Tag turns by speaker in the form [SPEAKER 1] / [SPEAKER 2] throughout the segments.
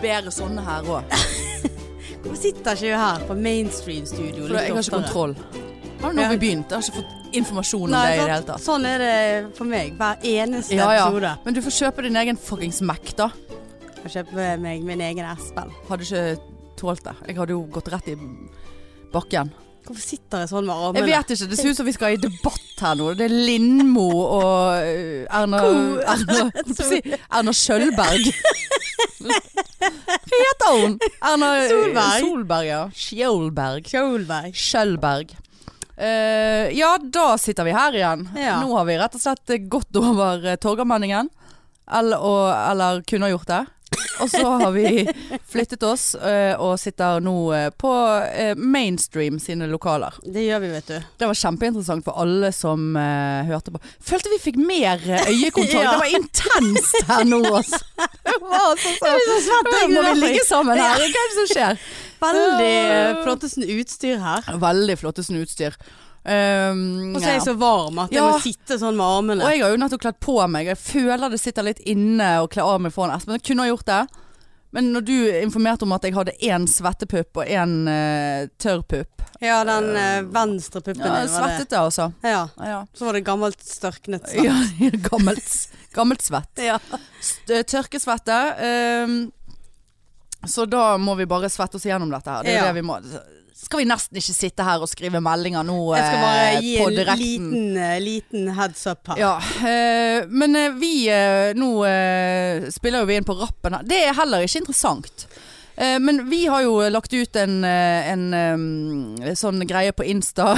[SPEAKER 1] flere sånne her òg.
[SPEAKER 2] Hvorfor sitter ikke hun her på Mainstream Studio?
[SPEAKER 1] For da- jeg har ikke kontroll. Har du nå
[SPEAKER 2] Ja.
[SPEAKER 1] begynt? Jeg har ikke fått informasjon om det i
[SPEAKER 2] Nei, sant?
[SPEAKER 1] det hele tatt.
[SPEAKER 2] Sånn er det for meg hver eneste
[SPEAKER 1] Ja,
[SPEAKER 2] episode.
[SPEAKER 1] ja. Men du får kjøpe din egen fuckings Mac, da.
[SPEAKER 2] Jeg kjøper meg min egen S-spill.
[SPEAKER 1] Hadde ikke tålt det. Jeg hadde jo gått rett i bakken.
[SPEAKER 2] Hvorfor sitter jeg sånn med armene?
[SPEAKER 1] Jeg vet ikke. Det ser ut som vi skal i debatt her nå. Det er Lindmo og eh, Erna
[SPEAKER 2] Ko-
[SPEAKER 1] Erna, jeg holdt på å si, Erna Skjølberg. Hva heter hun? Erna
[SPEAKER 2] Solberg.
[SPEAKER 1] Solberg, ja. Skjølberg.
[SPEAKER 2] Kjolberg.
[SPEAKER 1] Skjølberg. Eh, ja, da sitter vi her igjen.
[SPEAKER 2] Ja.
[SPEAKER 1] Nå har vi rett og slett gått over eh, Torgallmenningen. Eller, og, eller kunne ha gjort det. Og så har vi flyttet oss eh, og sitter nå eh, på eh, Mainstream sine lokaler.
[SPEAKER 2] Det gjør vi, vet du.
[SPEAKER 1] Det var kjempeinteressant for alle som eh, hørte på. Følte vi fikk mer eh, øyekontakt.
[SPEAKER 2] Ja.
[SPEAKER 1] Det var intenst her nå, altså. Det var altså så- Må vi ligge sammen her? Hva er det som skjer?
[SPEAKER 2] Veldig eh, flotte sånn utstyr her.
[SPEAKER 1] Veldig flotte sånn utstyr. Um,
[SPEAKER 2] Og så er jeg
[SPEAKER 1] ja.
[SPEAKER 2] så varm at jeg
[SPEAKER 1] Ja.
[SPEAKER 2] må sitte sånn med armene.
[SPEAKER 1] Og jeg har jo nettopp kledd på meg. Jeg føler det sitter litt inne å kle av meg foran Espen. Jeg kunne ha gjort det. Men når du informerte om at jeg hadde én svettepupp og én eh, tørr pupp
[SPEAKER 2] Ja, den eh, venstre puppen
[SPEAKER 1] ja,
[SPEAKER 2] din var det.
[SPEAKER 1] Svettet det, altså.
[SPEAKER 2] Ja.
[SPEAKER 1] Ja.
[SPEAKER 2] Så var det gammelt størknet svett.
[SPEAKER 1] Ja, gammelt, gammelt svett.
[SPEAKER 2] Ja.
[SPEAKER 1] St tørkesvette. ehm, så da må vi bare svette oss gjennom dette her. Det er
[SPEAKER 2] Ja.
[SPEAKER 1] det vi må. Skal vi nesten ikke sitte her og skrive meldinger nå
[SPEAKER 2] Jeg skal bare
[SPEAKER 1] eh,
[SPEAKER 2] gi
[SPEAKER 1] på
[SPEAKER 2] en
[SPEAKER 1] direkten?
[SPEAKER 2] liten, eh, liten heads up her.
[SPEAKER 1] Ja, eh, men eh, vi eh, Nå eh, spiller jo vi inn på rappen her. Det er heller ikke interessant. Eh, men vi har jo lagt ut en, eh, en eh, sånn greie på Insta.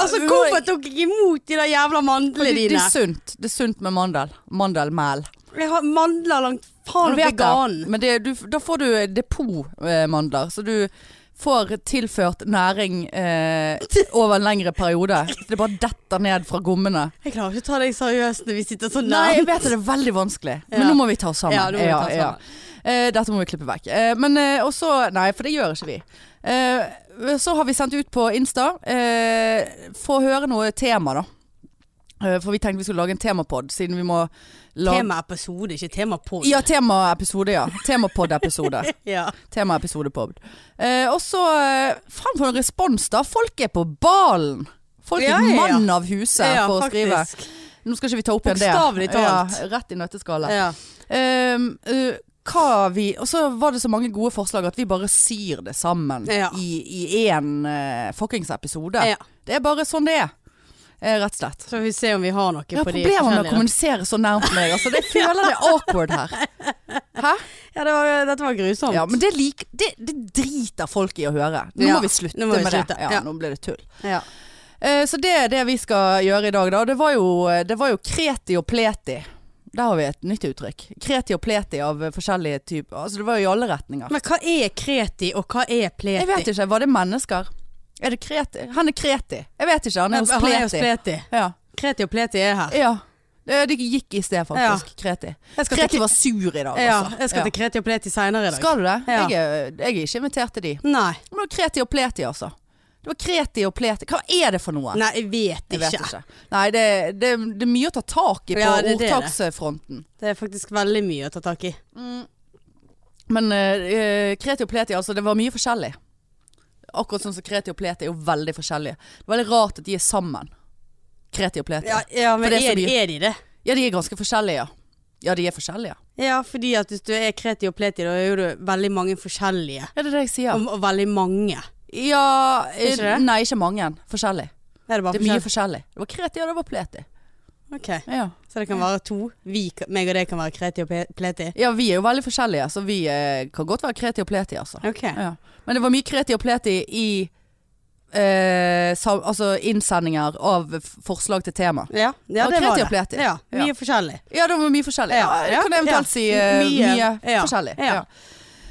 [SPEAKER 2] Altså, hvorfor tok jeg imot de der jævla mandlene
[SPEAKER 1] Det, det
[SPEAKER 2] dine?
[SPEAKER 1] er sunt. Det er sunt med mandel. Mandelmel.
[SPEAKER 2] Jeg har mandler langt faen
[SPEAKER 1] Du
[SPEAKER 2] opp i
[SPEAKER 1] vet det.
[SPEAKER 2] ganen.
[SPEAKER 1] Men det, du, da får du depotmandler, så du får tilført næring eh, over en lengre periode. Det bare detter ned fra gommene.
[SPEAKER 2] Jeg klarer ikke å ta deg seriøst når vi sitter sånn
[SPEAKER 1] Nei, jeg
[SPEAKER 2] nær.
[SPEAKER 1] vet det, det er veldig vanskelig. Men
[SPEAKER 2] Ja.
[SPEAKER 1] nå må vi ta oss sammen.
[SPEAKER 2] Ja, nå må vi ta sånn. oss sammen.
[SPEAKER 1] Eh, dette må vi klippe vekk. Eh, men eh, også Nei, for det gjør ikke vi. Eh, så har vi sendt ut på Insta. Eh, Få høre noe tema, da. Eh, for vi tenkte vi skulle lage en temapod, siden vi må lage
[SPEAKER 2] Temaepisode, ikke temapod.
[SPEAKER 1] Ja, temaepisode, ja. Temapod-episode.
[SPEAKER 2] Ja.
[SPEAKER 1] Temaepisode på. Eh, og så eh, Faen for en respons, da. Folk er på ballen. Folk er
[SPEAKER 2] Ja, ja, ja.
[SPEAKER 1] mann av huset
[SPEAKER 2] Ja,
[SPEAKER 1] for å skrive.
[SPEAKER 2] faktisk.
[SPEAKER 1] Nå skal ikke vi ta opp igjen det.
[SPEAKER 2] Bokstavelig talt.
[SPEAKER 1] Ja, rett i nøtteskallet.
[SPEAKER 2] Ja.
[SPEAKER 1] Ehm, eh, hva vi Og så var det så mange gode forslag at vi bare syr det sammen
[SPEAKER 2] Ja.
[SPEAKER 1] i én uh, fuckings episode.
[SPEAKER 2] Ja.
[SPEAKER 1] Det er bare sånn det er. Eh, rett og slett.
[SPEAKER 2] Så får vi se om vi har noe
[SPEAKER 1] Jeg har
[SPEAKER 2] på de
[SPEAKER 1] problemer med å
[SPEAKER 2] forskjellige.
[SPEAKER 1] kommunisere så nærmt med deg. Altså, det jeg føler det er awkward her. Hæ?
[SPEAKER 2] Ja, det var, dette var grusomt.
[SPEAKER 1] Ja, men det, lik, det, det driter folk i å høre. Nå
[SPEAKER 2] Ja,
[SPEAKER 1] må vi slutte
[SPEAKER 2] nå må vi
[SPEAKER 1] med
[SPEAKER 2] slutte.
[SPEAKER 1] det. Ja,
[SPEAKER 2] Ja.
[SPEAKER 1] Nå ble det tull.
[SPEAKER 2] Ja.
[SPEAKER 1] Eh, så det er det vi skal gjøre i dag, da. Det var jo, eh, det var jo kreti og pleti. Der har vi et nytt uttrykk. Kreti og pleti av eh, forskjellige typer. Altså det var jo i alle retninger.
[SPEAKER 2] Men hva er kreti, og hva er pleti?
[SPEAKER 1] Jeg vet ikke, var det mennesker? Er det kreti? Han er kreti. Jeg vet ikke, han er hos
[SPEAKER 2] Han er hos
[SPEAKER 1] pleti.
[SPEAKER 2] pleti.
[SPEAKER 1] Ja.
[SPEAKER 2] Kreti og pleti er her.
[SPEAKER 1] ja. Eh, Det gikk i sted faktisk, kreti.
[SPEAKER 2] Jeg skal til
[SPEAKER 1] Kreti var sur i dag,
[SPEAKER 2] Ja,
[SPEAKER 1] altså.
[SPEAKER 2] jeg skal
[SPEAKER 1] Ja.
[SPEAKER 2] til kreti og pleti seinere i dag.
[SPEAKER 1] Skal du det?
[SPEAKER 2] Ja.
[SPEAKER 1] Jeg, er, jeg er ikke invitert til de.
[SPEAKER 2] Nei.
[SPEAKER 1] Men det var kreti og pleti, altså. Det var kreti og pleti. Hva er det for noe?
[SPEAKER 2] Nei, jeg vet
[SPEAKER 1] Jeg vet
[SPEAKER 2] ikke.
[SPEAKER 1] ikke. Nei, det, det, det er mye å ta tak i på
[SPEAKER 2] Ja, det er det.
[SPEAKER 1] ordtaksfronten.
[SPEAKER 2] Det er faktisk veldig mye å ta tak i.
[SPEAKER 1] Men eh, kreti og pleti, altså det var mye forskjellig. Akkurat sånn som kreti og pleti er jo veldig forskjellige. Det er veldig rart at de er sammen. Kreti og pleti.
[SPEAKER 2] Ja,
[SPEAKER 1] Ja,
[SPEAKER 2] ja men
[SPEAKER 1] For det er så
[SPEAKER 2] er, de- er de det?
[SPEAKER 1] de er ganske forskjellige, ja. Ja, de er forskjellige.
[SPEAKER 2] Ja, fordi at hvis du er kreti og pleti, da er jo du veldig mange forskjellige.
[SPEAKER 1] Ja, det er det jeg sier.
[SPEAKER 2] Og, og veldig mange.
[SPEAKER 1] Ja, eh,
[SPEAKER 2] Ikke det?
[SPEAKER 1] nei, ikke mange. Forskjellig.
[SPEAKER 2] Er det bare
[SPEAKER 1] Det er mye forskjellig. Det var kreti, og det var pleti.
[SPEAKER 2] Ok,
[SPEAKER 1] Ja.
[SPEAKER 2] Så det kan være to. Vi, kan- meg og deg kan være kreti og pe- pleti.
[SPEAKER 1] ja, vi er jo veldig forskjellige, så vi eh, kan godt være kreti og pleti, altså.
[SPEAKER 2] Ok.
[SPEAKER 1] Ja. Men det var mye kreti og pleti i eh, sam, altså innsendinger av f- forslag til tema.
[SPEAKER 2] Ja, ja
[SPEAKER 1] Og
[SPEAKER 2] det
[SPEAKER 1] kreti
[SPEAKER 2] var det.
[SPEAKER 1] og pleti.
[SPEAKER 2] Ja, mye
[SPEAKER 1] Ja.
[SPEAKER 2] forskjellig.
[SPEAKER 1] Ja, det var mye forskjellig. Ja,
[SPEAKER 2] Ja, ja,
[SPEAKER 1] kan jeg
[SPEAKER 2] ja.
[SPEAKER 1] eventuelt si eh, mye,
[SPEAKER 2] Mye, ja,
[SPEAKER 1] forskjellig.
[SPEAKER 2] ja.
[SPEAKER 1] Ja.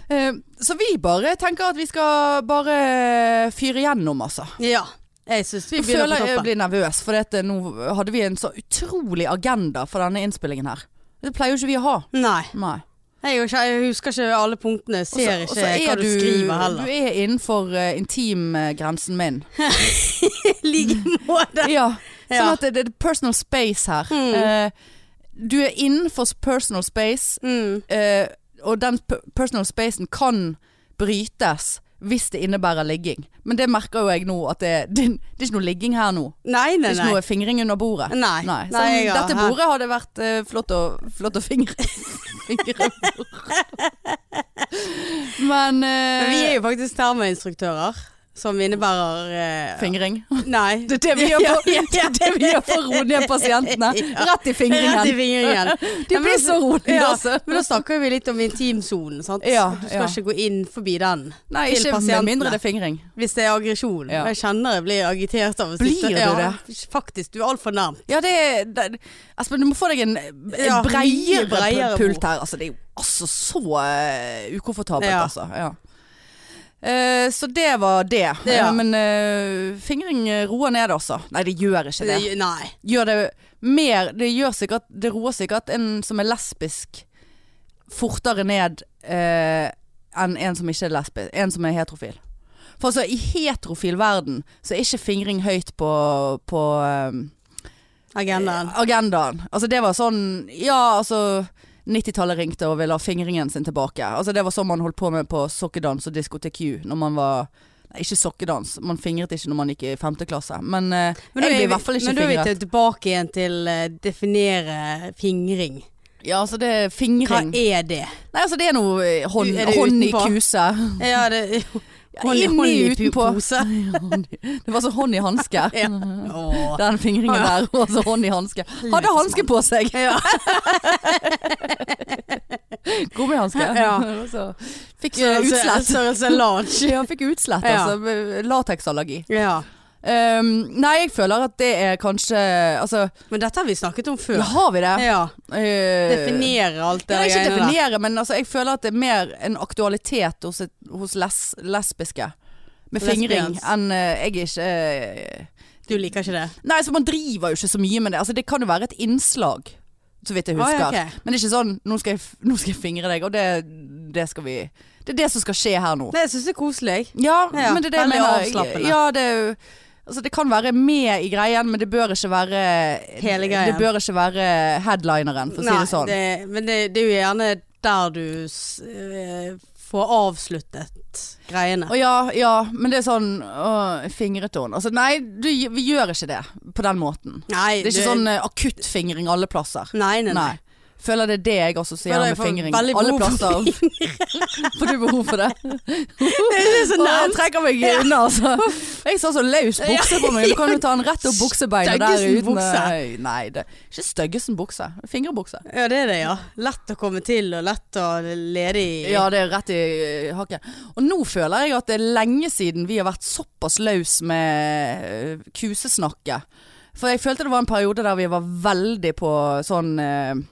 [SPEAKER 1] Eh, så vi bare tenker at vi skal bare fyre gjennom, altså.
[SPEAKER 2] Ja. Jeg syns vi
[SPEAKER 1] Jeg
[SPEAKER 2] begynner
[SPEAKER 1] føler
[SPEAKER 2] på
[SPEAKER 1] jeg
[SPEAKER 2] toppen.
[SPEAKER 1] blir nervøs, for dette, nå hadde vi en så utrolig agenda for denne innspillingen her. Det pleier jo ikke vi å ha.
[SPEAKER 2] Nei.
[SPEAKER 1] Nei.
[SPEAKER 2] Jeg, gjør ikke, jeg husker ikke alle punktene.
[SPEAKER 1] Og så-
[SPEAKER 2] Ser
[SPEAKER 1] og så
[SPEAKER 2] ikke hva
[SPEAKER 1] er
[SPEAKER 2] du, skriver
[SPEAKER 1] Du
[SPEAKER 2] heller.
[SPEAKER 1] er innenfor eh, intimgrensen min.
[SPEAKER 2] I like måte.
[SPEAKER 1] Ja,
[SPEAKER 2] Ja.
[SPEAKER 1] sånn at det, det er personal space her.
[SPEAKER 2] Mm.
[SPEAKER 1] Eh, Du er innenfor personal space,
[SPEAKER 2] Mm.
[SPEAKER 1] eh, og den p- personal spacen kan brytes hvis det innebærer ligging. Men det merker jo jeg nå, at det, det, det er ikke noe ligging her nå.
[SPEAKER 2] Nei,
[SPEAKER 1] Det
[SPEAKER 2] nei,
[SPEAKER 1] er ikke
[SPEAKER 2] nei.
[SPEAKER 1] noe fingring under bordet.
[SPEAKER 2] Nei.
[SPEAKER 1] Nei, så
[SPEAKER 2] Nei, jeg har-
[SPEAKER 1] dette bordet hadde vært eh, flott, å, flott å fingre. fingre bort. Men eh,
[SPEAKER 2] Men vi er jo faktisk termoinstruktører, som innebærer eh,
[SPEAKER 1] Fingring.
[SPEAKER 2] Nei.
[SPEAKER 1] Det er det vi gjør for,
[SPEAKER 2] Ja, ja,
[SPEAKER 1] det er det vi gjør for å roe ned pasientene. Rett i
[SPEAKER 2] Rett i
[SPEAKER 1] fingringen.
[SPEAKER 2] fingringen.
[SPEAKER 1] De blir så rolige,
[SPEAKER 2] Ja,
[SPEAKER 1] altså.
[SPEAKER 2] Men da snakker vi litt om intimsonen, sant.
[SPEAKER 1] Ja,
[SPEAKER 2] du skal
[SPEAKER 1] ja.
[SPEAKER 2] ikke gå inn forbi den.
[SPEAKER 1] Nei,
[SPEAKER 2] til
[SPEAKER 1] ikke med
[SPEAKER 2] pasientene.
[SPEAKER 1] mindre det er fingring.
[SPEAKER 2] Hvis det er aggresjon.
[SPEAKER 1] Ja.
[SPEAKER 2] Jeg kjenner jeg blir agitert av å
[SPEAKER 1] Blir
[SPEAKER 2] sitte
[SPEAKER 1] du
[SPEAKER 2] ja, Faktisk. Du er altfor nærm.
[SPEAKER 1] Ja, det er det- Espen, du må få deg en, eh, en
[SPEAKER 2] Ja, mye
[SPEAKER 1] breiere,
[SPEAKER 2] breiere
[SPEAKER 1] pult her. Altså, det er jo altså så eh, ukomfortabelt,
[SPEAKER 2] Ja.
[SPEAKER 1] altså. Ja. Eh, så det var det.
[SPEAKER 2] Ja.
[SPEAKER 1] Eh, men eh, fingring eh, roer ned, altså. Nei, det gjør ikke det.
[SPEAKER 2] Nei.
[SPEAKER 1] Gjør det mer Det, gjør sikkert, det roer sikkert en som er lesbisk, fortere ned eh, enn en som ikke er lesbisk. En som er heterofil. For altså, i heterofil verden så er ikke fingring høyt på, på eh,
[SPEAKER 2] Agendaen.
[SPEAKER 1] agendaen. Altså det var sånn Ja, altså 90-tallet ringte og ville ha fingringen sin tilbake. Altså Det var sånn man holdt på med på sokkedans og diskotek U når man var Nei, ikke sokkedans. Man fingret ikke når man gikk i femte klasse. Men, eh,
[SPEAKER 2] Men da
[SPEAKER 1] jeg
[SPEAKER 2] er
[SPEAKER 1] ble i
[SPEAKER 2] vi-
[SPEAKER 1] hvert fall ikke
[SPEAKER 2] men da er vi
[SPEAKER 1] fingret.
[SPEAKER 2] til- tilbake igjen til eh, definere fingring.
[SPEAKER 1] Ja, altså det er
[SPEAKER 2] Hva
[SPEAKER 1] fingring
[SPEAKER 2] er det?
[SPEAKER 1] Nei, altså det er noe eh, hånd,
[SPEAKER 2] Er det
[SPEAKER 1] hånd i
[SPEAKER 2] utenpå?
[SPEAKER 1] kuse.
[SPEAKER 2] Ja, det Hånd i
[SPEAKER 1] Inni,
[SPEAKER 2] hånd i pu-
[SPEAKER 1] utenpå.
[SPEAKER 2] pose.
[SPEAKER 1] Det var så hånd i hanske.
[SPEAKER 2] Ja. Åh.
[SPEAKER 1] Den fingringen der, og så hånd i hanske. Hadde hanske på seg!
[SPEAKER 2] Ja.
[SPEAKER 1] Gummihanske.
[SPEAKER 2] Ja.
[SPEAKER 1] Så Fikk eh,
[SPEAKER 2] Størrelse
[SPEAKER 1] utslett.
[SPEAKER 2] størrelse large.
[SPEAKER 1] Ja, fikk utslett,
[SPEAKER 2] Ja.
[SPEAKER 1] altså. Lateksallergi.
[SPEAKER 2] Ja.
[SPEAKER 1] Ehm, nei, jeg føler at det er kanskje Altså,
[SPEAKER 2] Men dette har vi snakket om før.
[SPEAKER 1] ja, har vi det?
[SPEAKER 2] Ja.
[SPEAKER 1] Eh,
[SPEAKER 2] Definere alt det
[SPEAKER 1] ja, ikke
[SPEAKER 2] greiene der.
[SPEAKER 1] definere, men altså, jeg føler at det er mer en aktualitet hos, et, hos les, lesbiske med fingring
[SPEAKER 2] Lesbians.
[SPEAKER 1] enn eh, jeg er ikke eh,
[SPEAKER 2] Du liker ikke det?
[SPEAKER 1] Nei, så man driver jo ikke så mye med det. Altså, det kan jo være et innslag, så vidt jeg
[SPEAKER 2] Å,
[SPEAKER 1] husker.
[SPEAKER 2] ja, ok.
[SPEAKER 1] Men det er ikke sånn nå skal, jeg, f- 'Nå skal jeg fingre deg', og det, det skal vi Det er det som skal skje her nå.
[SPEAKER 2] Nei, jeg syns det er koselig.
[SPEAKER 1] Ja,
[SPEAKER 2] Ja,
[SPEAKER 1] men det er det jeg
[SPEAKER 2] veldig
[SPEAKER 1] mener.
[SPEAKER 2] avslappende.
[SPEAKER 1] Ja, det, er jo- altså det kan være med i greien, men det bør ikke være
[SPEAKER 2] Hele greien.
[SPEAKER 1] Det bør ikke være headlineren, for å si det sånn.
[SPEAKER 2] det- men det, det er jo gjerne der du s- eh, får avsluttet greiene.
[SPEAKER 1] Å ja, ja, men det er sånn å, fingret hun. Altså nei, du, vi gjør ikke det på den måten.
[SPEAKER 2] Nei,
[SPEAKER 1] Det er ikke sånn eh, akuttfingring alle plasser.
[SPEAKER 2] Nei, nei, nei.
[SPEAKER 1] Nei. Føler det er det jeg assosierer
[SPEAKER 2] Føler jeg
[SPEAKER 1] med
[SPEAKER 2] får
[SPEAKER 1] fingring.
[SPEAKER 2] veldig
[SPEAKER 1] Alle
[SPEAKER 2] behov for
[SPEAKER 1] plasser. Får du behov for det?
[SPEAKER 2] Det er så
[SPEAKER 1] Å, jeg
[SPEAKER 2] nærmt.
[SPEAKER 1] trekker meg unna, altså. Jeg sa så løs bukse på meg. Du kan jo ta den rett opp buksebeinet der
[SPEAKER 2] Støggesen
[SPEAKER 1] uten
[SPEAKER 2] bukse.
[SPEAKER 1] Nei, Nei, det er ikke Støggesen bukse. Fingerbukse.
[SPEAKER 2] Ja, det er det, ja. Lett å komme til og lett å lede i.
[SPEAKER 1] Ja, det er rett i eh, hakken. Og nå føler jeg at det er lenge siden vi har vært såpass løs med eh, kusesnakket. For jeg følte det var en periode der vi var veldig på sånn eh,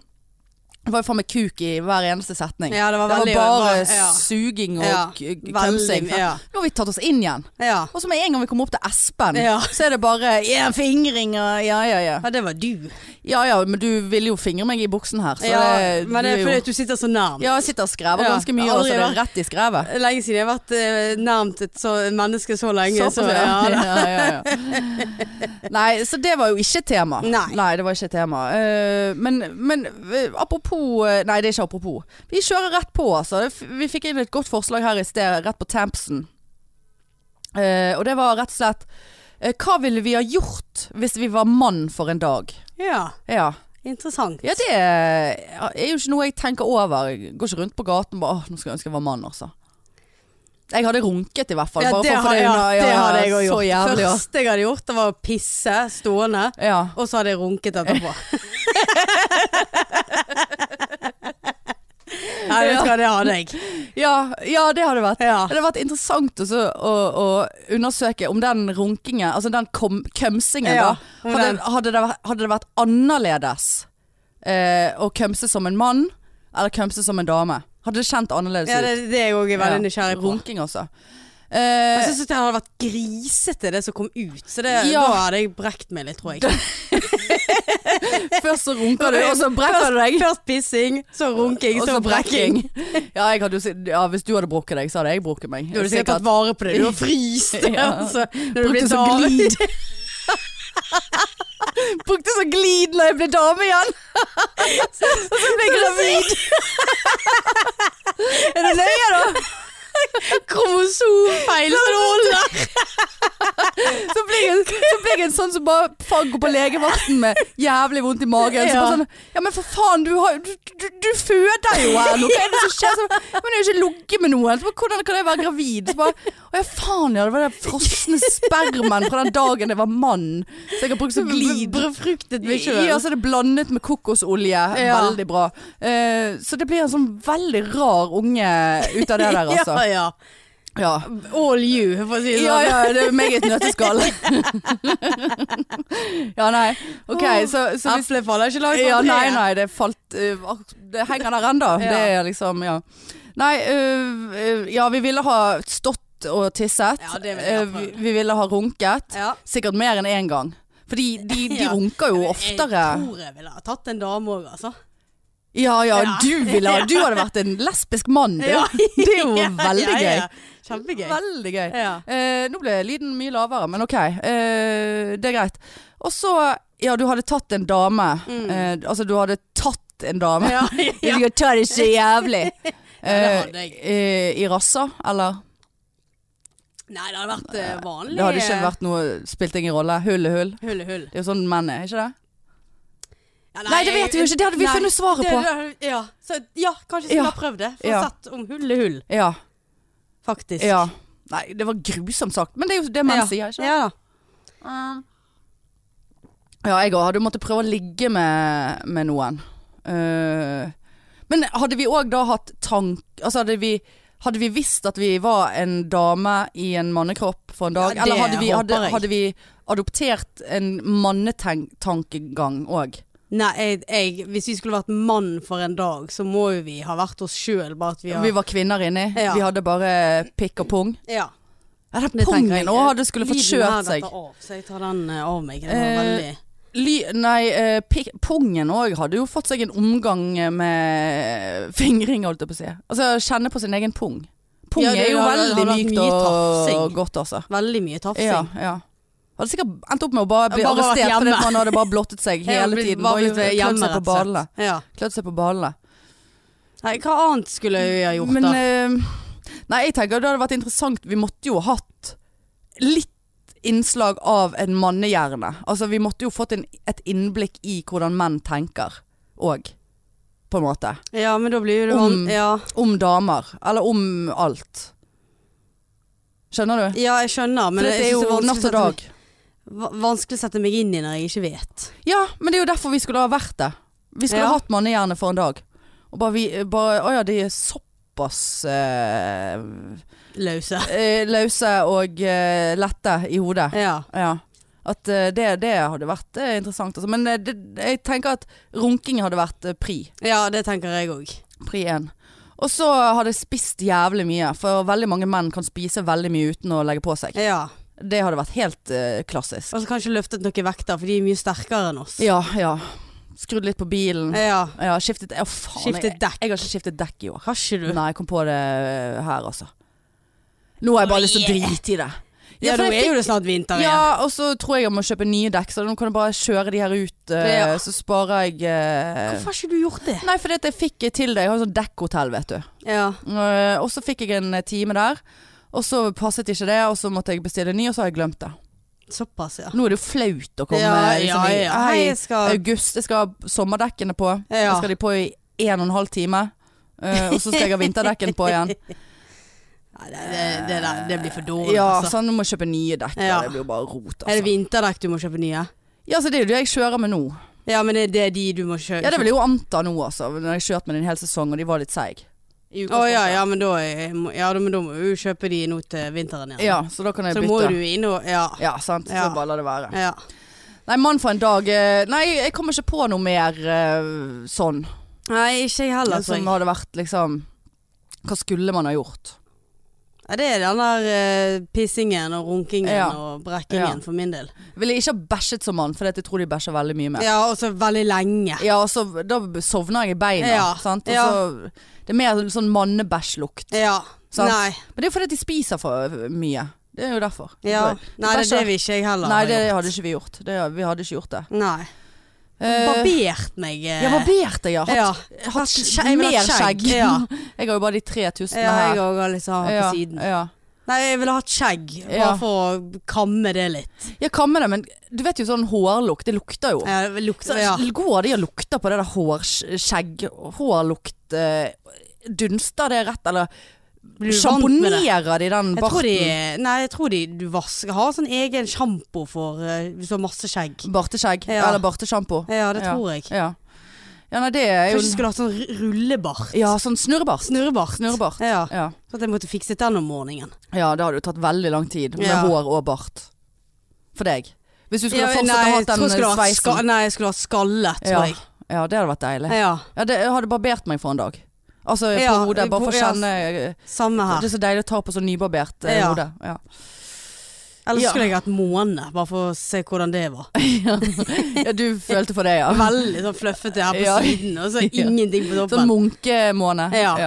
[SPEAKER 1] Det var jo faen meg kuk i hver eneste setning.
[SPEAKER 2] Ja, det var
[SPEAKER 1] Det var
[SPEAKER 2] veldig
[SPEAKER 1] bare
[SPEAKER 2] ja.
[SPEAKER 1] suging
[SPEAKER 2] Ja,
[SPEAKER 1] og k- klømsing.
[SPEAKER 2] Veldig, ja.
[SPEAKER 1] Nå har vi tatt oss inn igjen.
[SPEAKER 2] ja.
[SPEAKER 1] Og så med en gang vi kommer opp til Espen,
[SPEAKER 2] Ja.
[SPEAKER 1] så er det bare ja, fingring og ja, ja, ja.
[SPEAKER 2] Ja, det var du.
[SPEAKER 1] Ja ja, men du ville jo fingre meg i buksen her, så
[SPEAKER 2] Ja,
[SPEAKER 1] det,
[SPEAKER 2] men det
[SPEAKER 1] du
[SPEAKER 2] er
[SPEAKER 1] er
[SPEAKER 2] fordi
[SPEAKER 1] jo
[SPEAKER 2] at du sitter så nærmt.
[SPEAKER 1] Ja, jeg sitter og skrever
[SPEAKER 2] Ja,
[SPEAKER 1] ganske mye,
[SPEAKER 2] aldri
[SPEAKER 1] altså det er
[SPEAKER 2] vært-
[SPEAKER 1] rett i skrevet.
[SPEAKER 2] Lenge siden jeg har vært eh, nærmt et så, menneske så lenge.
[SPEAKER 1] Såpass,
[SPEAKER 2] så,
[SPEAKER 1] ja.
[SPEAKER 2] ja, da.
[SPEAKER 1] Ja, ja, ja. Nei, så det var jo ikke tema.
[SPEAKER 2] Nei.
[SPEAKER 1] det var ikke tema. Eh, men, men eh, apropos eh, Nei, det er ikke apropos. Vi kjører rett på, altså. Det f- Vi fikk inn et godt forslag her i sted, rett på Tampson. Eh, og det var rett og slett eh, Hva ville vi ha gjort hvis vi var mann for en dag?
[SPEAKER 2] ja,
[SPEAKER 1] Ja.
[SPEAKER 2] interessant.
[SPEAKER 1] ja, det er jo ikke noe jeg tenker over. Jeg går ikke rundt på gaten bare åh, nå skulle jeg ønske jeg var mann, altså. Jeg hadde runket i hvert fall.
[SPEAKER 2] Ja,
[SPEAKER 1] bare
[SPEAKER 2] det,
[SPEAKER 1] for å få
[SPEAKER 2] har,
[SPEAKER 1] det
[SPEAKER 2] ja,
[SPEAKER 1] unna.
[SPEAKER 2] det hadde jeg òg
[SPEAKER 1] så
[SPEAKER 2] gjort.
[SPEAKER 1] jævlig, ja.
[SPEAKER 2] Første jeg hadde gjort, det var å pisse stående,
[SPEAKER 1] Ja.
[SPEAKER 2] og så hadde jeg runket etterpå. Nei, vet du hva, det hadde jeg.
[SPEAKER 1] Ja, ja, det hadde vært.
[SPEAKER 2] Ja.
[SPEAKER 1] Det hadde vært interessant også å, å undersøke om den runkingen, altså den kom- kømsingen
[SPEAKER 2] Ja,
[SPEAKER 1] da,
[SPEAKER 2] om
[SPEAKER 1] hadde,
[SPEAKER 2] den-
[SPEAKER 1] hadde, det vært, hadde det vært annerledes eh, å kømse som en mann, eller kømse som en dame? Hadde det kjent annerledes
[SPEAKER 2] Ja, det,
[SPEAKER 1] ut?
[SPEAKER 2] det er jeg òg veldig
[SPEAKER 1] Ja,
[SPEAKER 2] nysgjerrig på.
[SPEAKER 1] Runking også.
[SPEAKER 2] Jeg
[SPEAKER 1] Eh,
[SPEAKER 2] syns det hadde vært grisete, det som kom ut. Så det,
[SPEAKER 1] Ja.
[SPEAKER 2] da hadde jeg brekt meg litt, tror jeg.
[SPEAKER 1] først så runker du, og så brekker du deg.
[SPEAKER 2] Først pissing, så runking,
[SPEAKER 1] Og
[SPEAKER 2] så
[SPEAKER 1] så
[SPEAKER 2] brekking.
[SPEAKER 1] brekking. Ja, jeg hadde, jo si- ja, hvis du hadde brukket deg, så hadde jeg brukket meg.
[SPEAKER 2] Du hadde sikkert tatt vare på det. Du har fryst det.
[SPEAKER 1] Ja.
[SPEAKER 2] Altså, når du
[SPEAKER 1] Brukte
[SPEAKER 2] blir
[SPEAKER 1] som
[SPEAKER 2] dame.
[SPEAKER 1] glid. Brukte så glid når jeg ble dame igjen. så ble jeg gravid. er det løye, da?
[SPEAKER 2] Kromosomfeil som du holder!
[SPEAKER 1] Så ble jeg, så ble jeg en sånn som bare faen, går på legevakten med jævlig vondt i magen. Så
[SPEAKER 2] Ja.
[SPEAKER 1] bare sånn, ja, men for faen, du, har, du, du, du føder jo her nå. Hva er det som skjer? Så, bare, men jeg har jo ikke ligget med noen. Så bare, hvordan kan jeg være gravid? Så bare, å ja, faen ja, det var den frosne spermen fra den dagen jeg var mann. Så jeg har brukt som glid.
[SPEAKER 2] Befruktet meg sjøl.
[SPEAKER 1] Ja, så er det blandet med kokosolje.
[SPEAKER 2] Ja.
[SPEAKER 1] Veldig bra. Eh, så det blir en sånn veldig rar unge ut av det der, altså.
[SPEAKER 2] Ja, ja.
[SPEAKER 1] Ja,
[SPEAKER 2] All you, for å si det
[SPEAKER 1] ja,
[SPEAKER 2] sånn.
[SPEAKER 1] ja det er meg i et nøtteskall. ja, nei. Ok, så, så hvis
[SPEAKER 2] Eplet faller ikke langt
[SPEAKER 1] ja,
[SPEAKER 2] fra
[SPEAKER 1] nei,
[SPEAKER 2] treet.
[SPEAKER 1] nei, det falt eh, ak- Det henger der ennå.
[SPEAKER 2] Ja.
[SPEAKER 1] Det er liksom, ja. Nei, øh, øh, ja, vi ville ha stått og tisset.
[SPEAKER 2] Ja, det vil jeg
[SPEAKER 1] Eh,
[SPEAKER 2] ha.
[SPEAKER 1] vi, vi ville ha runket.
[SPEAKER 2] Ja.
[SPEAKER 1] Sikkert mer enn én gang. Fordi de, de
[SPEAKER 2] Ja.
[SPEAKER 1] runker jo oftere.
[SPEAKER 2] Jeg tror jeg ville ha tatt en dame òg, altså.
[SPEAKER 1] Ja, ja,
[SPEAKER 2] Ja.
[SPEAKER 1] du ville ha Du hadde vært en lesbisk mann, du. Det er jo veldig
[SPEAKER 2] Ja, ja,
[SPEAKER 1] gøy.
[SPEAKER 2] ja. Kjempegøy.
[SPEAKER 1] Veldig gøy.
[SPEAKER 2] Ja.
[SPEAKER 1] Eh, nå ble lyden mye lavere, men OK. Eh, det er greit. Og så Ja, du hadde tatt en dame.
[SPEAKER 2] Mm.
[SPEAKER 1] Eh, altså, du hadde tatt en dame.
[SPEAKER 2] Ja, ja,
[SPEAKER 1] Du skulle ta det så jævlig.
[SPEAKER 2] Ja, det hadde jeg.
[SPEAKER 1] eh, I rassa, eller?
[SPEAKER 2] Nei, det hadde vært eh, vanlig.
[SPEAKER 1] Det hadde ikke vært noe Spilt ingen rolle. Hull er hull.
[SPEAKER 2] Hull i hull.
[SPEAKER 1] Det er jo sånn menn er, ikke det?
[SPEAKER 2] Ja,
[SPEAKER 1] Nei, det vet vi jo ikke. Det hadde vi
[SPEAKER 2] Nei.
[SPEAKER 1] funnet svaret på.
[SPEAKER 2] Det- det- ja. Så, ja, kanskje skulle
[SPEAKER 1] Ja.
[SPEAKER 2] ha prøvd det. For
[SPEAKER 1] Ja.
[SPEAKER 2] sett om hull er hull,
[SPEAKER 1] Ja.
[SPEAKER 2] faktisk.
[SPEAKER 1] ja. Nei, det var grusomt sagt, men det er jo det menn sier, ikke sant?
[SPEAKER 2] Ja.
[SPEAKER 1] Ja, jeg òg hadde måttet prøve å ligge med, med noen. Eh, men hadde vi òg da hatt tank... Altså hadde vi, hadde vi visst at vi var en dame i en mannekropp for en dag?
[SPEAKER 2] Ja, det
[SPEAKER 1] Eller hadde vi, hadde,
[SPEAKER 2] håper jeg.
[SPEAKER 1] hadde vi adoptert en mannetankegang òg?
[SPEAKER 2] Nei, jeg, jeg, hvis vi skulle vært mann for en dag, så må jo vi ha vært oss sjøl, bare at vi har
[SPEAKER 1] Vi var kvinner inni.
[SPEAKER 2] Ja.
[SPEAKER 1] Vi hadde bare pikk og pung.
[SPEAKER 2] Ja.
[SPEAKER 1] Ja, den
[SPEAKER 2] det tenker jeg.
[SPEAKER 1] pungen òg hadde skulle fått
[SPEAKER 2] Lyden her
[SPEAKER 1] kjørt seg.
[SPEAKER 2] detter Av, så jeg tar den eh, av meg. Den var
[SPEAKER 1] Eh,
[SPEAKER 2] veldig
[SPEAKER 1] Ly, nei, eh, pi- pungen òg hadde jo fått seg en omgang med fingring, holdt jeg på å si. Altså kjenne på sin egen pung. Pung
[SPEAKER 2] Ja, det
[SPEAKER 1] er jo
[SPEAKER 2] har- det
[SPEAKER 1] veldig
[SPEAKER 2] har vært
[SPEAKER 1] mykt
[SPEAKER 2] mye
[SPEAKER 1] og,
[SPEAKER 2] tafsing.
[SPEAKER 1] og godt, altså.
[SPEAKER 2] Veldig mye tafsing.
[SPEAKER 1] Ja, ja. Hadde sikkert endt opp med å bare bli
[SPEAKER 2] Bare vært
[SPEAKER 1] arrestert
[SPEAKER 2] hjemme.
[SPEAKER 1] fordi at man hadde bare blottet seg
[SPEAKER 2] Jeg har
[SPEAKER 1] hele
[SPEAKER 2] blitt-
[SPEAKER 1] tiden.
[SPEAKER 2] bare
[SPEAKER 1] Bare
[SPEAKER 2] blitt hjemme,
[SPEAKER 1] klødd seg på
[SPEAKER 2] rett og slett.
[SPEAKER 1] balene.
[SPEAKER 2] Ja.
[SPEAKER 1] Klødd seg på balene.
[SPEAKER 2] Nei, hva annet skulle vi ha gjort,
[SPEAKER 1] Men
[SPEAKER 2] da?
[SPEAKER 1] eh, Nei, jeg tenker det hadde vært interessant. Vi måtte jo ha hatt litt innslag av en mannehjerne. Altså, vi måtte jo fått en, et innblikk i hvordan menn tenker òg, på en måte.
[SPEAKER 2] Ja, men da blir jo det
[SPEAKER 1] om-
[SPEAKER 2] van- ja.
[SPEAKER 1] Om damer. Eller om alt. Skjønner du?
[SPEAKER 2] ja, jeg skjønner, men
[SPEAKER 1] For
[SPEAKER 2] jeg
[SPEAKER 1] det er
[SPEAKER 2] synes
[SPEAKER 1] jo
[SPEAKER 2] vanskelig
[SPEAKER 1] natt
[SPEAKER 2] å
[SPEAKER 1] og
[SPEAKER 2] sette
[SPEAKER 1] dag.
[SPEAKER 2] meg- va- Vanskelig å sette meg inn i når jeg ikke vet.
[SPEAKER 1] Ja, men det er jo derfor vi skulle ha vært det. Vi skulle
[SPEAKER 2] Ja.
[SPEAKER 1] ha hatt mannehjerne for en dag. Og bare vi bare, Å ja, de er såpass eh,
[SPEAKER 2] Løse.
[SPEAKER 1] eh, løse og eh, lette i hodet.
[SPEAKER 2] Ja.
[SPEAKER 1] Ja. At eh, det, det hadde vært eh, interessant. Altså. Men eh, det, jeg tenker at runking hadde vært eh, pri.
[SPEAKER 2] ja, det tenker jeg òg.
[SPEAKER 1] Pri 1. Og så hadde jeg spist jævlig mye, for veldig mange menn kan spise veldig mye uten å legge på seg.
[SPEAKER 2] Ja.
[SPEAKER 1] Det hadde vært helt eh, klassisk.
[SPEAKER 2] Og så kanskje løftet noen vekter, for de er mye sterkere enn oss.
[SPEAKER 1] Ja, ja. Skrudd litt på bilen.
[SPEAKER 2] ja.
[SPEAKER 1] Ja, skiftet Å, faen.
[SPEAKER 2] Skiftet
[SPEAKER 1] jeg,
[SPEAKER 2] dekk.
[SPEAKER 1] jeg har ikke skiftet dekk i år.
[SPEAKER 2] Har ikke du?
[SPEAKER 1] Nei, jeg kom på det eh, her, altså. Nå har jeg bare lyst til å drite i det.
[SPEAKER 2] Ja,
[SPEAKER 1] for
[SPEAKER 2] nå
[SPEAKER 1] jeg
[SPEAKER 2] er jo det snart vinter igjen.
[SPEAKER 1] Ja, og så tror jeg jeg må kjøpe nye dekk, så nå kan jeg bare kjøre de her ut. eh,
[SPEAKER 2] Ja.
[SPEAKER 1] Så sparer jeg eh,
[SPEAKER 2] Hvorfor har ikke du gjort det?
[SPEAKER 1] Nei, fordi at jeg fikk eh, til det. Jeg har sånn dekkhotell, vet du.
[SPEAKER 2] Ja.
[SPEAKER 1] Eh, Og så fikk jeg en eh, time der. Og så passet ikke det, og så måtte jeg bestille ny, og så har jeg glemt det.
[SPEAKER 2] Såpass, ja.
[SPEAKER 1] Nå er det jo flaut å komme liksom, i-
[SPEAKER 2] Hei,
[SPEAKER 1] Hei,
[SPEAKER 2] jeg skal
[SPEAKER 1] august. Jeg skal ha sommerdekkene på.
[SPEAKER 2] Ja.
[SPEAKER 1] Jeg skal ha de på i en og en halv time. Eh, og så skal jeg ha vinterdekken på igjen.
[SPEAKER 2] Nei, det, det, det, der, det blir for dårlig,
[SPEAKER 1] Ja,
[SPEAKER 2] altså.
[SPEAKER 1] sånn, nå må jeg kjøpe nye dekker.
[SPEAKER 2] Ja.
[SPEAKER 1] Det blir jo bare rot,
[SPEAKER 2] Er det
[SPEAKER 1] altså.
[SPEAKER 2] vinterdekk du må kjøpe nye?
[SPEAKER 1] Ja, så det er jo det jeg kjører med nå.
[SPEAKER 2] Ja, men det, det er de du må kjøpe?
[SPEAKER 1] Ja, det vil jeg jo anta nå, altså. Når jeg kjørte med den hele sesong, og de var litt seig. I
[SPEAKER 2] Å ja,
[SPEAKER 1] utgangspunktet.
[SPEAKER 2] ja, men da, er- ja, da- men da må du jo kjøpe de nå til vinteren igjen.
[SPEAKER 1] Ja, så da kan jeg
[SPEAKER 2] så må
[SPEAKER 1] bytte.
[SPEAKER 2] du inn og Ja.
[SPEAKER 1] Ja, sant.
[SPEAKER 2] Ja.
[SPEAKER 1] Så bare la det være.
[SPEAKER 2] ja.
[SPEAKER 1] Nei, mann for en dag. eh, Nei, jeg kommer ikke på noe mer eh, sånn.
[SPEAKER 2] Nei, ikke jeg heller, tror jeg.
[SPEAKER 1] Som hadde vært liksom Hva skulle man ha gjort?
[SPEAKER 2] Ja, det er den der eh, pissingen og runkingen
[SPEAKER 1] Ja.
[SPEAKER 2] og
[SPEAKER 1] Ja.
[SPEAKER 2] brekkingen for min del.
[SPEAKER 1] Ville ikke ha bæsjet som mann, for jeg tror de bæsjer veldig mye mer.
[SPEAKER 2] Ja, og så veldig lenge.
[SPEAKER 1] Ja, og så da sovner jeg i beina.
[SPEAKER 2] Ja,
[SPEAKER 1] Sant? Og
[SPEAKER 2] ja.
[SPEAKER 1] så, det er mer sånn mannebæsjlukt.
[SPEAKER 2] Ja.
[SPEAKER 1] Sant.
[SPEAKER 2] Nei.
[SPEAKER 1] Men det er jo fordi at de spiser for eh, mye. Det er jo derfor.
[SPEAKER 2] Ja.
[SPEAKER 1] Det
[SPEAKER 2] Nei, det er det vi ikke jeg heller
[SPEAKER 1] Nei, det
[SPEAKER 2] har gjort.
[SPEAKER 1] hadde ikke vi gjort. Det, vi hadde ikke gjort det.
[SPEAKER 2] Nei.
[SPEAKER 1] Eh,
[SPEAKER 2] Barbert meg. eh,
[SPEAKER 1] ja, barbert jeg har. Hatt,
[SPEAKER 2] ja.
[SPEAKER 1] hatt
[SPEAKER 2] skje- jeg vil ha
[SPEAKER 1] mer
[SPEAKER 2] skjegg,
[SPEAKER 1] skjegg.
[SPEAKER 2] ja.
[SPEAKER 1] Jeg har jo bare de 3000
[SPEAKER 2] Ja,
[SPEAKER 1] her.
[SPEAKER 2] jeg òg har liksom hatt på siden.
[SPEAKER 1] Ja.
[SPEAKER 2] Nei, jeg ville hatt skjegg. Bare
[SPEAKER 1] sånn Ja.
[SPEAKER 2] for å kamme det litt.
[SPEAKER 1] ja, hva med det? Men du vet jo sånn hårlukt, det lukter jo.
[SPEAKER 2] Ja, det
[SPEAKER 1] Så
[SPEAKER 2] lukter, ja.
[SPEAKER 1] Går de og lukter på det der hårskjegg, hårlukt eh, Dunster det rett, eller
[SPEAKER 2] Blir du vant med det?
[SPEAKER 1] sjamponerer de den
[SPEAKER 2] Jeg tror de,
[SPEAKER 1] barten?
[SPEAKER 2] nei, jeg tror de du vasker, har sånn egen sjampo for eh, hvis du har masse skjegg.
[SPEAKER 1] Barteskjegg,
[SPEAKER 2] Ja.
[SPEAKER 1] eller bartesjampo.
[SPEAKER 2] Ja, det
[SPEAKER 1] Ja.
[SPEAKER 2] tror jeg.
[SPEAKER 1] Ja. ja, nei, det er jo
[SPEAKER 2] Kanskje du skulle hatt sånn ru- rullebart.
[SPEAKER 1] Ja, sånn snurrebart.
[SPEAKER 2] Snurrebart.
[SPEAKER 1] Snurrebart.
[SPEAKER 2] Ja.
[SPEAKER 1] Ja.
[SPEAKER 2] Så at jeg måtte fikset den om morgenen.
[SPEAKER 1] ja, det hadde jo tatt veldig lang tid med
[SPEAKER 2] Ja.
[SPEAKER 1] hår og bart. For deg. Hvis du skulle
[SPEAKER 2] Ja,
[SPEAKER 1] fortsatt
[SPEAKER 2] nei,
[SPEAKER 1] ha hatt
[SPEAKER 2] jeg tror
[SPEAKER 1] den
[SPEAKER 2] jeg skulle ha hatt ska-
[SPEAKER 1] sveisen.
[SPEAKER 2] Nei, jeg skulle ha hatt skallet, tror
[SPEAKER 1] Ja.
[SPEAKER 2] jeg.
[SPEAKER 1] Ja, det hadde vært deilig.
[SPEAKER 2] Ja,
[SPEAKER 1] Ja, det, jeg hadde barbert meg for en dag. Altså på
[SPEAKER 2] Ja,
[SPEAKER 1] hodet, bare for
[SPEAKER 2] på-
[SPEAKER 1] å
[SPEAKER 2] ja.
[SPEAKER 1] kjenne eh,
[SPEAKER 2] samme her.
[SPEAKER 1] Det er så deilig å ta på så nybarbert eh,
[SPEAKER 2] Ja.
[SPEAKER 1] hode. Ja.
[SPEAKER 2] Eller så
[SPEAKER 1] Ja.
[SPEAKER 2] skulle jeg hatt måne, bare for å se hvordan det var.
[SPEAKER 1] ja, du følte for det, ja.
[SPEAKER 2] Veldig sånn fluffete her på
[SPEAKER 1] Ja.
[SPEAKER 2] siden, og så
[SPEAKER 1] Ja.
[SPEAKER 2] ingenting på
[SPEAKER 1] Sånn
[SPEAKER 2] toppen.
[SPEAKER 1] munkemåne.
[SPEAKER 2] Ja.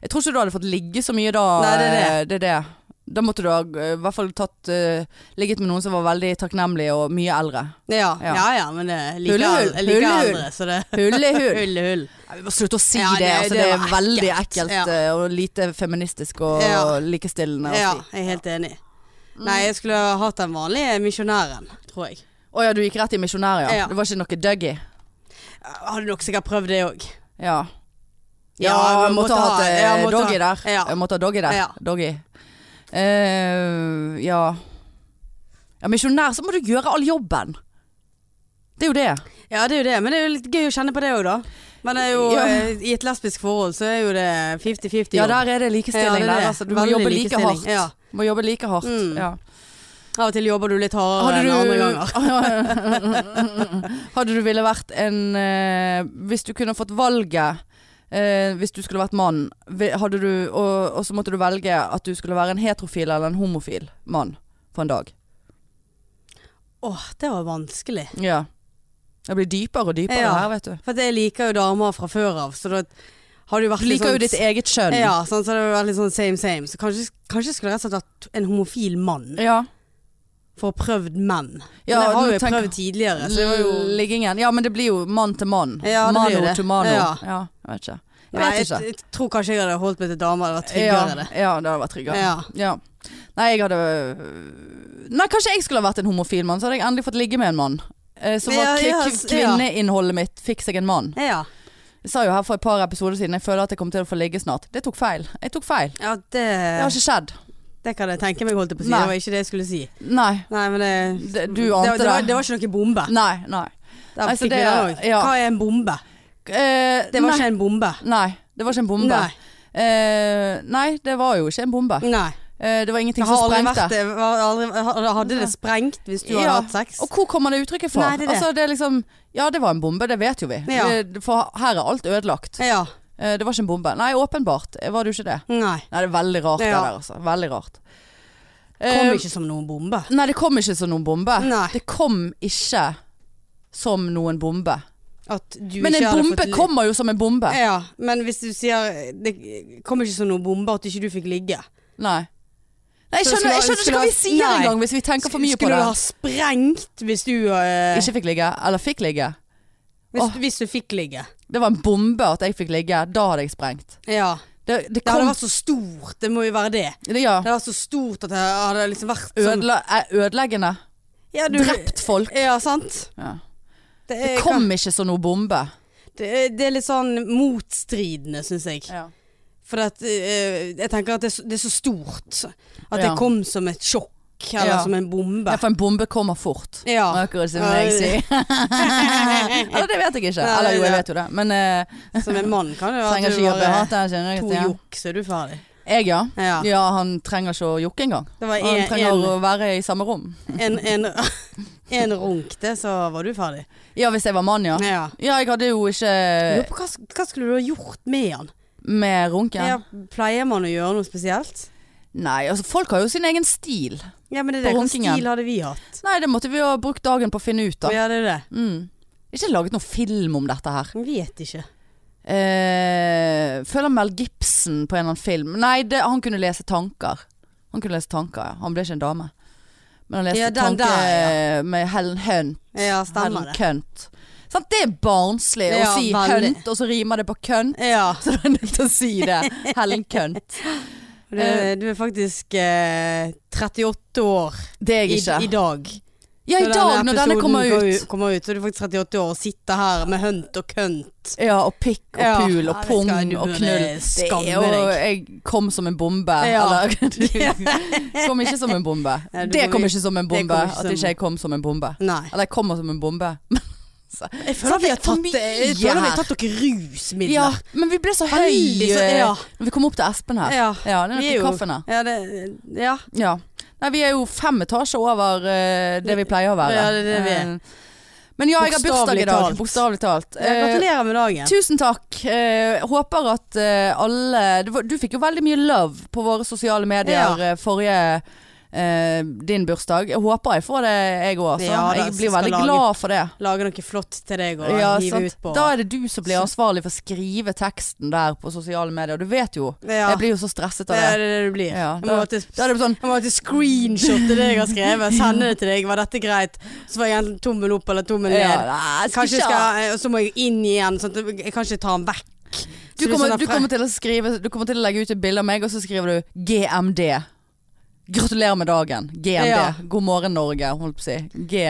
[SPEAKER 1] Jeg tror ikke du hadde fått ligge så mye da.
[SPEAKER 2] Nei, det er
[SPEAKER 1] eh, det. Da måtte du ha eh, i hvert fall tatt, eh, ligget med noen som var veldig takknemlig og mye eldre.
[SPEAKER 2] Ja,
[SPEAKER 1] Ja.
[SPEAKER 2] ja, ja, men det er like,
[SPEAKER 1] Hullehull,
[SPEAKER 2] jeg liker
[SPEAKER 1] hullehull.
[SPEAKER 2] eldre, så det
[SPEAKER 1] Hull i hull.
[SPEAKER 2] Hullehull.
[SPEAKER 1] Nei, Vi må slutte å si
[SPEAKER 2] Ja,
[SPEAKER 1] det.
[SPEAKER 2] det-
[SPEAKER 1] Altså,
[SPEAKER 2] det
[SPEAKER 1] det, er
[SPEAKER 2] var
[SPEAKER 1] veldig
[SPEAKER 2] ekkelt.
[SPEAKER 1] ekkelt
[SPEAKER 2] Ja.
[SPEAKER 1] eh, og lite feministisk og
[SPEAKER 2] Ja.
[SPEAKER 1] likestillende. å
[SPEAKER 2] Ja,
[SPEAKER 1] si. Mm.
[SPEAKER 2] jeg er helt enig. Nei, jeg skulle ha hatt den vanlige misjonæren, tror jeg.
[SPEAKER 1] Å ja, du gikk rett i misjonær, ja.
[SPEAKER 2] Ja.
[SPEAKER 1] Det var ikke noe Dougie.
[SPEAKER 2] Jeg hadde nok sikkert prøvd det òg.
[SPEAKER 1] Ja. Ja, jeg måtte ha hatt eh, Doggy der.
[SPEAKER 2] Ja.
[SPEAKER 1] Jeg måtte ha Doggy der.
[SPEAKER 2] Ja.
[SPEAKER 1] Doggy. Eh, ja. ja Misjonær, så må du gjøre all jobben. Det er jo det.
[SPEAKER 2] Ja, det er jo det, men det er jo litt gøy å kjenne på det òg, da. Men det er jo,
[SPEAKER 1] Ja.
[SPEAKER 2] eh, i et lesbisk forhold så er jo det 50-50.
[SPEAKER 1] Ja,
[SPEAKER 2] jobb.
[SPEAKER 1] der er det likestilling.
[SPEAKER 2] Ja, det er
[SPEAKER 1] der,
[SPEAKER 2] det.
[SPEAKER 1] altså. Du må
[SPEAKER 2] Veldig
[SPEAKER 1] jobbe like
[SPEAKER 2] likestilling,
[SPEAKER 1] hardt.
[SPEAKER 2] ja.
[SPEAKER 1] Du Må jobbe like hardt.
[SPEAKER 2] Mm.
[SPEAKER 1] Ja.
[SPEAKER 2] Av og til jobber du litt hardere
[SPEAKER 1] Hadde
[SPEAKER 2] enn andre ganger.
[SPEAKER 1] du Hadde du ville vært en eh, Hvis du kunne fått valget eh, Hvis du skulle vært mann vi- hadde du, og, og så måtte du velge at du skulle være en heterofil eller en homofil mann For en dag
[SPEAKER 2] Åh, det var vanskelig.
[SPEAKER 1] Ja Det blir dypere og dypere
[SPEAKER 2] Ja.
[SPEAKER 1] her vet du
[SPEAKER 2] For at jeg liker jo damer fra før av, så da har det jo vært
[SPEAKER 1] Du liker jo ditt eget kjønn
[SPEAKER 2] Ja, sånn, så det har jo vært litt sånn same same. Så kanskje, kanskje jeg skulle rett og slett hatt en homofil mann
[SPEAKER 1] ja.
[SPEAKER 2] for å prøvd menn.
[SPEAKER 1] Ja,
[SPEAKER 2] men det har
[SPEAKER 1] nå
[SPEAKER 2] jo jeg
[SPEAKER 1] tenker-
[SPEAKER 2] prøvd tidligere, så det var jo
[SPEAKER 1] Liggingen Ja, men det blir jo mann til mann
[SPEAKER 2] Ja, det blir
[SPEAKER 1] Mano
[SPEAKER 2] jo det.
[SPEAKER 1] to mano ja.
[SPEAKER 2] Ja.
[SPEAKER 1] jeg vet ikke Jeg
[SPEAKER 2] Nei,
[SPEAKER 1] vet
[SPEAKER 2] jeg,
[SPEAKER 1] ikke
[SPEAKER 2] jeg tror kanskje jeg hadde holdt meg til damer, det var tryggere
[SPEAKER 1] ja,
[SPEAKER 2] det.
[SPEAKER 1] Ja, det hadde vært tryggere
[SPEAKER 2] Ja.
[SPEAKER 1] Ja. Nei, jeg hadde Nei, kanskje jeg skulle ha vært en homofil mann, så hadde jeg endelig fått ligge med en mann. Eh, Så var
[SPEAKER 2] Ja,
[SPEAKER 1] k-
[SPEAKER 2] ja,
[SPEAKER 1] k-
[SPEAKER 2] s- ja.
[SPEAKER 1] kvinneinnholdet mitt 'fikk seg en mann'.
[SPEAKER 2] Ja.
[SPEAKER 1] Jeg sa jo her for et par episoder siden jeg føler at jeg kommer til å få ligge snart. Det tok feil. Jeg tok feil.
[SPEAKER 2] ja, det,
[SPEAKER 1] Det har ikke skjedd.
[SPEAKER 2] det kan jeg tenke meg holdt jeg på å si.
[SPEAKER 1] Nei.
[SPEAKER 2] Det var ikke det jeg skulle si.
[SPEAKER 1] Nei.
[SPEAKER 2] Nei, men det,
[SPEAKER 1] Det- du ante
[SPEAKER 2] det, det, var,
[SPEAKER 1] det.
[SPEAKER 2] det var ikke noe bombe.
[SPEAKER 1] Nei. nei.
[SPEAKER 2] Der
[SPEAKER 1] Nei, så
[SPEAKER 2] fikk vi
[SPEAKER 1] det-
[SPEAKER 2] den også.
[SPEAKER 1] ja.
[SPEAKER 2] Hva er en bombe?
[SPEAKER 1] Eh,
[SPEAKER 2] Det var
[SPEAKER 1] nei.
[SPEAKER 2] ikke en bombe.
[SPEAKER 1] Nei, det var ikke en bombe.
[SPEAKER 2] Nei.
[SPEAKER 1] Nei, eh, nei det var jo ikke en bombe.
[SPEAKER 2] Nei.
[SPEAKER 1] Eh, det var ingenting
[SPEAKER 2] Det
[SPEAKER 1] som
[SPEAKER 2] har aldri vært
[SPEAKER 1] sprengte.
[SPEAKER 2] det. Har aldri- har- Hadde det sprengt hvis du hadde
[SPEAKER 1] Ja.
[SPEAKER 2] hatt sex?
[SPEAKER 1] Og hvor kommer det uttrykket fra?
[SPEAKER 2] Nei, det er det.
[SPEAKER 1] Altså, det er liksom, ja, det var en bombe, det vet jo vi.
[SPEAKER 2] Ja.
[SPEAKER 1] Eh, For her er alt ødelagt.
[SPEAKER 2] Ja.
[SPEAKER 1] Eh, Det var ikke en bombe. Nei, åpenbart eh, var det jo ikke det.
[SPEAKER 2] Nei.
[SPEAKER 1] Nei, det er veldig rart det
[SPEAKER 2] Ja.
[SPEAKER 1] der, altså. Veldig rart.
[SPEAKER 2] Kom
[SPEAKER 1] Eh,
[SPEAKER 2] ikke som noen bombe.
[SPEAKER 1] Nei, det kom ikke som noen bombe.
[SPEAKER 2] Nei.
[SPEAKER 1] Det kom ikke som noen bombe.
[SPEAKER 2] At du
[SPEAKER 1] Men
[SPEAKER 2] ikke
[SPEAKER 1] en
[SPEAKER 2] hadde
[SPEAKER 1] bombe
[SPEAKER 2] fått li-
[SPEAKER 1] kommer jo som en bombe.
[SPEAKER 2] Ja, men hvis du sier Det kom ikke som noen bombe at ikke du fikk ligge.
[SPEAKER 1] Nei. Nei, jeg
[SPEAKER 2] Så
[SPEAKER 1] skjønner, jeg
[SPEAKER 2] skulle-
[SPEAKER 1] skjønner ikke hva vi
[SPEAKER 2] skulle-
[SPEAKER 1] sier
[SPEAKER 2] nei.
[SPEAKER 1] engang hvis vi tenker for mye på
[SPEAKER 2] Skulle
[SPEAKER 1] det.
[SPEAKER 2] du ha sprengt hvis du eh,
[SPEAKER 1] Ikke fikk ligge, eller fikk ligge.
[SPEAKER 2] hvis,
[SPEAKER 1] Åh.
[SPEAKER 2] hvis du fikk ligge.
[SPEAKER 1] Det var en bombe at jeg fikk ligge. Da hadde jeg sprengt.
[SPEAKER 2] Ja.
[SPEAKER 1] Det, det
[SPEAKER 2] Det hadde
[SPEAKER 1] kom
[SPEAKER 2] vært så stort. Det må jo være det.
[SPEAKER 1] det, ja.
[SPEAKER 2] Det hadde vært så stort at det hadde liksom vært sånn
[SPEAKER 1] Ødela, eh, ødeleggende.
[SPEAKER 2] ja, du- Eh,
[SPEAKER 1] Drept folk.
[SPEAKER 2] Ja, sant.
[SPEAKER 1] Ja.
[SPEAKER 2] Det
[SPEAKER 1] Det
[SPEAKER 2] er,
[SPEAKER 1] kom ikke som noen bombe.
[SPEAKER 2] det, er- det er litt sånn motstridende, syns jeg. For at, eh, jeg tenker at det, er så- det er så stort. At det
[SPEAKER 1] Ja.
[SPEAKER 2] kom som et sjokk, eller
[SPEAKER 1] Ja.
[SPEAKER 2] som en bombe.
[SPEAKER 1] Ja, for en bombe kommer fort.
[SPEAKER 2] Ja.
[SPEAKER 1] Akkurat som jeg sier. Eller det vet jeg ikke.
[SPEAKER 2] Nei,
[SPEAKER 1] Eller jo, jeg
[SPEAKER 2] ja.
[SPEAKER 1] vet jo det. Men uh,
[SPEAKER 2] Som en mann kan det jo
[SPEAKER 1] trenger
[SPEAKER 2] at
[SPEAKER 1] ikke
[SPEAKER 2] du
[SPEAKER 1] jobbe hardt.
[SPEAKER 2] bare
[SPEAKER 1] jeg kjenner
[SPEAKER 2] to
[SPEAKER 1] ikke til.
[SPEAKER 2] jokk, så er du ferdig.
[SPEAKER 1] Jeg, ja.
[SPEAKER 2] Ja.
[SPEAKER 1] Ja, han trenger ikke å jokke engang.
[SPEAKER 2] Det var
[SPEAKER 1] Han
[SPEAKER 2] en,
[SPEAKER 1] trenger å være i samme rom.
[SPEAKER 2] en, en, en, en runk det, så var du ferdig.
[SPEAKER 1] Ja, hvis jeg var mann, ja. Eh.
[SPEAKER 2] Ja.
[SPEAKER 1] Ja, jeg hadde jo ikke
[SPEAKER 2] Lurer på Hva, hva skulle du ha gjort med han?
[SPEAKER 1] med runken.
[SPEAKER 2] Ja. Pleier man å gjøre noe spesielt?
[SPEAKER 1] Nei, altså folk har jo sin egen stil.
[SPEAKER 2] Ja, men det er
[SPEAKER 1] På
[SPEAKER 2] det. Hva
[SPEAKER 1] runkingen.
[SPEAKER 2] stil hadde vi hatt?
[SPEAKER 1] Nei, det måtte vi jo ha brukt dagen på å finne ut av.
[SPEAKER 2] Ja, det er det.
[SPEAKER 1] Mm. Ikke laget noen film om dette her.
[SPEAKER 2] Jeg vet ikke.
[SPEAKER 1] Eh, føler Mel Gibson på en eller annen film Nei, det, han kunne lese tanker Han kunne lese tanker, ja Han ble ikke en dame Men han leste
[SPEAKER 2] Ja, den
[SPEAKER 1] tanker
[SPEAKER 2] der,
[SPEAKER 1] med Helen Hunt
[SPEAKER 2] Ja, stemmer
[SPEAKER 1] Helen
[SPEAKER 2] det.
[SPEAKER 1] Cunt Sant? Det er barnslig å
[SPEAKER 2] Ja,
[SPEAKER 1] si
[SPEAKER 2] veldig.
[SPEAKER 1] kønt, og så rimer det på kønt.
[SPEAKER 2] Ja.
[SPEAKER 1] Så du er nødt til å si det. Helen Kønt.
[SPEAKER 2] Du, du er faktisk eh, 38 år
[SPEAKER 1] Det er
[SPEAKER 2] i,
[SPEAKER 1] jeg ikke.
[SPEAKER 2] i dag.
[SPEAKER 1] ja, i
[SPEAKER 2] Når
[SPEAKER 1] dag når denne
[SPEAKER 2] episoden
[SPEAKER 1] kommer ut.
[SPEAKER 2] kommer ut. Så er du faktisk 38 år og sitter her med hønt og kønt.
[SPEAKER 1] Ja, og pikk og
[SPEAKER 2] Ja.
[SPEAKER 1] pul og
[SPEAKER 2] Ja, det
[SPEAKER 1] pung
[SPEAKER 2] skal du
[SPEAKER 1] og
[SPEAKER 2] burde
[SPEAKER 1] knull. Det
[SPEAKER 2] skamme
[SPEAKER 1] er jo
[SPEAKER 2] deg.
[SPEAKER 1] Jeg kom som en bombe.
[SPEAKER 2] Ja.
[SPEAKER 1] Eller du kom ikke som en bombe.
[SPEAKER 2] Ja, du
[SPEAKER 1] det
[SPEAKER 2] kom
[SPEAKER 1] kom
[SPEAKER 2] ikke-
[SPEAKER 1] ikke som en
[SPEAKER 2] kom
[SPEAKER 1] bombe
[SPEAKER 2] ikke som-
[SPEAKER 1] at ikke jeg kom som en bombe.
[SPEAKER 2] Nei.
[SPEAKER 1] Eller jeg kommer som en bombe.
[SPEAKER 2] Jeg føler vi har
[SPEAKER 1] for
[SPEAKER 2] tatt, jeg
[SPEAKER 1] mye
[SPEAKER 2] føler vi
[SPEAKER 1] her.
[SPEAKER 2] har tatt dere rusmidler.
[SPEAKER 1] Ja, men vi ble så høye
[SPEAKER 2] Veldig så-
[SPEAKER 1] ja.
[SPEAKER 2] ja.
[SPEAKER 1] når vi kom opp til Espen her.
[SPEAKER 2] Ja.
[SPEAKER 1] det
[SPEAKER 2] Vi
[SPEAKER 1] er
[SPEAKER 2] er
[SPEAKER 1] noe
[SPEAKER 2] jo-
[SPEAKER 1] kaffen her.
[SPEAKER 2] Ja, det, ja.
[SPEAKER 1] Ja. Nei, vi er jo fem etasjer over eh, det vi pleier å være.
[SPEAKER 2] Ja, det er det vi er.
[SPEAKER 1] Eh, Men ja, jeg har bursdag i
[SPEAKER 2] Bokstavelig
[SPEAKER 1] dag.
[SPEAKER 2] talt.
[SPEAKER 1] Bokstavelig talt.
[SPEAKER 2] Ja,
[SPEAKER 1] Eh,
[SPEAKER 2] Gratulerer med dagen.
[SPEAKER 1] tusen takk. Eh, håper at eh, alle det var- Du fikk jo veldig mye love på våre sosiale medier
[SPEAKER 2] Ja.
[SPEAKER 1] eh, forrige eh, din bursdag. Jeg håper jeg får det, jeg òg.
[SPEAKER 2] Ja, da,
[SPEAKER 1] jeg
[SPEAKER 2] så
[SPEAKER 1] blir
[SPEAKER 2] skal
[SPEAKER 1] veldig
[SPEAKER 2] lage-
[SPEAKER 1] glad for det.
[SPEAKER 2] Lage noe flott til deg og
[SPEAKER 1] Ja,
[SPEAKER 2] hive
[SPEAKER 1] sant.
[SPEAKER 2] ut på.
[SPEAKER 1] Da er det du som blir ansvarlig for å skrive teksten der på sosiale medier. Du vet jo.
[SPEAKER 2] ja.
[SPEAKER 1] Jeg blir jo så stresset
[SPEAKER 2] det
[SPEAKER 1] av
[SPEAKER 2] er
[SPEAKER 1] det.
[SPEAKER 2] det det blir.
[SPEAKER 1] Ja,
[SPEAKER 2] jeg må
[SPEAKER 1] da-
[SPEAKER 2] alltid,
[SPEAKER 1] Da er det sånn
[SPEAKER 2] jeg må alltid screenshotte det jeg har skrevet, sende det til deg. Var dette greit? Så var jeg enten tommel opp eller tommel
[SPEAKER 1] ja,
[SPEAKER 2] ned.
[SPEAKER 1] nei, jeg
[SPEAKER 2] Eh, Kanskje jeg
[SPEAKER 1] ikke ha-
[SPEAKER 2] skal, og så må jeg inn igjen, sånn at jeg kan ikke ta den vekk.
[SPEAKER 1] Du
[SPEAKER 2] Så det er
[SPEAKER 1] kommer,
[SPEAKER 2] sånn
[SPEAKER 1] du,
[SPEAKER 2] at-
[SPEAKER 1] kommer til å skrive, du kommer til å legge ut et bilde av meg, og så skriver du GMD. Gratulerer med dagen. GMD.
[SPEAKER 2] Ja.
[SPEAKER 1] God morgen, Norge, holdt på å si. G.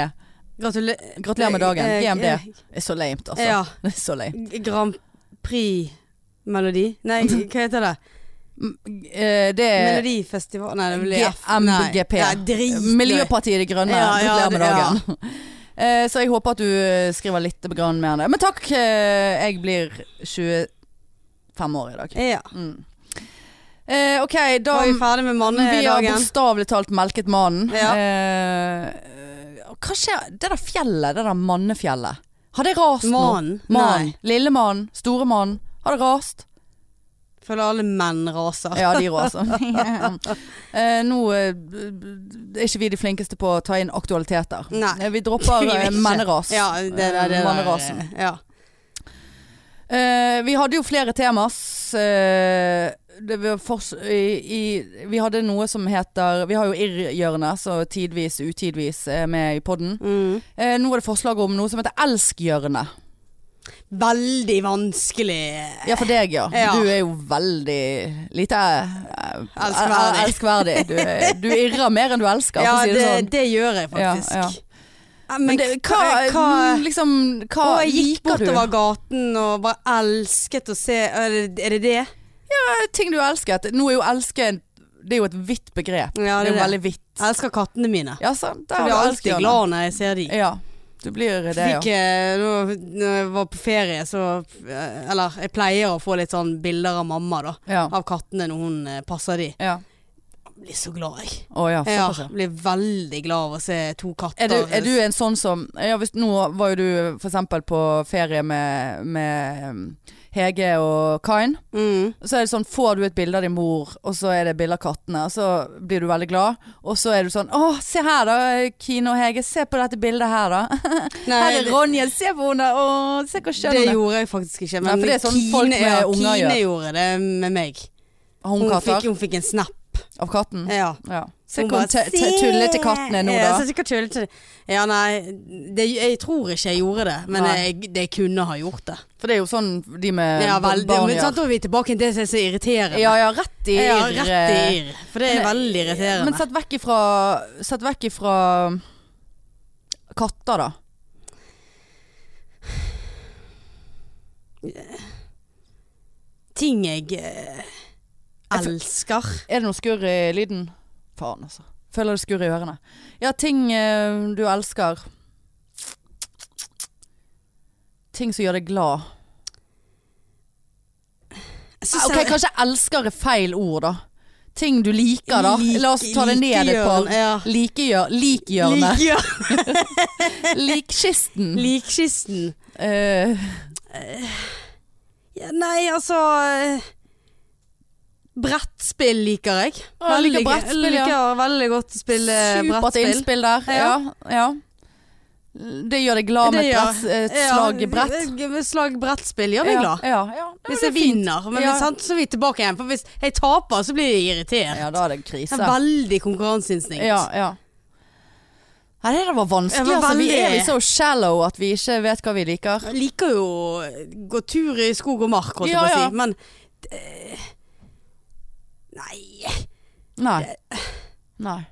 [SPEAKER 2] Gratule
[SPEAKER 1] Gratulerer med dagen.
[SPEAKER 2] Eh, eh,
[SPEAKER 1] GMD.
[SPEAKER 2] eh,
[SPEAKER 1] Det er så lamet, altså.
[SPEAKER 2] Ja.
[SPEAKER 1] Det er så lame.
[SPEAKER 2] Grand Prix-melodi? Nei, hva heter det?
[SPEAKER 1] Eh, Det er
[SPEAKER 2] Melodifestival Nei, det blir F. Nei.
[SPEAKER 1] GMGP.
[SPEAKER 2] Nei, drit.
[SPEAKER 1] Miljøpartiet De Grønne.
[SPEAKER 2] Ja, ja,
[SPEAKER 1] Gratulerer med
[SPEAKER 2] det- ja.
[SPEAKER 1] dagen. Eh, Så jeg håper at du eh, skriver litt grann mer enn det. Men takk. eh, Jeg blir 25 år i dag.
[SPEAKER 2] Ja.
[SPEAKER 1] Eh, OK, da
[SPEAKER 2] Var vi ferdig
[SPEAKER 1] Vi har
[SPEAKER 2] med mannedagen?
[SPEAKER 1] bokstavelig talt melket mannen.
[SPEAKER 2] Ja.
[SPEAKER 1] Eh, og hva skjer? Det der fjellet, det der mannefjellet. Har det rast nå?
[SPEAKER 2] Mannen?
[SPEAKER 1] Mannen.
[SPEAKER 2] Nei.
[SPEAKER 1] Lille mannen, store mannen. Har det rast?
[SPEAKER 2] Føler alle menn raser.
[SPEAKER 1] Ja, de raser. Eh, nå eh, b- b- er ikke vi de flinkeste på å ta inn aktualiteter.
[SPEAKER 2] Nei.
[SPEAKER 1] Eh, Vi dropper
[SPEAKER 2] Vi
[SPEAKER 1] eh,
[SPEAKER 2] vet ikke.
[SPEAKER 1] manneras.
[SPEAKER 2] Ja, det, det, det,
[SPEAKER 1] Eh,
[SPEAKER 2] det,
[SPEAKER 1] mannerasen.
[SPEAKER 2] Ja.
[SPEAKER 1] Eh, vi hadde jo flere temas. eh, det var fors- i, i, vi hadde noe som heter Vi har jo irrhjørnet, så tidvis, utidvis er med i podden.
[SPEAKER 2] Mm.
[SPEAKER 1] Eh, nå er det forslag om noe som heter elskhjørnet.
[SPEAKER 2] Veldig vanskelig.
[SPEAKER 1] Ja, for deg, ja.
[SPEAKER 2] Ja.
[SPEAKER 1] Du er jo veldig lite eh,
[SPEAKER 2] Elskverdig.
[SPEAKER 1] el- elskverdig. Du, er- du irrer mer enn du elsker, for
[SPEAKER 2] Ja,
[SPEAKER 1] å si det,
[SPEAKER 2] det,
[SPEAKER 1] sånn.
[SPEAKER 2] det gjør jeg faktisk.
[SPEAKER 1] Ja, ja.
[SPEAKER 2] Ja,
[SPEAKER 1] Men
[SPEAKER 2] Men
[SPEAKER 1] det,
[SPEAKER 2] hva, hva
[SPEAKER 1] liksom, hva
[SPEAKER 2] Å, jeg gikk
[SPEAKER 1] liker du?
[SPEAKER 2] bortover gaten og bare elsket å se Er det er det? det?
[SPEAKER 1] Ting du elsket. Nå er jo elske Det er jo et vidt begrep.
[SPEAKER 2] Ja,
[SPEAKER 1] det, er
[SPEAKER 2] det
[SPEAKER 1] jo
[SPEAKER 2] er det.
[SPEAKER 1] veldig vidt.
[SPEAKER 2] Jeg elsker kattene mine.
[SPEAKER 1] Ja, sant. Der
[SPEAKER 2] Jeg
[SPEAKER 1] har
[SPEAKER 2] blir
[SPEAKER 1] du
[SPEAKER 2] alltid
[SPEAKER 1] elskehjørnet.
[SPEAKER 2] glad når jeg ser de.
[SPEAKER 1] Ja, du blir det, ja.
[SPEAKER 2] Fikk, eh, nå- når jeg var på ferie, så eh, Eller jeg pleier å få litt sånn bilder av mamma, da.
[SPEAKER 1] Ja.
[SPEAKER 2] Av kattene når hun eh, passer de.
[SPEAKER 1] ja.
[SPEAKER 2] Jeg blir så glad, jeg.
[SPEAKER 1] Å ja,
[SPEAKER 2] Ja,
[SPEAKER 1] såpass. ja.
[SPEAKER 2] blir veldig glad av å se to katter.
[SPEAKER 1] Er du, er du en sånn som ja, hvis, Nå var jo du for eksempel på ferie med, med um, Hege og Kain.
[SPEAKER 2] mm.
[SPEAKER 1] Så er det sånn, får du et bilde av din mor, og så er det bilde av kattene. Og så blir du veldig glad. Og så er du sånn Å, se her da, Kine og Hege. Se på dette bildet her, da.
[SPEAKER 2] Nei,
[SPEAKER 1] Her er
[SPEAKER 2] det-
[SPEAKER 1] Ronja. Se på henne. Å, se hvor skjønn
[SPEAKER 2] det
[SPEAKER 1] hun er.
[SPEAKER 2] gjorde jeg faktisk
[SPEAKER 1] Nei,
[SPEAKER 2] ikke. Men
[SPEAKER 1] for det er sånn
[SPEAKER 2] Kine,
[SPEAKER 1] folk med
[SPEAKER 2] ja,
[SPEAKER 1] unger
[SPEAKER 2] Kine
[SPEAKER 1] gjør.
[SPEAKER 2] gjorde det med meg.
[SPEAKER 1] Har hun
[SPEAKER 2] Hun fikk,
[SPEAKER 1] katter?
[SPEAKER 2] hun fikk en snap.
[SPEAKER 1] Av katten?
[SPEAKER 2] Ja.
[SPEAKER 1] Ja. Se
[SPEAKER 2] Hun
[SPEAKER 1] hvor
[SPEAKER 2] bare,
[SPEAKER 1] hun te- te-
[SPEAKER 2] «Se!»
[SPEAKER 1] tullete katten er nå,
[SPEAKER 2] Ja,
[SPEAKER 1] da.
[SPEAKER 2] så sikkert tullete. Ja, nei, det, jeg tror ikke jeg gjorde det, men
[SPEAKER 1] Nei.
[SPEAKER 2] jeg, det kunne ha gjort det.
[SPEAKER 1] For det er jo sånn de med
[SPEAKER 2] Ja,
[SPEAKER 1] barn
[SPEAKER 2] veldig, men
[SPEAKER 1] gjør.
[SPEAKER 2] sant, da er vi tilbake til det som er så irriterende.
[SPEAKER 1] Ja, ja, rett i
[SPEAKER 2] Ja,
[SPEAKER 1] irr, eh,
[SPEAKER 2] rett i irr. For det er
[SPEAKER 1] Men-
[SPEAKER 2] veldig irriterende.
[SPEAKER 1] Men sett vekk ifra Sett vekk ifra katter, da.
[SPEAKER 2] ting jeg eh, elsker.
[SPEAKER 1] Er det noe skurr i lyden? Faen, altså. Føler det skurr i ørene. Ja, ting eh, du elsker. Ting som gjør deg glad.
[SPEAKER 2] Jeg
[SPEAKER 1] Ah,
[SPEAKER 2] synes
[SPEAKER 1] Ok,
[SPEAKER 2] jeg-
[SPEAKER 1] Kanskje 'elsker' er feil ord, da. Ting du liker, da. La oss ta det ned et par.
[SPEAKER 2] Likehjørne, Ja.
[SPEAKER 1] Likegjør, likhjørnet.
[SPEAKER 2] Likhjør-
[SPEAKER 1] Likkisten.
[SPEAKER 2] Likkisten.
[SPEAKER 1] Eh,
[SPEAKER 2] Ja, nei, altså eh, Brettspill liker jeg.
[SPEAKER 1] Ja, jeg liker
[SPEAKER 2] Veldig gøy.
[SPEAKER 1] brettspill, ja.
[SPEAKER 2] Liker veldig godt å spille
[SPEAKER 1] Supert
[SPEAKER 2] eh, brettspill.
[SPEAKER 1] innspill der. Ja.
[SPEAKER 2] Ja.
[SPEAKER 1] ja. Det gjør deg glad med
[SPEAKER 2] Det
[SPEAKER 1] et
[SPEAKER 2] gjør-
[SPEAKER 1] brett, et
[SPEAKER 2] Ja,
[SPEAKER 1] slag i brett.
[SPEAKER 2] eh, Slag brettspill gjør meg glad.
[SPEAKER 1] Ja, ja, ja.
[SPEAKER 2] Hvis
[SPEAKER 1] Ja,
[SPEAKER 2] jeg
[SPEAKER 1] det er fint.
[SPEAKER 2] vinner. Men
[SPEAKER 1] Ja.
[SPEAKER 2] sant, så er vi tilbake igjen. For hvis jeg taper, så blir jeg irritert.
[SPEAKER 1] Ja, da er det
[SPEAKER 2] Jeg
[SPEAKER 1] krise.
[SPEAKER 2] har veldig konkurranseinstinkt.
[SPEAKER 1] Ja, ja. Nei, det der var vanskelig.
[SPEAKER 2] Det var
[SPEAKER 1] altså, vi
[SPEAKER 2] veldig-
[SPEAKER 1] er så shallow at vi ikke vet hva vi liker.
[SPEAKER 2] Jeg liker jo å gå tur i skog og mark, holdt jeg
[SPEAKER 1] Ja,
[SPEAKER 2] på å
[SPEAKER 1] ja.
[SPEAKER 2] si, men eh, Nei.
[SPEAKER 1] Nei.
[SPEAKER 2] Eh,
[SPEAKER 1] Nei.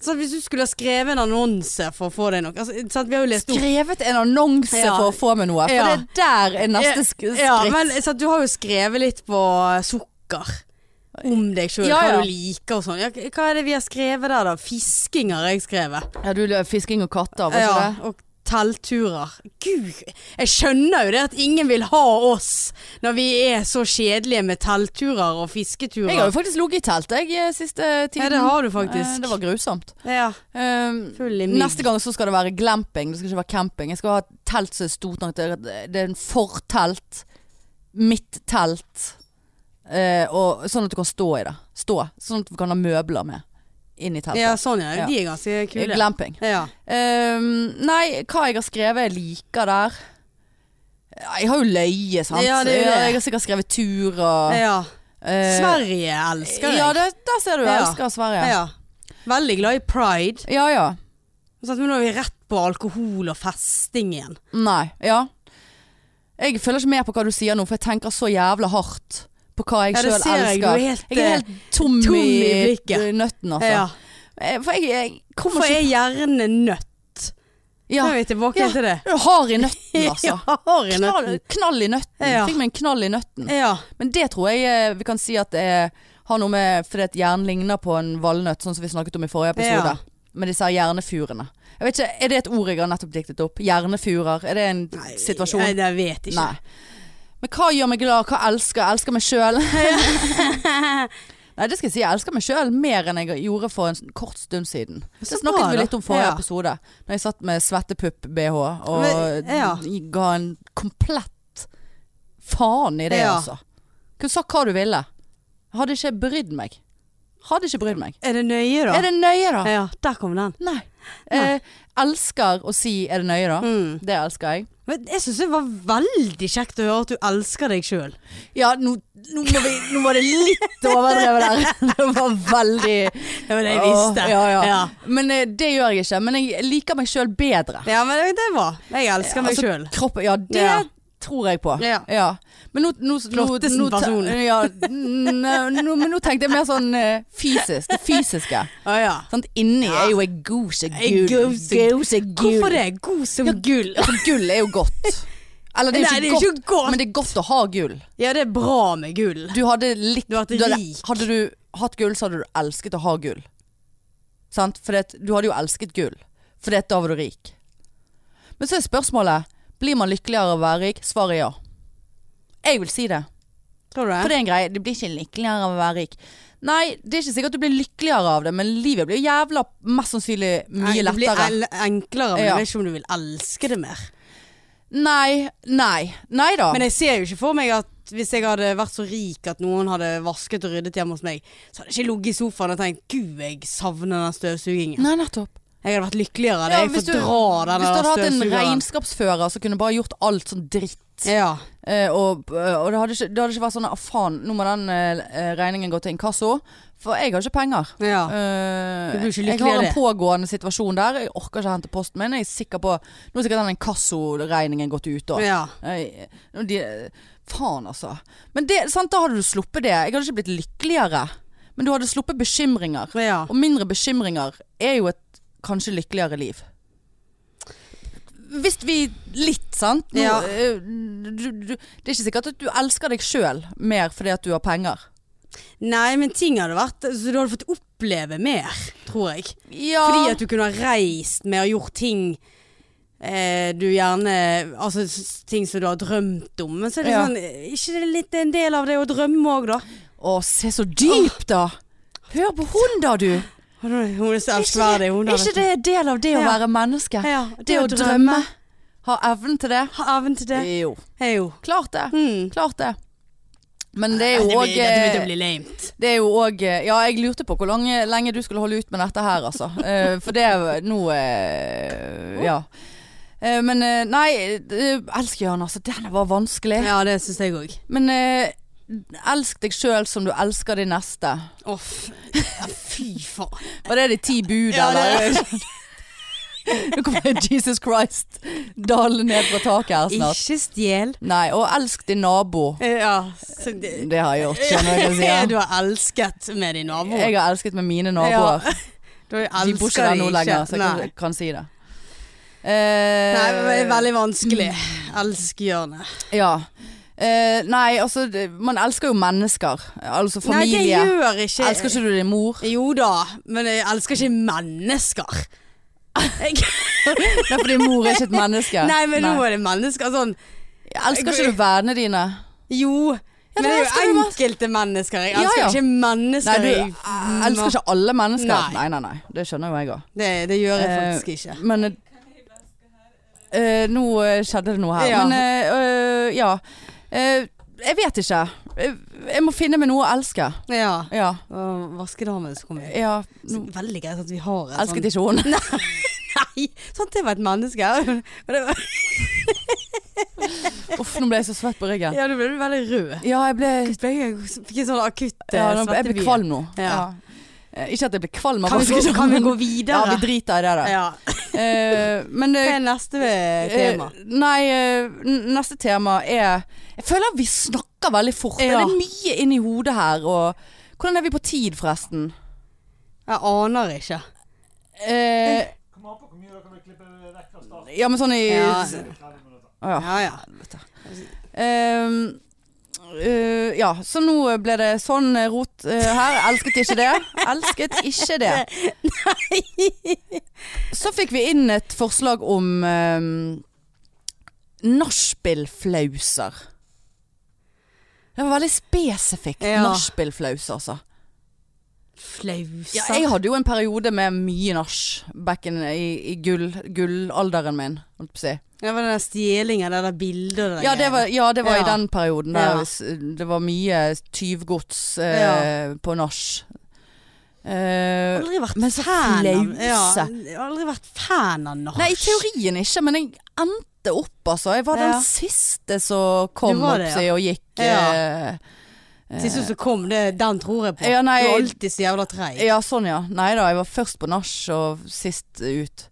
[SPEAKER 2] Så hvis du skulle ha skrevet en annonse for å få deg noe altså, sant, Vi har jo lest opp
[SPEAKER 1] Skrevet en annonse
[SPEAKER 2] Ja.
[SPEAKER 1] for å få meg noe, for
[SPEAKER 2] Ja.
[SPEAKER 1] det der er neste sk skritt.
[SPEAKER 2] Ja, men sant, du har jo skrevet litt på sukker. Om deg sjøl,
[SPEAKER 1] Ja, ja.
[SPEAKER 2] hva du liker og sånn. Ja, hva er det vi har skrevet der, da? Fisking har jeg skrevet.
[SPEAKER 1] Ja, du lø- fisking og katter, var ikke
[SPEAKER 2] Ja,
[SPEAKER 1] det?
[SPEAKER 2] og teltturer. Gud, jeg skjønner jo det at ingen vil ha oss når vi er så kjedelige med teltturer og fisketurer.
[SPEAKER 1] Jeg har jo faktisk ligget i telt jeg eh, siste tiden.
[SPEAKER 2] Ja, det har du faktisk.
[SPEAKER 1] Eh, Det var grusomt.
[SPEAKER 2] Ja.
[SPEAKER 1] Um,
[SPEAKER 2] Full i mygg.
[SPEAKER 1] neste gang så skal det være glamping, det skal ikke være camping. Jeg skal ha et telt som er stort nok til Det er en fortelt, mitt telt, eh, og, sånn at du kan stå i det. Stå. Sånn at du kan ha møbler med inn i teltet.
[SPEAKER 2] Ja, sånn ja.
[SPEAKER 1] Ja.
[SPEAKER 2] De er ganske
[SPEAKER 1] Eh,
[SPEAKER 2] kule.
[SPEAKER 1] Glamping.
[SPEAKER 2] Ja.
[SPEAKER 1] Um, nei, hva jeg har skrevet jeg liker der Ja, Jeg har jo løye, sant?
[SPEAKER 2] Ja, det er jo det.
[SPEAKER 1] Jeg har sikkert skrevet tur og
[SPEAKER 2] ja.
[SPEAKER 1] eh,
[SPEAKER 2] Sverige elsker jeg.
[SPEAKER 1] Ja, det, der ser du. Jeg
[SPEAKER 2] Ja.
[SPEAKER 1] elsker Sverige.
[SPEAKER 2] ja. Veldig glad i pride.
[SPEAKER 1] Ja ja.
[SPEAKER 2] Sånn, men nå er vi rett på alkohol og festing igjen.
[SPEAKER 1] Nei. Ja. Jeg følger ikke med på hva du sier nå, for jeg tenker så jævla hardt på hva jeg
[SPEAKER 2] Ja, det
[SPEAKER 1] selv
[SPEAKER 2] ser jeg. Du
[SPEAKER 1] elsker.
[SPEAKER 2] er
[SPEAKER 1] Jeg,
[SPEAKER 2] helt, eh,
[SPEAKER 1] er helt tom,
[SPEAKER 2] tom
[SPEAKER 1] i
[SPEAKER 2] i blikket.
[SPEAKER 1] nøtten, altså.
[SPEAKER 2] Ja.
[SPEAKER 1] Eh, For jeg, jeg kommer
[SPEAKER 2] Hvorfor
[SPEAKER 1] ikke
[SPEAKER 2] er hjernen nøtt?
[SPEAKER 1] ja.
[SPEAKER 2] Nå er vi tilbake
[SPEAKER 1] Ja.
[SPEAKER 2] til det.
[SPEAKER 1] Du er Hard i nøtten, altså.
[SPEAKER 2] har i
[SPEAKER 1] Knall,
[SPEAKER 2] nøtten.
[SPEAKER 1] knall i nøtten.
[SPEAKER 2] Ja.
[SPEAKER 1] Fikk meg en knall i nøtten.
[SPEAKER 2] Ja.
[SPEAKER 1] Men det tror jeg eh, vi kan si at det er- har noe med Fordi at hjernen ligner på en valnøtt, sånn som vi snakket om i forrige episode.
[SPEAKER 2] Ja.
[SPEAKER 1] Med disse her hjernefurene. Jeg vet ikke, Er det et ord jeg har nettopp diktet opp? Hjernefurer. Er det en situasjon?
[SPEAKER 2] Nei, jeg vet ikke.
[SPEAKER 1] Nei. Men hva gjør meg glad? Hva elsker jeg? Jeg Elsker meg sjøl. Nei, det skal jeg si. Jeg elsker meg sjøl mer enn jeg gjorde for en kort stund siden.
[SPEAKER 2] Så
[SPEAKER 1] det snakket
[SPEAKER 2] bra,
[SPEAKER 1] vi
[SPEAKER 2] da.
[SPEAKER 1] litt om forrige
[SPEAKER 2] Ja.
[SPEAKER 1] episode. Når jeg satt med svettepupp-BH og
[SPEAKER 2] Men- ja.
[SPEAKER 1] ga en komplett faen i det,
[SPEAKER 2] Ja.
[SPEAKER 1] altså. Kunne sagt hva du ville. Hadde ikke brydd meg. Hadde ikke brydd meg.
[SPEAKER 2] Er det nøye, da?
[SPEAKER 1] Er det nøye, da?
[SPEAKER 2] Ja, der kom den.
[SPEAKER 1] Nei. Eh, elsker å si 'er det nøye', da.
[SPEAKER 2] Mm.
[SPEAKER 1] Det elsker jeg.
[SPEAKER 2] Men jeg syns det var veldig kjekt å høre at du elsker deg sjøl.
[SPEAKER 1] Ja, nå, nå, må vi, nå var det litt overdrevet der. Det var veldig
[SPEAKER 2] Det var det jeg visste.
[SPEAKER 1] Åh, Ja, ja.
[SPEAKER 2] ja.
[SPEAKER 1] Men eh, det gjør jeg ikke. Men jeg liker meg sjøl bedre.
[SPEAKER 2] Ja, men det- det var Jeg elsker meg
[SPEAKER 1] Altså,
[SPEAKER 2] sjøl.
[SPEAKER 1] kroppen- Ja, det
[SPEAKER 2] Ja.
[SPEAKER 1] tror jeg på.
[SPEAKER 2] Ja.
[SPEAKER 1] Men nå, nå, nå,
[SPEAKER 2] Flottesen
[SPEAKER 1] nå,
[SPEAKER 2] person.
[SPEAKER 1] ja, n- nå, men nå tenkte jeg mer sånn eh, fysisk. Det fysiske.
[SPEAKER 2] Å ja.
[SPEAKER 1] Sant? Inni
[SPEAKER 2] Ja.
[SPEAKER 1] er jo ei god som
[SPEAKER 2] Ei
[SPEAKER 1] gull.
[SPEAKER 2] god som-
[SPEAKER 1] God som gull.
[SPEAKER 2] Hvorfor det? God som gull.
[SPEAKER 1] For gull Altså, er jo godt. Eller det er jo ikke,
[SPEAKER 2] Nei, det er jo
[SPEAKER 1] godt,
[SPEAKER 2] ikke godt.
[SPEAKER 1] men det er godt å ha gull.
[SPEAKER 2] Ja, det er bra med gull.
[SPEAKER 1] Du hadde litt
[SPEAKER 2] Du har vært
[SPEAKER 1] hadde-
[SPEAKER 2] rik.
[SPEAKER 1] Hadde du hatt gull, så hadde du elsket å ha gull. Sant? For du hadde jo elsket gull. For da var du rik. Men så er spørsmålet Blir man lykkeligere av å være rik? Svaret er ja. Jeg vil si det.
[SPEAKER 2] Tror du
[SPEAKER 1] For det er en greie. Du blir ikke lykkeligere av å være rik. Nei, det er ikke sikkert du blir lykkeligere av det, men livet blir jævla mest sannsynlig mye
[SPEAKER 2] Det blir
[SPEAKER 1] lettere.
[SPEAKER 2] el- enklere, men
[SPEAKER 1] Ja.
[SPEAKER 2] jeg vet ikke om du vil elske det mer.
[SPEAKER 1] Nei, nei. Nei da.
[SPEAKER 2] Men jeg ser jo ikke for meg at hvis jeg hadde vært så rik at noen hadde vasket og ryddet hjemme hos meg, så hadde jeg ikke ligget i sofaen og tenkt 'gud, jeg savner den støvsugingen'.
[SPEAKER 1] Nei, nettopp.
[SPEAKER 2] Jeg hadde vært lykkeligere av det.
[SPEAKER 1] Ja,
[SPEAKER 2] jeg
[SPEAKER 1] hvis
[SPEAKER 2] får
[SPEAKER 1] du-
[SPEAKER 2] dra den
[SPEAKER 1] Hvis du hadde hatt en
[SPEAKER 2] støvsugeren.
[SPEAKER 1] regnskapsfører som kunne bare gjort alt sånn dritt
[SPEAKER 2] Ja.
[SPEAKER 1] Eh, og og det, hadde ikke, det hadde ikke vært sånn ah, faen, nå må den eh, regningen gå til inkasso. For jeg har ikke penger.
[SPEAKER 2] ja.
[SPEAKER 1] Eh,
[SPEAKER 2] Du blir ikke
[SPEAKER 1] jeg
[SPEAKER 2] lykkelig av
[SPEAKER 1] har en
[SPEAKER 2] det.
[SPEAKER 1] pågående situasjon der. Jeg orker ikke hente posten min. Jeg er sikker på Nå er sikkert den inkassoregningen gått ut. Da.
[SPEAKER 2] ja.
[SPEAKER 1] Eh, nå de, faen, altså. Men det, sant, da hadde du sluppet det. Jeg hadde ikke blitt lykkeligere. Men du hadde sluppet bekymringer.
[SPEAKER 2] ja.
[SPEAKER 1] Ah. Og mindre bekymringer er jo et kanskje lykkeligere liv. Hvis vi litt, sant? Nå,
[SPEAKER 2] Ja.
[SPEAKER 1] eh, du, du, det er ikke sikkert at du elsker deg sjøl mer fordi at du har penger.
[SPEAKER 2] Nei, men ting hadde vært Så du hadde fått oppleve mer, tror jeg.
[SPEAKER 1] Ja.
[SPEAKER 2] Fordi at du kunne ha reist med og gjort ting eh, du gjerne Altså s- ting som du har drømt om. Men så er det
[SPEAKER 1] Ja.
[SPEAKER 2] sånn eh, Ikke det litt en del av det å drømme òg, da?
[SPEAKER 1] Å, se så dypt, da! Hør på hun, da, du!
[SPEAKER 2] Hun hun er så
[SPEAKER 1] Er ikke det,
[SPEAKER 2] elskverdig. Hun
[SPEAKER 1] er
[SPEAKER 2] har
[SPEAKER 1] ikke det en del av det å
[SPEAKER 2] Ja.
[SPEAKER 1] være menneske?
[SPEAKER 2] Ja,
[SPEAKER 1] Det å drømme. Ha evnen til det?
[SPEAKER 2] Ha evnen til det.
[SPEAKER 1] Jo.
[SPEAKER 2] Er jo.
[SPEAKER 1] Klart det.
[SPEAKER 2] Mm.
[SPEAKER 1] Klart det. Men det er jo eh,
[SPEAKER 2] Nei,
[SPEAKER 1] òg
[SPEAKER 2] blir- dette begynte å bli lamet.
[SPEAKER 1] Det er jo òg Ja, jeg lurte på hvor lang, lenge du skulle holde ut med dette her, altså. Eh, for det er nå eh, Ja. Eh, men eh, nei, eh, elsk Jørn, altså. Den var vanskelig.
[SPEAKER 2] Ja, det syns jeg òg.
[SPEAKER 1] Men eh, elsk deg sjøl som du elsker de neste.
[SPEAKER 2] Å, f- ja, fy faen.
[SPEAKER 1] Var det de ti bud,
[SPEAKER 2] Ja, det-
[SPEAKER 1] eller? Nå kommer Jesus Christ dalende ned fra taket her snart.
[SPEAKER 2] Ikke stjel.
[SPEAKER 1] Nei, og elsk din nabo.
[SPEAKER 2] Eh, Ja, så det,
[SPEAKER 1] Det har jeg gjort, skjønner du hva jeg
[SPEAKER 2] du
[SPEAKER 1] sier.
[SPEAKER 2] har elsket med din nabo.
[SPEAKER 1] Jeg har elsket med mine naboer.
[SPEAKER 2] Du elsker
[SPEAKER 1] De bor ikke der nå lenger, så jeg
[SPEAKER 2] Nei.
[SPEAKER 1] kan, kan si det.
[SPEAKER 2] Nei, men det
[SPEAKER 1] Eh, mm.
[SPEAKER 2] er veldig vanskelig. Elsk hjørnet.
[SPEAKER 1] ja. Eh, nei, altså det- Man elsker jo mennesker. Altså
[SPEAKER 2] Nei, det
[SPEAKER 1] familie.
[SPEAKER 2] gjør ikke
[SPEAKER 1] elsker ikke du din mor?
[SPEAKER 2] Jo da, men jeg elsker ikke mennesker. Jeg,
[SPEAKER 1] Nei, for din mor er ikke et menneske.
[SPEAKER 2] nei, men nå er det mennesker sånn
[SPEAKER 1] Elsker ikke du vennene dine?
[SPEAKER 2] Jo,
[SPEAKER 1] Ja,
[SPEAKER 2] men det er
[SPEAKER 1] elsker
[SPEAKER 2] jo
[SPEAKER 1] du masse.
[SPEAKER 2] enkelte mennesker. Jeg
[SPEAKER 1] Ja,
[SPEAKER 2] elsker
[SPEAKER 1] ja.
[SPEAKER 2] ikke
[SPEAKER 1] Nei,
[SPEAKER 2] mennesker.
[SPEAKER 1] du
[SPEAKER 2] i-
[SPEAKER 1] elsker ikke alle mennesker.
[SPEAKER 2] Nei.
[SPEAKER 1] Nei, nei, nei. Det skjønner jo jeg òg.
[SPEAKER 2] det, det gjør jeg
[SPEAKER 1] Eh,
[SPEAKER 2] faktisk ikke.
[SPEAKER 1] Men eh, eh, Nå eh, skjedde det noe her.
[SPEAKER 2] Ja.
[SPEAKER 1] Men eh, eh, ja. Eh, jeg vet ikke. Eh, jeg må finne meg noe å elske.
[SPEAKER 2] Ja.
[SPEAKER 1] Ja.
[SPEAKER 2] Og vaskedamen som kom inn.
[SPEAKER 1] ja.
[SPEAKER 2] Så Veldig greit at vi har et sånt
[SPEAKER 1] Elsket ikke hun.
[SPEAKER 2] Nei, sant det var et menneske. Og det var-
[SPEAKER 1] Uff, nå ble jeg så svett på ryggen.
[SPEAKER 2] Ja, du ble veldig rød.
[SPEAKER 1] Ja, jeg ble,
[SPEAKER 2] Jeg ble- jeg fikk en sånn akutt
[SPEAKER 1] ja,
[SPEAKER 2] eh,
[SPEAKER 1] nå- jeg ble
[SPEAKER 2] svettebie.
[SPEAKER 1] kvalm nå.
[SPEAKER 2] Ja.
[SPEAKER 1] Eh, Ikke at jeg ble kvalm av
[SPEAKER 2] Kan vi, gå, kan vi gå videre?
[SPEAKER 1] sånn, Ja, vi driter i det, da.
[SPEAKER 2] Ja.
[SPEAKER 1] Eh, men
[SPEAKER 2] Hva
[SPEAKER 1] eh,
[SPEAKER 2] er neste eh, tema?
[SPEAKER 1] Eh, nei, eh, n- neste tema er Jeg føler vi snakker veldig fort.
[SPEAKER 2] Ja.
[SPEAKER 1] Det er mye inni hodet her. Og hvordan er vi på tid, forresten?
[SPEAKER 2] Jeg aner ikke.
[SPEAKER 1] Eh,
[SPEAKER 3] Kom an på hvor mye dere vil klippe vekk av starten.
[SPEAKER 1] ja, men sånn i
[SPEAKER 2] Ja.
[SPEAKER 1] s-
[SPEAKER 3] Det er 30 minutter.
[SPEAKER 1] Å ja.
[SPEAKER 2] Ja, ja.
[SPEAKER 1] Ehm, eh, ja, så nå ble det sånn eh, rot eh, her. Elsket ikke det. Elsket ikke det. Nei. Så fikk vi inn et forslag om um, nachspielflauser. Det var veldig spesifikt.
[SPEAKER 2] Ja.
[SPEAKER 1] Nachspielflaus, altså.
[SPEAKER 2] Flauser.
[SPEAKER 1] Ja, jeg hadde jo en periode med mye nach back in, i, i gull, gullalderen min, holdt på å si.
[SPEAKER 2] Det var den der stjelingen, det der bildet og det der
[SPEAKER 1] Ja, det var,
[SPEAKER 2] greiene.
[SPEAKER 1] ja, det var
[SPEAKER 2] Ja.
[SPEAKER 1] i den perioden der
[SPEAKER 2] Ja.
[SPEAKER 1] s- det var mye tyvgods eh,
[SPEAKER 2] Ja.
[SPEAKER 1] på nach. Eh,
[SPEAKER 2] Aldri vært
[SPEAKER 1] Men så
[SPEAKER 2] fan av
[SPEAKER 1] flause.
[SPEAKER 2] ja, Jeg har aldri vært fan av nach.
[SPEAKER 1] nei, i teorien ikke, men jeg endte opp, altså. Jeg var
[SPEAKER 2] Ja.
[SPEAKER 1] den siste som kom
[SPEAKER 2] Du var
[SPEAKER 1] opp
[SPEAKER 2] det, ja.
[SPEAKER 1] seg og gikk.
[SPEAKER 2] Ja.
[SPEAKER 1] eh,
[SPEAKER 2] Siste som kom, det, den tror jeg på.
[SPEAKER 1] Ja, nei,
[SPEAKER 2] du er alltid så jævla treig.
[SPEAKER 1] Ja, sånn ja. Nei da, jeg var først på nach og sist ut.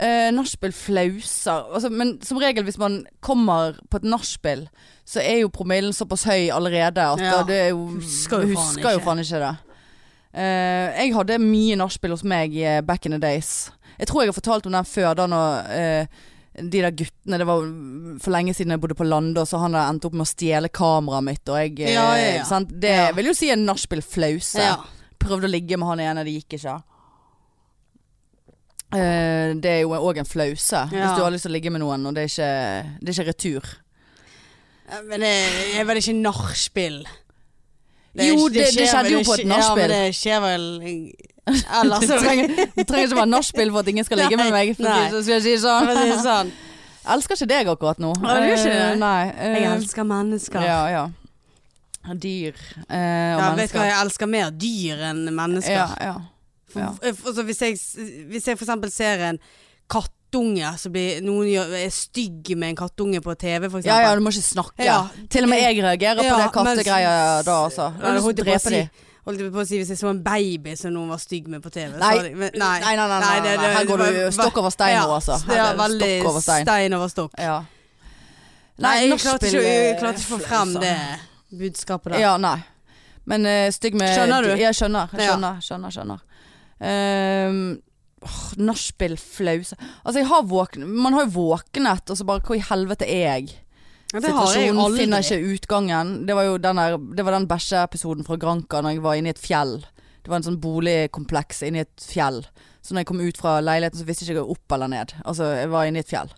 [SPEAKER 1] Eh, nachspiel flauser. Altså, men som regel hvis man kommer på et nachspiel, så er jo promillen såpass høy allerede at
[SPEAKER 2] Ja.
[SPEAKER 1] det er jo
[SPEAKER 2] Husker jo faen
[SPEAKER 1] husker jo
[SPEAKER 2] ikke.
[SPEAKER 1] faen ikke det. Eh, jeg hadde mye nachspiel hos meg eh, back in the days. Jeg tror jeg har fortalt om den før, da når eh, de der guttene Det var for lenge siden jeg bodde på Lande, og så han der endte opp med å stjele kameraet mitt, og jeg eh,
[SPEAKER 2] Ja, ja, ja.
[SPEAKER 1] Sant? Det
[SPEAKER 2] Ja.
[SPEAKER 1] vil jo si en nachspiel-flause.
[SPEAKER 2] Ja.
[SPEAKER 1] Prøvde å ligge med han ene, det gikk ikke. Eh, det er jo òg en flause. Hvis du har lyst til å ligge med noen, og det er ikke, det er ikke retur.
[SPEAKER 2] Men det er vel ikke nachspiel?
[SPEAKER 1] Jo, det- det
[SPEAKER 2] skjer
[SPEAKER 1] skjedde
[SPEAKER 2] vel
[SPEAKER 1] jo på et
[SPEAKER 2] ikke-
[SPEAKER 1] nachspiel.
[SPEAKER 2] Ja, men det skjer vel Ellers
[SPEAKER 1] Det trenger, det trenger ikke være nachspiel for at ingen skal ligge med meg. For
[SPEAKER 2] Nei.
[SPEAKER 1] å si- skal jeg si det
[SPEAKER 2] For å si det
[SPEAKER 1] sånn.
[SPEAKER 2] sånn.
[SPEAKER 1] Elsker ikke deg akkurat nå.
[SPEAKER 2] Å, du gjør ikke det?
[SPEAKER 1] Eh, Nei. eh,
[SPEAKER 2] Jeg elsker mennesker.
[SPEAKER 1] Ja, ja. Dyr eh, og
[SPEAKER 2] Ja, vet du hva
[SPEAKER 1] mennesker.
[SPEAKER 2] jeg elsker mer? Dyr enn mennesker.
[SPEAKER 1] Ja, ja.
[SPEAKER 2] For,
[SPEAKER 1] ja.
[SPEAKER 2] for- altså, hvis, jeg, hvis jeg for eksempel ser en kattunge som blir Noen gjør, er stygg med en kattunge på TV, for
[SPEAKER 1] ja,
[SPEAKER 2] eksempel.
[SPEAKER 1] ja, du må ikke snakke.
[SPEAKER 2] Ja.
[SPEAKER 1] Til og med jeg reagerer på
[SPEAKER 2] Ja,
[SPEAKER 1] det kattegreia
[SPEAKER 2] mens-
[SPEAKER 1] da, altså. Jeg
[SPEAKER 2] Ja,
[SPEAKER 1] har
[SPEAKER 2] det
[SPEAKER 1] lyst
[SPEAKER 2] holdt
[SPEAKER 1] til å
[SPEAKER 2] jeg på
[SPEAKER 1] drepe
[SPEAKER 2] å si.
[SPEAKER 1] de.
[SPEAKER 2] Holdt jeg på å si hvis jeg så en baby som noen var stygg med på TV. så
[SPEAKER 1] Nei.
[SPEAKER 2] hadde jeg- men- nei.
[SPEAKER 1] Nei, nei, nei, nei,
[SPEAKER 2] det-
[SPEAKER 1] nei,
[SPEAKER 2] det-
[SPEAKER 1] her går
[SPEAKER 2] det
[SPEAKER 1] du
[SPEAKER 2] var-
[SPEAKER 1] stokk over stein
[SPEAKER 2] ja,
[SPEAKER 1] nå, altså. Her
[SPEAKER 2] Ja,
[SPEAKER 1] er det
[SPEAKER 2] veldig
[SPEAKER 1] stokk over stein.
[SPEAKER 2] over stokk.
[SPEAKER 1] Ja.
[SPEAKER 2] Nei, jeg klarte
[SPEAKER 1] nachspiel,
[SPEAKER 2] ikke, jeg
[SPEAKER 1] eh,
[SPEAKER 2] klarte ikke å få
[SPEAKER 1] flauser.
[SPEAKER 2] frem det budskapet der.
[SPEAKER 1] Ja, nei. Men eh, stygg med
[SPEAKER 2] Skjønner du?
[SPEAKER 1] Ja, skjønner. Jeg
[SPEAKER 2] Ja.
[SPEAKER 1] skjønner, skjønner. skjønner. Ehm, åh, Nachspiel, flause Altså, jeg har våkn man har jo våknet, og så bare Hvor i helvete er jeg?
[SPEAKER 2] Ja, det har jeg aldri.
[SPEAKER 1] finner ikke utgangen. Det var jo den, der, det var den bæsjeepisoden fra Granca når jeg var inne i et fjell. Det var en sånn boligkompleks inne i et fjell. Så når jeg kom ut fra leiligheten, så visste jeg ikke om jeg var opp eller ned. Altså, jeg var inne i et fjell.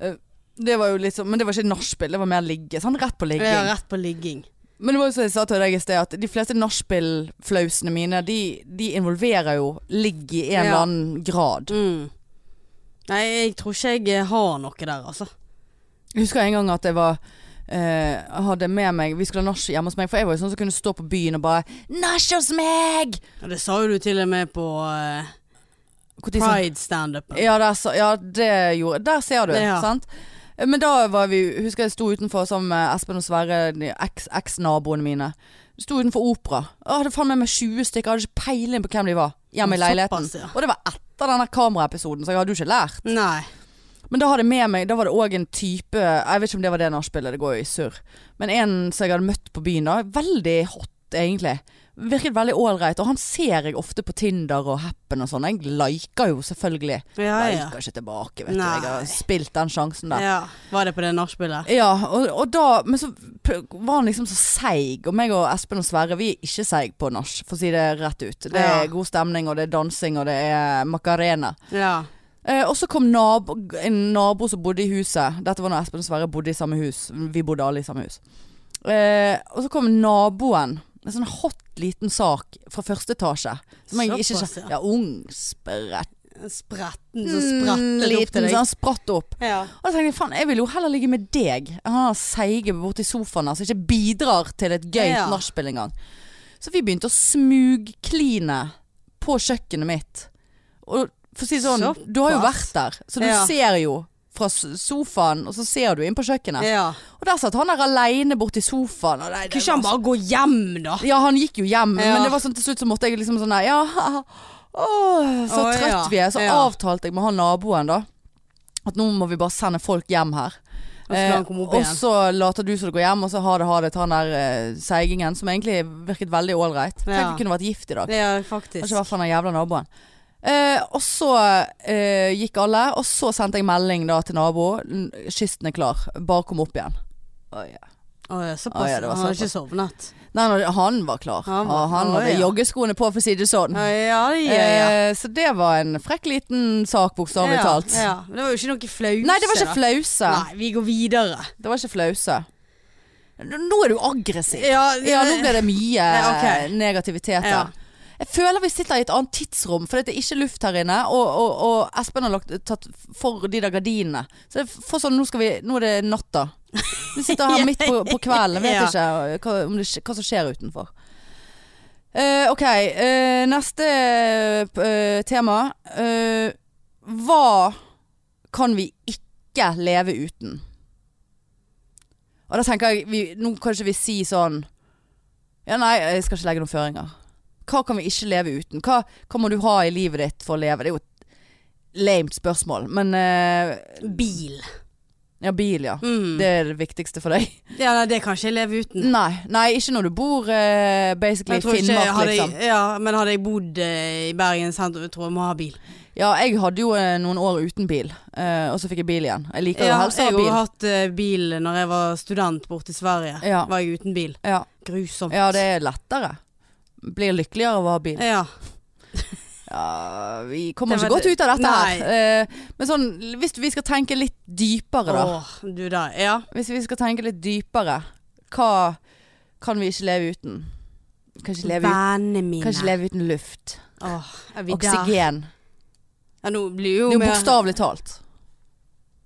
[SPEAKER 1] Eh, Det var jo litt sånn, men det var ikke nachspiel, det var mer ligge. Sånn rett på ligging.
[SPEAKER 2] Ja, rett på ligging.
[SPEAKER 1] Men det var jo som jeg sa til deg i sted, at de fleste nachspiel-flausene mine, de, de involverer jo ligg i en
[SPEAKER 2] Ja.
[SPEAKER 1] eller annen grad.
[SPEAKER 2] Mm. Nei, jeg tror ikke jeg eh, har noe der, altså.
[SPEAKER 1] Jeg husker en gang at jeg var eh, hadde med meg Vi skulle ha nach hjemme hos meg, for jeg var jo sånn som kunne stå på byen og bare 'Nach hos meg!'
[SPEAKER 2] Og det sa jo du til og med på eh,
[SPEAKER 1] Hvor de sa-
[SPEAKER 2] Pride-standupen.
[SPEAKER 1] Ja, der, sa- ja, det gjorde Der ser du,
[SPEAKER 2] Ja.
[SPEAKER 1] sant? Men da var vi Husker jeg sto utenfor sammen med Espen og Sverre, de eks- eks-naboene mine. Sto utenfor opera. Jeg hadde faen meg meg 20 stykker, jeg hadde ikke peiling på hvem de var hjemme i leiligheten.
[SPEAKER 2] Såpass, ja.
[SPEAKER 1] Og det var etter av den her kameraepisoden, så jeg hadde jo ikke lært.
[SPEAKER 2] Nei.
[SPEAKER 1] Men da hadde jeg med meg Da var det òg en type Jeg vet ikke om det var det nachspielet, det går jo i surr. Men en som jeg hadde møtt på byen da. Veldig hot, egentlig. Virket veldig ålreit. Og han ser jeg ofte på Tinder og Happen og sånn. Jeg liker jo selvfølgelig.
[SPEAKER 2] Ja, ja.
[SPEAKER 1] Liker ikke tilbake, vet du. Jeg
[SPEAKER 2] Nei.
[SPEAKER 1] har spilt den sjansen der.
[SPEAKER 2] ja. Var det på det nachspielet?
[SPEAKER 1] Ja, og, og da Men så p- var han liksom så seig. Og meg og Espen og Sverre, vi er ikke seig på nach, for å si det rett ut. Det
[SPEAKER 2] Ja.
[SPEAKER 1] er god stemning, og det er dansing, og det er macarena.
[SPEAKER 2] Ja.
[SPEAKER 1] Eh, og så kom nabo, en nabo som bodde i huset. Dette var når Espen og Sverre bodde i samme hus. Vi bodde alle i samme hus. Eh, og så kom naboen. En sånn hot liten sak fra første etasje. Som jeg ikke
[SPEAKER 2] Såpass,
[SPEAKER 1] kjen- Ja, ung, sprett
[SPEAKER 2] Spretten som sprettet opp
[SPEAKER 1] Mm, Liten, sånn så
[SPEAKER 2] til deg.
[SPEAKER 1] han spratt opp.
[SPEAKER 2] Ja.
[SPEAKER 1] Og da tenkte jeg faen, jeg vil jo heller ligge med deg enn han seige borti sofaen her som ikke bidrar til et gøy
[SPEAKER 2] Ja.
[SPEAKER 1] nachspiel engang. Så vi begynte å smugkline på kjøkkenet mitt. Og for å si det sånn,
[SPEAKER 2] Såpass.
[SPEAKER 1] du har jo vært der, så du
[SPEAKER 2] Ja.
[SPEAKER 1] ser jo fra s- sofaen, og så ser du inn på kjøkkenet.
[SPEAKER 2] ja.
[SPEAKER 1] Og der satt han der aleine borti sofaen. Og nei, det
[SPEAKER 2] Kunne ikke han
[SPEAKER 1] var
[SPEAKER 2] bare gå hjem, da?
[SPEAKER 1] ja, han gikk jo hjem,
[SPEAKER 2] Ja.
[SPEAKER 1] men det var sånn til slutt så måtte jeg liksom sånn nei, ja, åh, så
[SPEAKER 2] Å,
[SPEAKER 1] trøtt
[SPEAKER 2] ja.
[SPEAKER 1] vi er. Så
[SPEAKER 2] Ja.
[SPEAKER 1] avtalte jeg med han naboen da, at nå må vi bare sende folk hjem her. Eh,
[SPEAKER 2] Og så skal han komme opp
[SPEAKER 1] og
[SPEAKER 2] igjen.
[SPEAKER 1] så later du som du går hjem, og så ha det, ha det til han der eh, seigingen, som egentlig virket veldig ålreit. Tenk
[SPEAKER 2] Ja.
[SPEAKER 1] vi kunne vært gift i dag.
[SPEAKER 2] Ja,
[SPEAKER 1] Det
[SPEAKER 2] faktisk.
[SPEAKER 1] har ikke vært for den jævla naboen. Eh, og så eh, gikk alle, og så sendte jeg melding da til naboen. Kysten er klar, bare kom opp igjen. Å, ja.
[SPEAKER 2] Å, ja, såpass.
[SPEAKER 1] Å, ja, det var
[SPEAKER 2] han har
[SPEAKER 1] såpass.
[SPEAKER 2] ikke sovnet.
[SPEAKER 1] Nei, nei, han var klar. Han,
[SPEAKER 2] Han var-
[SPEAKER 1] han
[SPEAKER 2] Å,
[SPEAKER 1] hadde
[SPEAKER 2] ja.
[SPEAKER 1] joggeskoene på, for å si det sånn.
[SPEAKER 2] Ja, ja, ja. ja.
[SPEAKER 1] Eh, så det var en frekk liten sak, bokstavelig
[SPEAKER 2] ja,
[SPEAKER 1] talt.
[SPEAKER 2] Ja. Men Det var jo ikke noe flause.
[SPEAKER 1] Nei, det var ikke
[SPEAKER 2] da.
[SPEAKER 1] flause.
[SPEAKER 2] Nei, vi går videre.
[SPEAKER 1] Det var ikke flause. N- Nå er du aggressiv.
[SPEAKER 2] Ja,
[SPEAKER 1] Ja, nå ble det mye
[SPEAKER 2] Ja, ok.
[SPEAKER 1] eh, negativitet
[SPEAKER 2] Ja.
[SPEAKER 1] her. Jeg føler vi sitter i et annet tidsrom, for det er ikke luft her inne. Og, og, og Espen har lagt, tatt for de der gardinene. Så det får sånn, nå, skal vi, nå er det natta. Vi sitter her midt på, på kvelden. Jeg Vet ikke hva, om det, skj- hva som skjer utenfor. Eh, ok, eh, neste eh, tema. Eh, hva kan vi ikke leve uten? Og da tenker jeg, vi, nå kan ikke vi si sånn Ja nei, jeg skal ikke legge noen føringer. Hva kan vi ikke leve uten? Hva, hva må du ha i livet ditt for å leve? Det er jo et lamet spørsmål, men eh,
[SPEAKER 2] Bil.
[SPEAKER 1] Ja, bil, ja.
[SPEAKER 2] Mm.
[SPEAKER 1] Det er det viktigste for deg.
[SPEAKER 2] Ja, nei, det kan ikke jeg leve uten.
[SPEAKER 1] Nei, nei ikke når du bor eh,
[SPEAKER 2] Men
[SPEAKER 1] basically
[SPEAKER 2] jeg
[SPEAKER 1] i
[SPEAKER 2] tror ikke-
[SPEAKER 1] Finnmark,
[SPEAKER 2] hadde jeg,
[SPEAKER 1] liksom.
[SPEAKER 2] ja, men hadde jeg bodd eh, i Bergen sentrum, tror jeg må ha bil.
[SPEAKER 1] Ja, jeg hadde jo eh, noen år uten bil, eh, og så fikk jeg bil igjen. Jeg liker jo
[SPEAKER 2] Ja,
[SPEAKER 1] helst å
[SPEAKER 2] jeg
[SPEAKER 1] ha
[SPEAKER 2] har
[SPEAKER 1] bil.
[SPEAKER 2] jo hatt eh, bil når jeg var student borte i Sverige.
[SPEAKER 1] Ja.
[SPEAKER 2] Var jeg uten bil.
[SPEAKER 1] Ja.
[SPEAKER 2] Grusomt.
[SPEAKER 1] ja, det er lettere. Blir lykkeligere av å ha bil.
[SPEAKER 2] Ja.
[SPEAKER 1] Ja, vi kommer
[SPEAKER 2] Eh, Det
[SPEAKER 1] ikke
[SPEAKER 2] var
[SPEAKER 1] godt
[SPEAKER 2] det-
[SPEAKER 1] ut av dette
[SPEAKER 2] Nei.
[SPEAKER 1] her. Eh, men sånn, hvis vi skal tenke litt dypere, da.
[SPEAKER 2] Åh, du der. Ja.
[SPEAKER 1] Hvis vi skal tenke litt dypere, hva kan vi ikke leve uten? Kan ikke leve, ut,
[SPEAKER 2] Vennene mine.
[SPEAKER 1] kan ikke leve uten luft.
[SPEAKER 2] Åh, er vi der?
[SPEAKER 1] Oksygen.
[SPEAKER 2] Ja, nå blir jo
[SPEAKER 1] Det er jo
[SPEAKER 2] mer-
[SPEAKER 1] bokstavelig talt.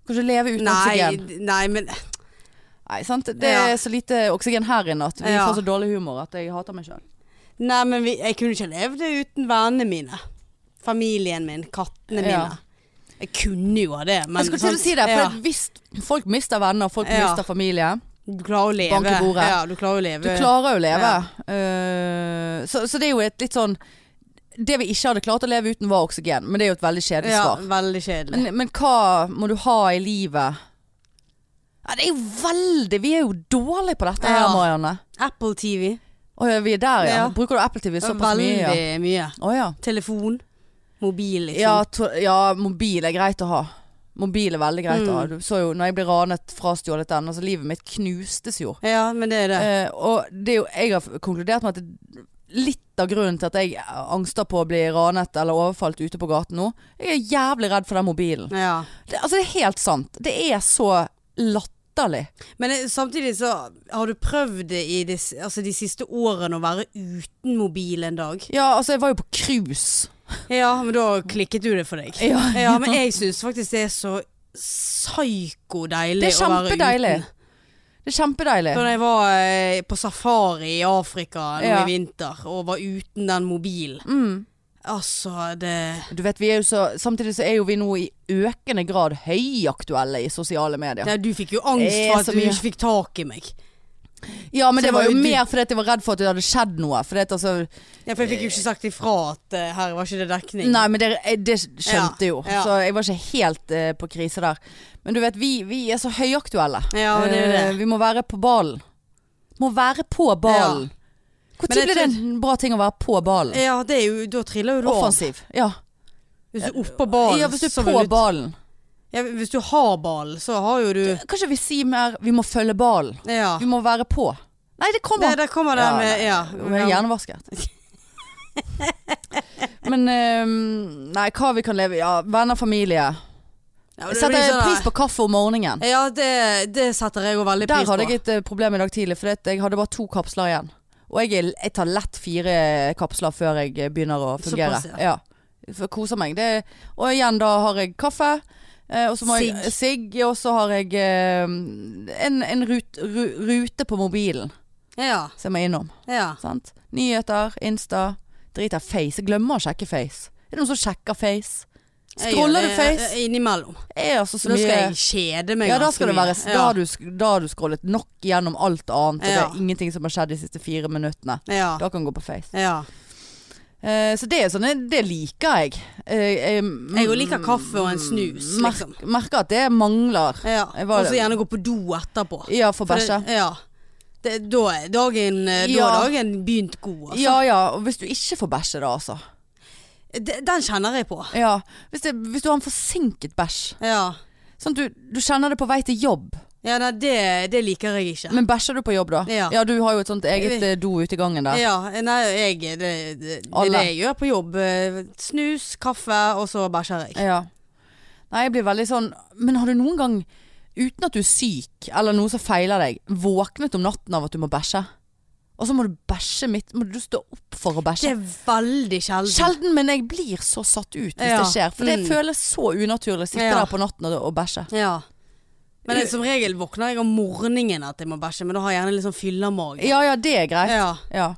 [SPEAKER 1] Kan ikke leve uten
[SPEAKER 2] Nei,
[SPEAKER 1] oksygen.
[SPEAKER 2] d- nei, men
[SPEAKER 1] Nei, sant? Det er
[SPEAKER 2] Ja.
[SPEAKER 1] så lite oksygen her inne at vi
[SPEAKER 2] Ja.
[SPEAKER 1] får så dårlig humor at jeg hater meg sjøl.
[SPEAKER 2] Nei, men vi, jeg kunne ikke levd det uten vennene mine. Familien min, kattene
[SPEAKER 1] Ja.
[SPEAKER 2] mine. Jeg kunne jo ha det, men
[SPEAKER 1] Jeg skulle til å
[SPEAKER 2] sant?
[SPEAKER 1] si det, for
[SPEAKER 2] ja.
[SPEAKER 1] hvis folk mister venner, folk
[SPEAKER 2] Ja.
[SPEAKER 1] mister familie.
[SPEAKER 2] Du klarer å leve.
[SPEAKER 1] Bank i bordet.
[SPEAKER 2] Ja, du klarer å leve.
[SPEAKER 1] Du klarer jo å leve. Eh, så, så det er jo et litt sånn Det vi ikke hadde klart å leve uten, var oksygen. Men det er jo et veldig kjedelig
[SPEAKER 2] ja,
[SPEAKER 1] svar.
[SPEAKER 2] veldig kjedelig.
[SPEAKER 1] Men, men hva må du ha i livet? Ja, det er jo veldig Vi er jo dårlige på dette her,
[SPEAKER 2] Ja.
[SPEAKER 1] Marianne.
[SPEAKER 2] Apple TV.
[SPEAKER 1] Å ja, vi er der, ja.
[SPEAKER 2] Ja.
[SPEAKER 1] Bruker du Apple TV såpass
[SPEAKER 2] Veldig
[SPEAKER 1] mye? Ja.
[SPEAKER 2] mye.
[SPEAKER 1] Å ja.
[SPEAKER 2] Telefon. Mobil, liksom.
[SPEAKER 1] Ja, to, ja, mobil er greit å ha. Mobil er veldig greit å ha.
[SPEAKER 2] Mm.
[SPEAKER 1] Du så jo når jeg ble ranet, frastjålet den. Altså, livet mitt knustes jo.
[SPEAKER 2] Ja, men det er det.
[SPEAKER 1] Eh, og det er jo, jeg har f- konkludert med at det, litt av grunnen til at jeg angster på å bli ranet eller overfalt ute på gaten nå, jeg er jævlig redd for den mobilen.
[SPEAKER 2] Ja.
[SPEAKER 1] Det, altså, det er helt sant. Det er så latterlig.
[SPEAKER 2] Men eh, samtidig så har du prøvd det i de, s- altså de siste årene å være uten mobil en dag.
[SPEAKER 1] Ja, altså, jeg var jo på cruise.
[SPEAKER 2] Ja, men da klikket du det for deg.
[SPEAKER 1] Ja.
[SPEAKER 2] Ja, men jeg syns faktisk det er så psyko-deilig
[SPEAKER 1] Det er
[SPEAKER 2] å være
[SPEAKER 1] kjempedeilig.
[SPEAKER 2] uten.
[SPEAKER 1] Det er kjempedeilig.
[SPEAKER 2] Da jeg var eh, på safari i Afrika nå
[SPEAKER 1] Ja.
[SPEAKER 2] i vinter og var uten den mobilen
[SPEAKER 1] Mm.
[SPEAKER 2] Altså, det
[SPEAKER 1] Du vet, vi er jo så, samtidig så er jo vi nå i økende grad høyaktuelle i sosiale medier.
[SPEAKER 2] Ja, du fikk jo angst
[SPEAKER 1] Det er
[SPEAKER 2] for at
[SPEAKER 1] så
[SPEAKER 2] du
[SPEAKER 1] mye.
[SPEAKER 2] ikke fikk tak i meg.
[SPEAKER 1] Ja, men
[SPEAKER 2] Så
[SPEAKER 1] det
[SPEAKER 2] det
[SPEAKER 1] var jo
[SPEAKER 2] var jo du-
[SPEAKER 1] mer fordi at jeg var redd for at det hadde skjedd noe. Fordi at, altså,
[SPEAKER 2] Ja, for jeg fikk jo ikke sagt ifra at eh, her var ikke det dekning.
[SPEAKER 1] nei, men det, eh, det skjønte jeg jo.
[SPEAKER 2] Ja, ja.
[SPEAKER 1] Så jeg var ikke helt eh, på krise der. Men du vet, vi, vi er så høyaktuelle.
[SPEAKER 2] Ja, det er jo det.
[SPEAKER 1] Eh, vi må være på ballen. Må være på ballen. Når
[SPEAKER 2] Men jeg
[SPEAKER 1] ble det en bra ting å være på ballen?
[SPEAKER 2] Ja, det er jo, da triller jo du av.
[SPEAKER 1] Offensiv. Ja.
[SPEAKER 2] Hvis du er oppå ballen,
[SPEAKER 1] ja, hvis du
[SPEAKER 2] så
[SPEAKER 1] er
[SPEAKER 2] vil
[SPEAKER 1] på
[SPEAKER 2] du-
[SPEAKER 1] ballen.
[SPEAKER 2] Ja, hvis du har ballen, så har jo du
[SPEAKER 1] Kanskje vi sier mer 'vi må følge ballen'.
[SPEAKER 2] Ja.
[SPEAKER 1] Vi må være på. Nei, det kommer.
[SPEAKER 2] Det, der kommer den
[SPEAKER 1] Ja,
[SPEAKER 2] med Ja.
[SPEAKER 1] Hun er hjernevasket. Men ehm, nei, hva vi kan leve i. Ja, venner, familie.
[SPEAKER 2] Ja, men
[SPEAKER 1] Jeg
[SPEAKER 2] det
[SPEAKER 1] setter
[SPEAKER 2] blir sånn,
[SPEAKER 1] pris på kaffe om morgenen.
[SPEAKER 2] Ja, det, det setter jeg òg veldig
[SPEAKER 1] Der
[SPEAKER 2] pris på.
[SPEAKER 1] hadde jeg et eh, problem i dag tidlig, for jeg hadde bare to kapsler igjen. Og jeg, er- jeg tar lett fire kapsler før jeg eh, begynner å fungere.
[SPEAKER 2] Såpass,
[SPEAKER 1] ja. For jeg koser meg. Det, og igjen, da har jeg kaffe. eh, Og så må jeg sigg, og så har jeg eh, en, en rut, ru, rute på mobilen
[SPEAKER 2] Ja,
[SPEAKER 1] som jeg må innom.
[SPEAKER 2] ja.
[SPEAKER 1] Sant? Nyheter, Insta. Driter face. Jeg glemmer å sjekke face. Er det noen som sjekker face?
[SPEAKER 2] Jeg
[SPEAKER 1] Scroller
[SPEAKER 2] gjør
[SPEAKER 1] du
[SPEAKER 2] det,
[SPEAKER 1] face?
[SPEAKER 2] eh, Innimellom.
[SPEAKER 1] Jeg er altså så
[SPEAKER 2] Da skal
[SPEAKER 1] mye
[SPEAKER 2] jeg kjede meg
[SPEAKER 1] Ja, da skal det være
[SPEAKER 2] ganske
[SPEAKER 1] Da
[SPEAKER 2] mye.
[SPEAKER 1] har du, sk- da har du scrollet nok gjennom alt annet, og
[SPEAKER 2] Ja.
[SPEAKER 1] det er ingenting som har skjedd de siste fire minuttene.
[SPEAKER 2] Ja.
[SPEAKER 1] Da kan du gå på face.
[SPEAKER 2] ja. ja.
[SPEAKER 1] Eh, så det er sånn Det liker jeg. Eh,
[SPEAKER 2] Jeg jo liker kaffe og en snus,
[SPEAKER 1] mer-
[SPEAKER 2] liksom.
[SPEAKER 1] Merker at det mangler.
[SPEAKER 2] ja.
[SPEAKER 1] Jeg var-
[SPEAKER 2] Og så gjerne gå på do etterpå.
[SPEAKER 1] Ja, for
[SPEAKER 2] For det-
[SPEAKER 1] bæsje.
[SPEAKER 2] Ja. Det, da er dagen, eh, da
[SPEAKER 1] Ja.
[SPEAKER 2] er dagen begynt god, altså.
[SPEAKER 1] Ja ja, og hvis du ikke får bæsje da, altså.
[SPEAKER 2] De- Den kjenner jeg på.
[SPEAKER 1] Ja. Hvis, det, hvis du har en forsinket bæsj.
[SPEAKER 2] Ja.
[SPEAKER 1] Sånn at du, du kjenner det på vei til jobb.
[SPEAKER 2] ja nei, det, det liker jeg ikke.
[SPEAKER 1] Men bæsjer du på jobb da?
[SPEAKER 2] Ja.
[SPEAKER 1] du har jo et sånt eget eh, do ute i gangen der.
[SPEAKER 2] Ja, nei, jeg, det, det, det, er
[SPEAKER 1] Alle.
[SPEAKER 2] det jeg gjør på jobb. eh, Snus, kaffe, og så bæsjer jeg.
[SPEAKER 1] Ja. Nei, jeg blir veldig sånn Men har du noen gang, uten at du er syk eller noe som feiler deg, våknet om natten av at du må bæsje? Og så må du bæsje midt Må du stå opp for å
[SPEAKER 2] Det
[SPEAKER 1] bæsje?
[SPEAKER 2] er veldig sjelden.
[SPEAKER 1] Sjelden, men jeg blir så satt ut hvis
[SPEAKER 2] Ja.
[SPEAKER 1] det skjer. For det
[SPEAKER 2] Mm.
[SPEAKER 1] føles så unaturlig å sitte
[SPEAKER 2] Ja.
[SPEAKER 1] der på natten og, og bæsje.
[SPEAKER 2] Ja. Men det, som regel våkner jeg om morgenen at jeg må bæsje, men da har jeg gjerne litt sånn fyllermage.
[SPEAKER 1] Ja ja, det er greit.
[SPEAKER 2] Ja.
[SPEAKER 1] Ja.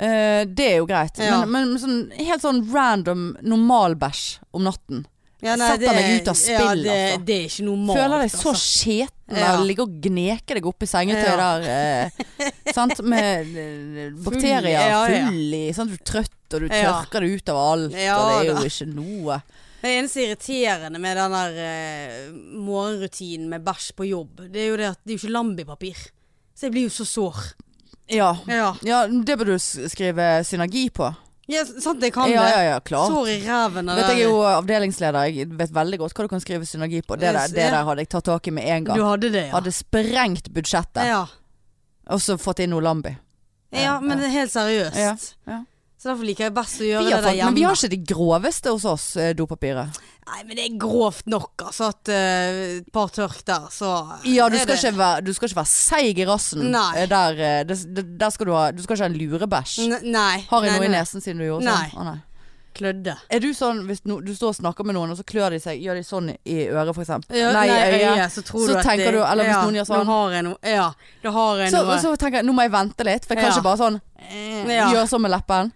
[SPEAKER 1] Eh, det er jo greit.
[SPEAKER 2] Ja.
[SPEAKER 1] Men, men sånn, helt sånn random normal bæsj om natten.
[SPEAKER 2] Ja,
[SPEAKER 1] Setter
[SPEAKER 2] det-
[SPEAKER 1] meg ut av
[SPEAKER 2] ja,
[SPEAKER 1] spill,
[SPEAKER 2] det,
[SPEAKER 1] altså.
[SPEAKER 2] Det er ikke normalt.
[SPEAKER 1] Føler deg så
[SPEAKER 2] altså.
[SPEAKER 1] skjeten
[SPEAKER 2] Ja.
[SPEAKER 1] av å ligge og gneke deg opp i sengetøyet
[SPEAKER 2] Ja.
[SPEAKER 1] der. Eh, sant? Med eh, bakterier full,
[SPEAKER 2] ja, ja.
[SPEAKER 1] i. Sant? Du er trøtt, og du
[SPEAKER 2] Ja.
[SPEAKER 1] tørker det ut av alt.
[SPEAKER 2] Ja,
[SPEAKER 1] og det er
[SPEAKER 2] da.
[SPEAKER 1] jo ikke noe.
[SPEAKER 2] Det eneste irriterende med den der eh, morgenrutinen med bæsj på jobb, det er jo det at det er jo ikke Lambi-papir. Så jeg blir jo så sår.
[SPEAKER 1] Ja.
[SPEAKER 2] Ja.
[SPEAKER 1] ja, det bør du s- skrive synergi på.
[SPEAKER 2] sant jeg kan
[SPEAKER 1] ja,
[SPEAKER 2] det.
[SPEAKER 1] ja, ja, klart.
[SPEAKER 2] Sår i ræven av
[SPEAKER 1] Vet,
[SPEAKER 2] den-
[SPEAKER 1] jeg er jo avdelingsleder, jeg vet veldig godt hva du kan skrive synergi på. Det der, det
[SPEAKER 2] Ja.
[SPEAKER 1] der hadde jeg tatt tak i med en gang.
[SPEAKER 2] Du hadde det, ja.
[SPEAKER 1] Hadde sprengt budsjettet,
[SPEAKER 2] ja.
[SPEAKER 1] og så fått inn noe Lambi.
[SPEAKER 2] ja, men det er helt seriøst.
[SPEAKER 1] Ja, ja.
[SPEAKER 2] Så derfor liker jeg best å
[SPEAKER 1] Vi
[SPEAKER 2] gjøre
[SPEAKER 1] har
[SPEAKER 2] det der
[SPEAKER 1] fått,
[SPEAKER 2] hjemme.
[SPEAKER 1] men vi har ikke de groveste hos oss, eh, dopapiret.
[SPEAKER 2] Nei, men det er grovt nok, altså. At eh, et par tørk der, så eh,
[SPEAKER 1] Ja, du
[SPEAKER 2] er
[SPEAKER 1] skal,
[SPEAKER 2] det-
[SPEAKER 1] ikke være, du skal ikke være seig i rassen.
[SPEAKER 2] Nei.
[SPEAKER 1] Eh, Der, eh, det- det- der skal du, ha, du skal ikke ha en lurebæsj.
[SPEAKER 2] N- Nei.
[SPEAKER 1] Har jeg
[SPEAKER 2] nei,
[SPEAKER 1] noe i
[SPEAKER 2] nei.
[SPEAKER 1] nesen siden du gjorde
[SPEAKER 2] Nei.
[SPEAKER 1] sånn? Å, nei.
[SPEAKER 2] Klødde.
[SPEAKER 1] Er du sånn hvis no, du står og snakker med noen, og så klør de seg, gjør de sånn i øret for eksempel?
[SPEAKER 2] Ja,
[SPEAKER 1] nei, i øyet.
[SPEAKER 2] så tror
[SPEAKER 1] Så
[SPEAKER 2] at
[SPEAKER 1] tenker
[SPEAKER 2] det-
[SPEAKER 1] du, eller hvis
[SPEAKER 2] ja,
[SPEAKER 1] noen gjør sånn.
[SPEAKER 2] Nå har jeg noe. Ja, da har jeg
[SPEAKER 1] Så,
[SPEAKER 2] noe.
[SPEAKER 1] og så tenker jeg nå må jeg vente litt, for jeg kan
[SPEAKER 2] Ja.
[SPEAKER 1] ikke bare sånn
[SPEAKER 2] ja.
[SPEAKER 1] gjøre sånn med leppen.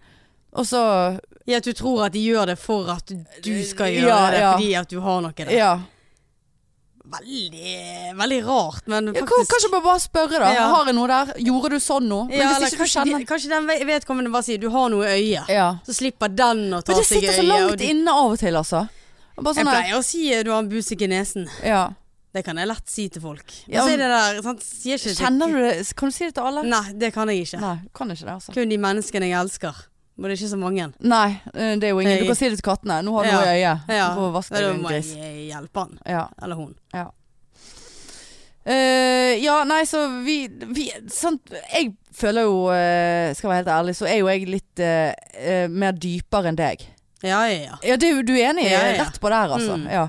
[SPEAKER 1] Og så
[SPEAKER 2] ja, Eh, at du tror at de gjør det for at du skal gjøre
[SPEAKER 1] Ja,
[SPEAKER 2] det
[SPEAKER 1] ja.
[SPEAKER 2] fordi at du har noe der.
[SPEAKER 1] Ja.
[SPEAKER 2] Veldig, veldig rart, men
[SPEAKER 1] ja
[SPEAKER 2] faktisk
[SPEAKER 1] kan- kanskje bare, bare spørre, da.
[SPEAKER 2] Ja.
[SPEAKER 1] Har jeg noe der? Gjorde du sånn nå? Men
[SPEAKER 2] ja, eller
[SPEAKER 1] hvis ikke du
[SPEAKER 2] kanskje,
[SPEAKER 1] kjenner
[SPEAKER 2] de, kanskje den ve- vedkommende bare sier du har noe i øyet.
[SPEAKER 1] Ja.
[SPEAKER 2] Så slipper den å ta
[SPEAKER 1] Men det
[SPEAKER 2] seg i
[SPEAKER 1] sitter
[SPEAKER 2] øyet.
[SPEAKER 1] så
[SPEAKER 2] og
[SPEAKER 1] langt
[SPEAKER 2] du-
[SPEAKER 1] inne av og til, altså. Bare
[SPEAKER 2] Jeg
[SPEAKER 1] sånn her.
[SPEAKER 2] pleier å si eh, du har en busik i nesen.
[SPEAKER 1] Ja.
[SPEAKER 2] Det kan jeg lett si til folk. Men
[SPEAKER 1] Ja,
[SPEAKER 2] så
[SPEAKER 1] men-
[SPEAKER 2] er det der, sant? Sier ikke til-
[SPEAKER 1] Kjenner du det? Kan du si det til alle?
[SPEAKER 2] Nei, det kan jeg ikke.
[SPEAKER 1] Nei, du kan ikke det, altså.
[SPEAKER 2] Kun de menneskene jeg elsker. Og det er ikke så mange.
[SPEAKER 1] Nei, eh, det er jo ingen. Du
[SPEAKER 2] Nei.
[SPEAKER 1] kan si det til kattene. Nå har du
[SPEAKER 2] Ja.
[SPEAKER 1] noe i øyet.
[SPEAKER 2] Ja,
[SPEAKER 1] Du får vaske deg
[SPEAKER 2] da
[SPEAKER 1] en
[SPEAKER 2] må
[SPEAKER 1] gris.
[SPEAKER 2] jeg hjelpe han.
[SPEAKER 1] Ja.
[SPEAKER 2] Eller hun.
[SPEAKER 1] Eh, ja, nei, så vi, vi sant, Jeg føler jo, eh, skal være helt ærlig, så er jo jeg litt eh, eh, mer dypere enn deg.
[SPEAKER 2] Ja, ja, ja.
[SPEAKER 1] Ja, det er jo du er enig i.
[SPEAKER 2] Ja, ja, ja.
[SPEAKER 1] Rett på der, altså.
[SPEAKER 2] Mm.
[SPEAKER 1] Ja.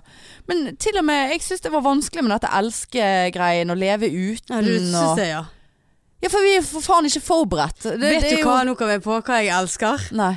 [SPEAKER 1] Men til og med Jeg syns det var vanskelig med dette elskegreien, å leve uten
[SPEAKER 2] ja du syns
[SPEAKER 1] og
[SPEAKER 2] det, ja.
[SPEAKER 1] Ja, for vi er for faen ikke forberedt. Det,
[SPEAKER 2] Vet
[SPEAKER 1] det er
[SPEAKER 2] du hva, nå kommer jeg på hva jeg elsker.
[SPEAKER 1] Jo... Nei.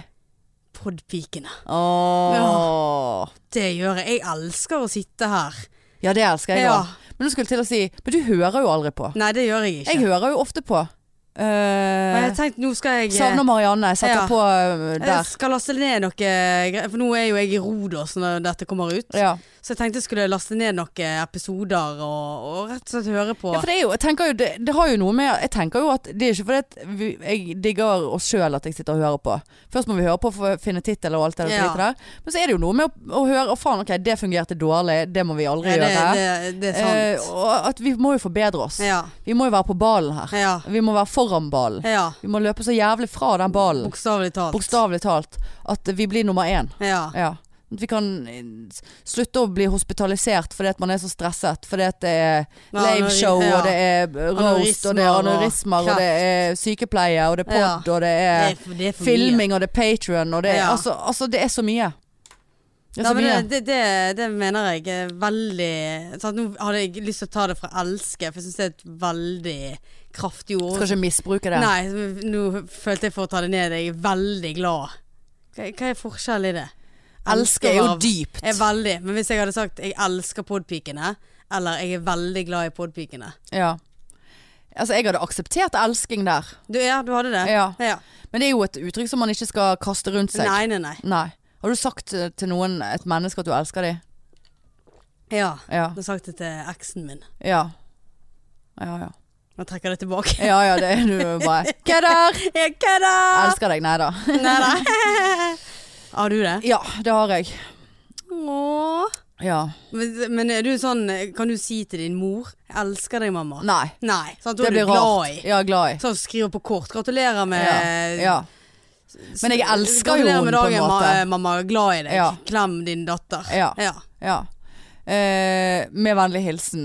[SPEAKER 2] Podpikene.
[SPEAKER 1] Åh.
[SPEAKER 2] Det gjør jeg. Jeg elsker å sitte her.
[SPEAKER 1] Ja, det elsker jeg òg.
[SPEAKER 2] Ja.
[SPEAKER 1] Men du skulle jeg til å si Men du hører jo aldri på.
[SPEAKER 2] Nei, det gjør jeg ikke.
[SPEAKER 1] Jeg hører jo ofte på.
[SPEAKER 2] Og jeg
[SPEAKER 1] Eh,
[SPEAKER 2] har tenkt, nå skal jeg
[SPEAKER 1] savner Marianne. Setter
[SPEAKER 2] Ja.
[SPEAKER 1] på eh,
[SPEAKER 2] Jeg
[SPEAKER 1] der.
[SPEAKER 2] skal laste ned noe greier, for nå er jo jeg i Rodos når dette kommer ut.
[SPEAKER 1] Ja.
[SPEAKER 2] Så jeg tenkte jeg skulle laste ned noen episoder og, og rett og slett høre på.
[SPEAKER 1] Ja, for det, er jo, jeg tenker jo, det, det har jo noe med Jeg tenker jo at det er ikke fordi at vi, jeg digger oss sjøl at jeg sitter og hører på. Først må vi høre på for å finne tittel og alt det der.
[SPEAKER 2] Ja.
[SPEAKER 1] dritet der. Men så er det jo noe med å, å høre Å faen, ok, det fungerte dårlig. Det må vi aldri
[SPEAKER 2] Ja, det,
[SPEAKER 1] gjøre.
[SPEAKER 2] det, det er
[SPEAKER 1] Eh,
[SPEAKER 2] sant.
[SPEAKER 1] og at vi må jo forbedre oss.
[SPEAKER 2] Ja.
[SPEAKER 1] Vi må jo være på ballen her.
[SPEAKER 2] Ja.
[SPEAKER 1] Vi må være foran ballen.
[SPEAKER 2] ja.
[SPEAKER 1] Vi må løpe så jævlig fra den ballen,
[SPEAKER 2] Bokstavelig talt.
[SPEAKER 1] bokstavelig talt, at vi blir nummer én.
[SPEAKER 2] Ja.
[SPEAKER 1] Ja. At Vi kan eh, s- slutte å bli hospitalisert fordi at man er så stresset. Fordi at det er
[SPEAKER 2] Ja,
[SPEAKER 1] laveshow,
[SPEAKER 2] anori- ja.
[SPEAKER 1] og det er roast, og det er
[SPEAKER 2] Aneurismer og
[SPEAKER 1] aneurismer, og det er sykepleie, og det er pod, og det
[SPEAKER 2] Det
[SPEAKER 1] er
[SPEAKER 2] er, for- det er for mye.
[SPEAKER 1] filming, og det er Patrion, og det er
[SPEAKER 2] Ja.
[SPEAKER 1] altså, altså, det er så mye. Det er
[SPEAKER 2] Ja,
[SPEAKER 1] så
[SPEAKER 2] men
[SPEAKER 1] mye.
[SPEAKER 2] det, det, det, det mener jeg er veldig sant? Nå hadde jeg lyst til å ta det fra elske, for jeg syns det er et veldig kraftig ord.
[SPEAKER 1] Skal ikke misbruke det.
[SPEAKER 2] Nei, nå følte jeg for å ta det ned. Jeg er veldig glad. Hva, hva er forskjellen i det?
[SPEAKER 1] Elsker er jo
[SPEAKER 2] av-
[SPEAKER 1] dypt.
[SPEAKER 2] Er veldig. Men hvis jeg hadde sagt 'jeg elsker podpikene', eller 'jeg er veldig glad i podpikene'
[SPEAKER 1] Ja. Altså, jeg hadde akseptert elsking der,
[SPEAKER 2] Du, ja, du hadde det?
[SPEAKER 1] Ja.
[SPEAKER 2] ja.
[SPEAKER 1] men det er jo et uttrykk som man ikke skal kaste rundt seg.
[SPEAKER 2] Nei, nei, nei.
[SPEAKER 1] Nei. Har du sagt eh, til noen, et menneske, at du elsker dem?
[SPEAKER 2] Ja.
[SPEAKER 1] Ja.
[SPEAKER 2] Jeg har sagt det til eksen min.
[SPEAKER 1] Ja. Ja, ja.
[SPEAKER 2] Nå trekker jeg det tilbake.
[SPEAKER 1] Ja, ja, det er du jo bare Kødder!
[SPEAKER 2] Jeg kødder!
[SPEAKER 1] Elsker deg. Nei da.
[SPEAKER 2] Nei, nei. Har du det?
[SPEAKER 1] Ja, det har jeg.
[SPEAKER 2] Åh.
[SPEAKER 1] Ja.
[SPEAKER 2] Men, men er du sånn Kan du si til din mor 'jeg elsker deg, mamma'?
[SPEAKER 1] Nei.
[SPEAKER 2] Nei. Sant? Da
[SPEAKER 1] Det
[SPEAKER 2] er du
[SPEAKER 1] blir
[SPEAKER 2] glad
[SPEAKER 1] rart.
[SPEAKER 2] i.
[SPEAKER 1] Ja, glad i.
[SPEAKER 2] Sånn skriver på kort. Gratulerer med
[SPEAKER 1] Ja. Men jeg elsker jo
[SPEAKER 2] Gratulerer
[SPEAKER 1] henne
[SPEAKER 2] med
[SPEAKER 1] på en
[SPEAKER 2] dagen, ma-
[SPEAKER 1] måte.
[SPEAKER 2] eh, mamma. Glad i deg.
[SPEAKER 1] Ja.
[SPEAKER 2] Klem din datter.
[SPEAKER 1] Ja. ja. Eh, med vennlig hilsen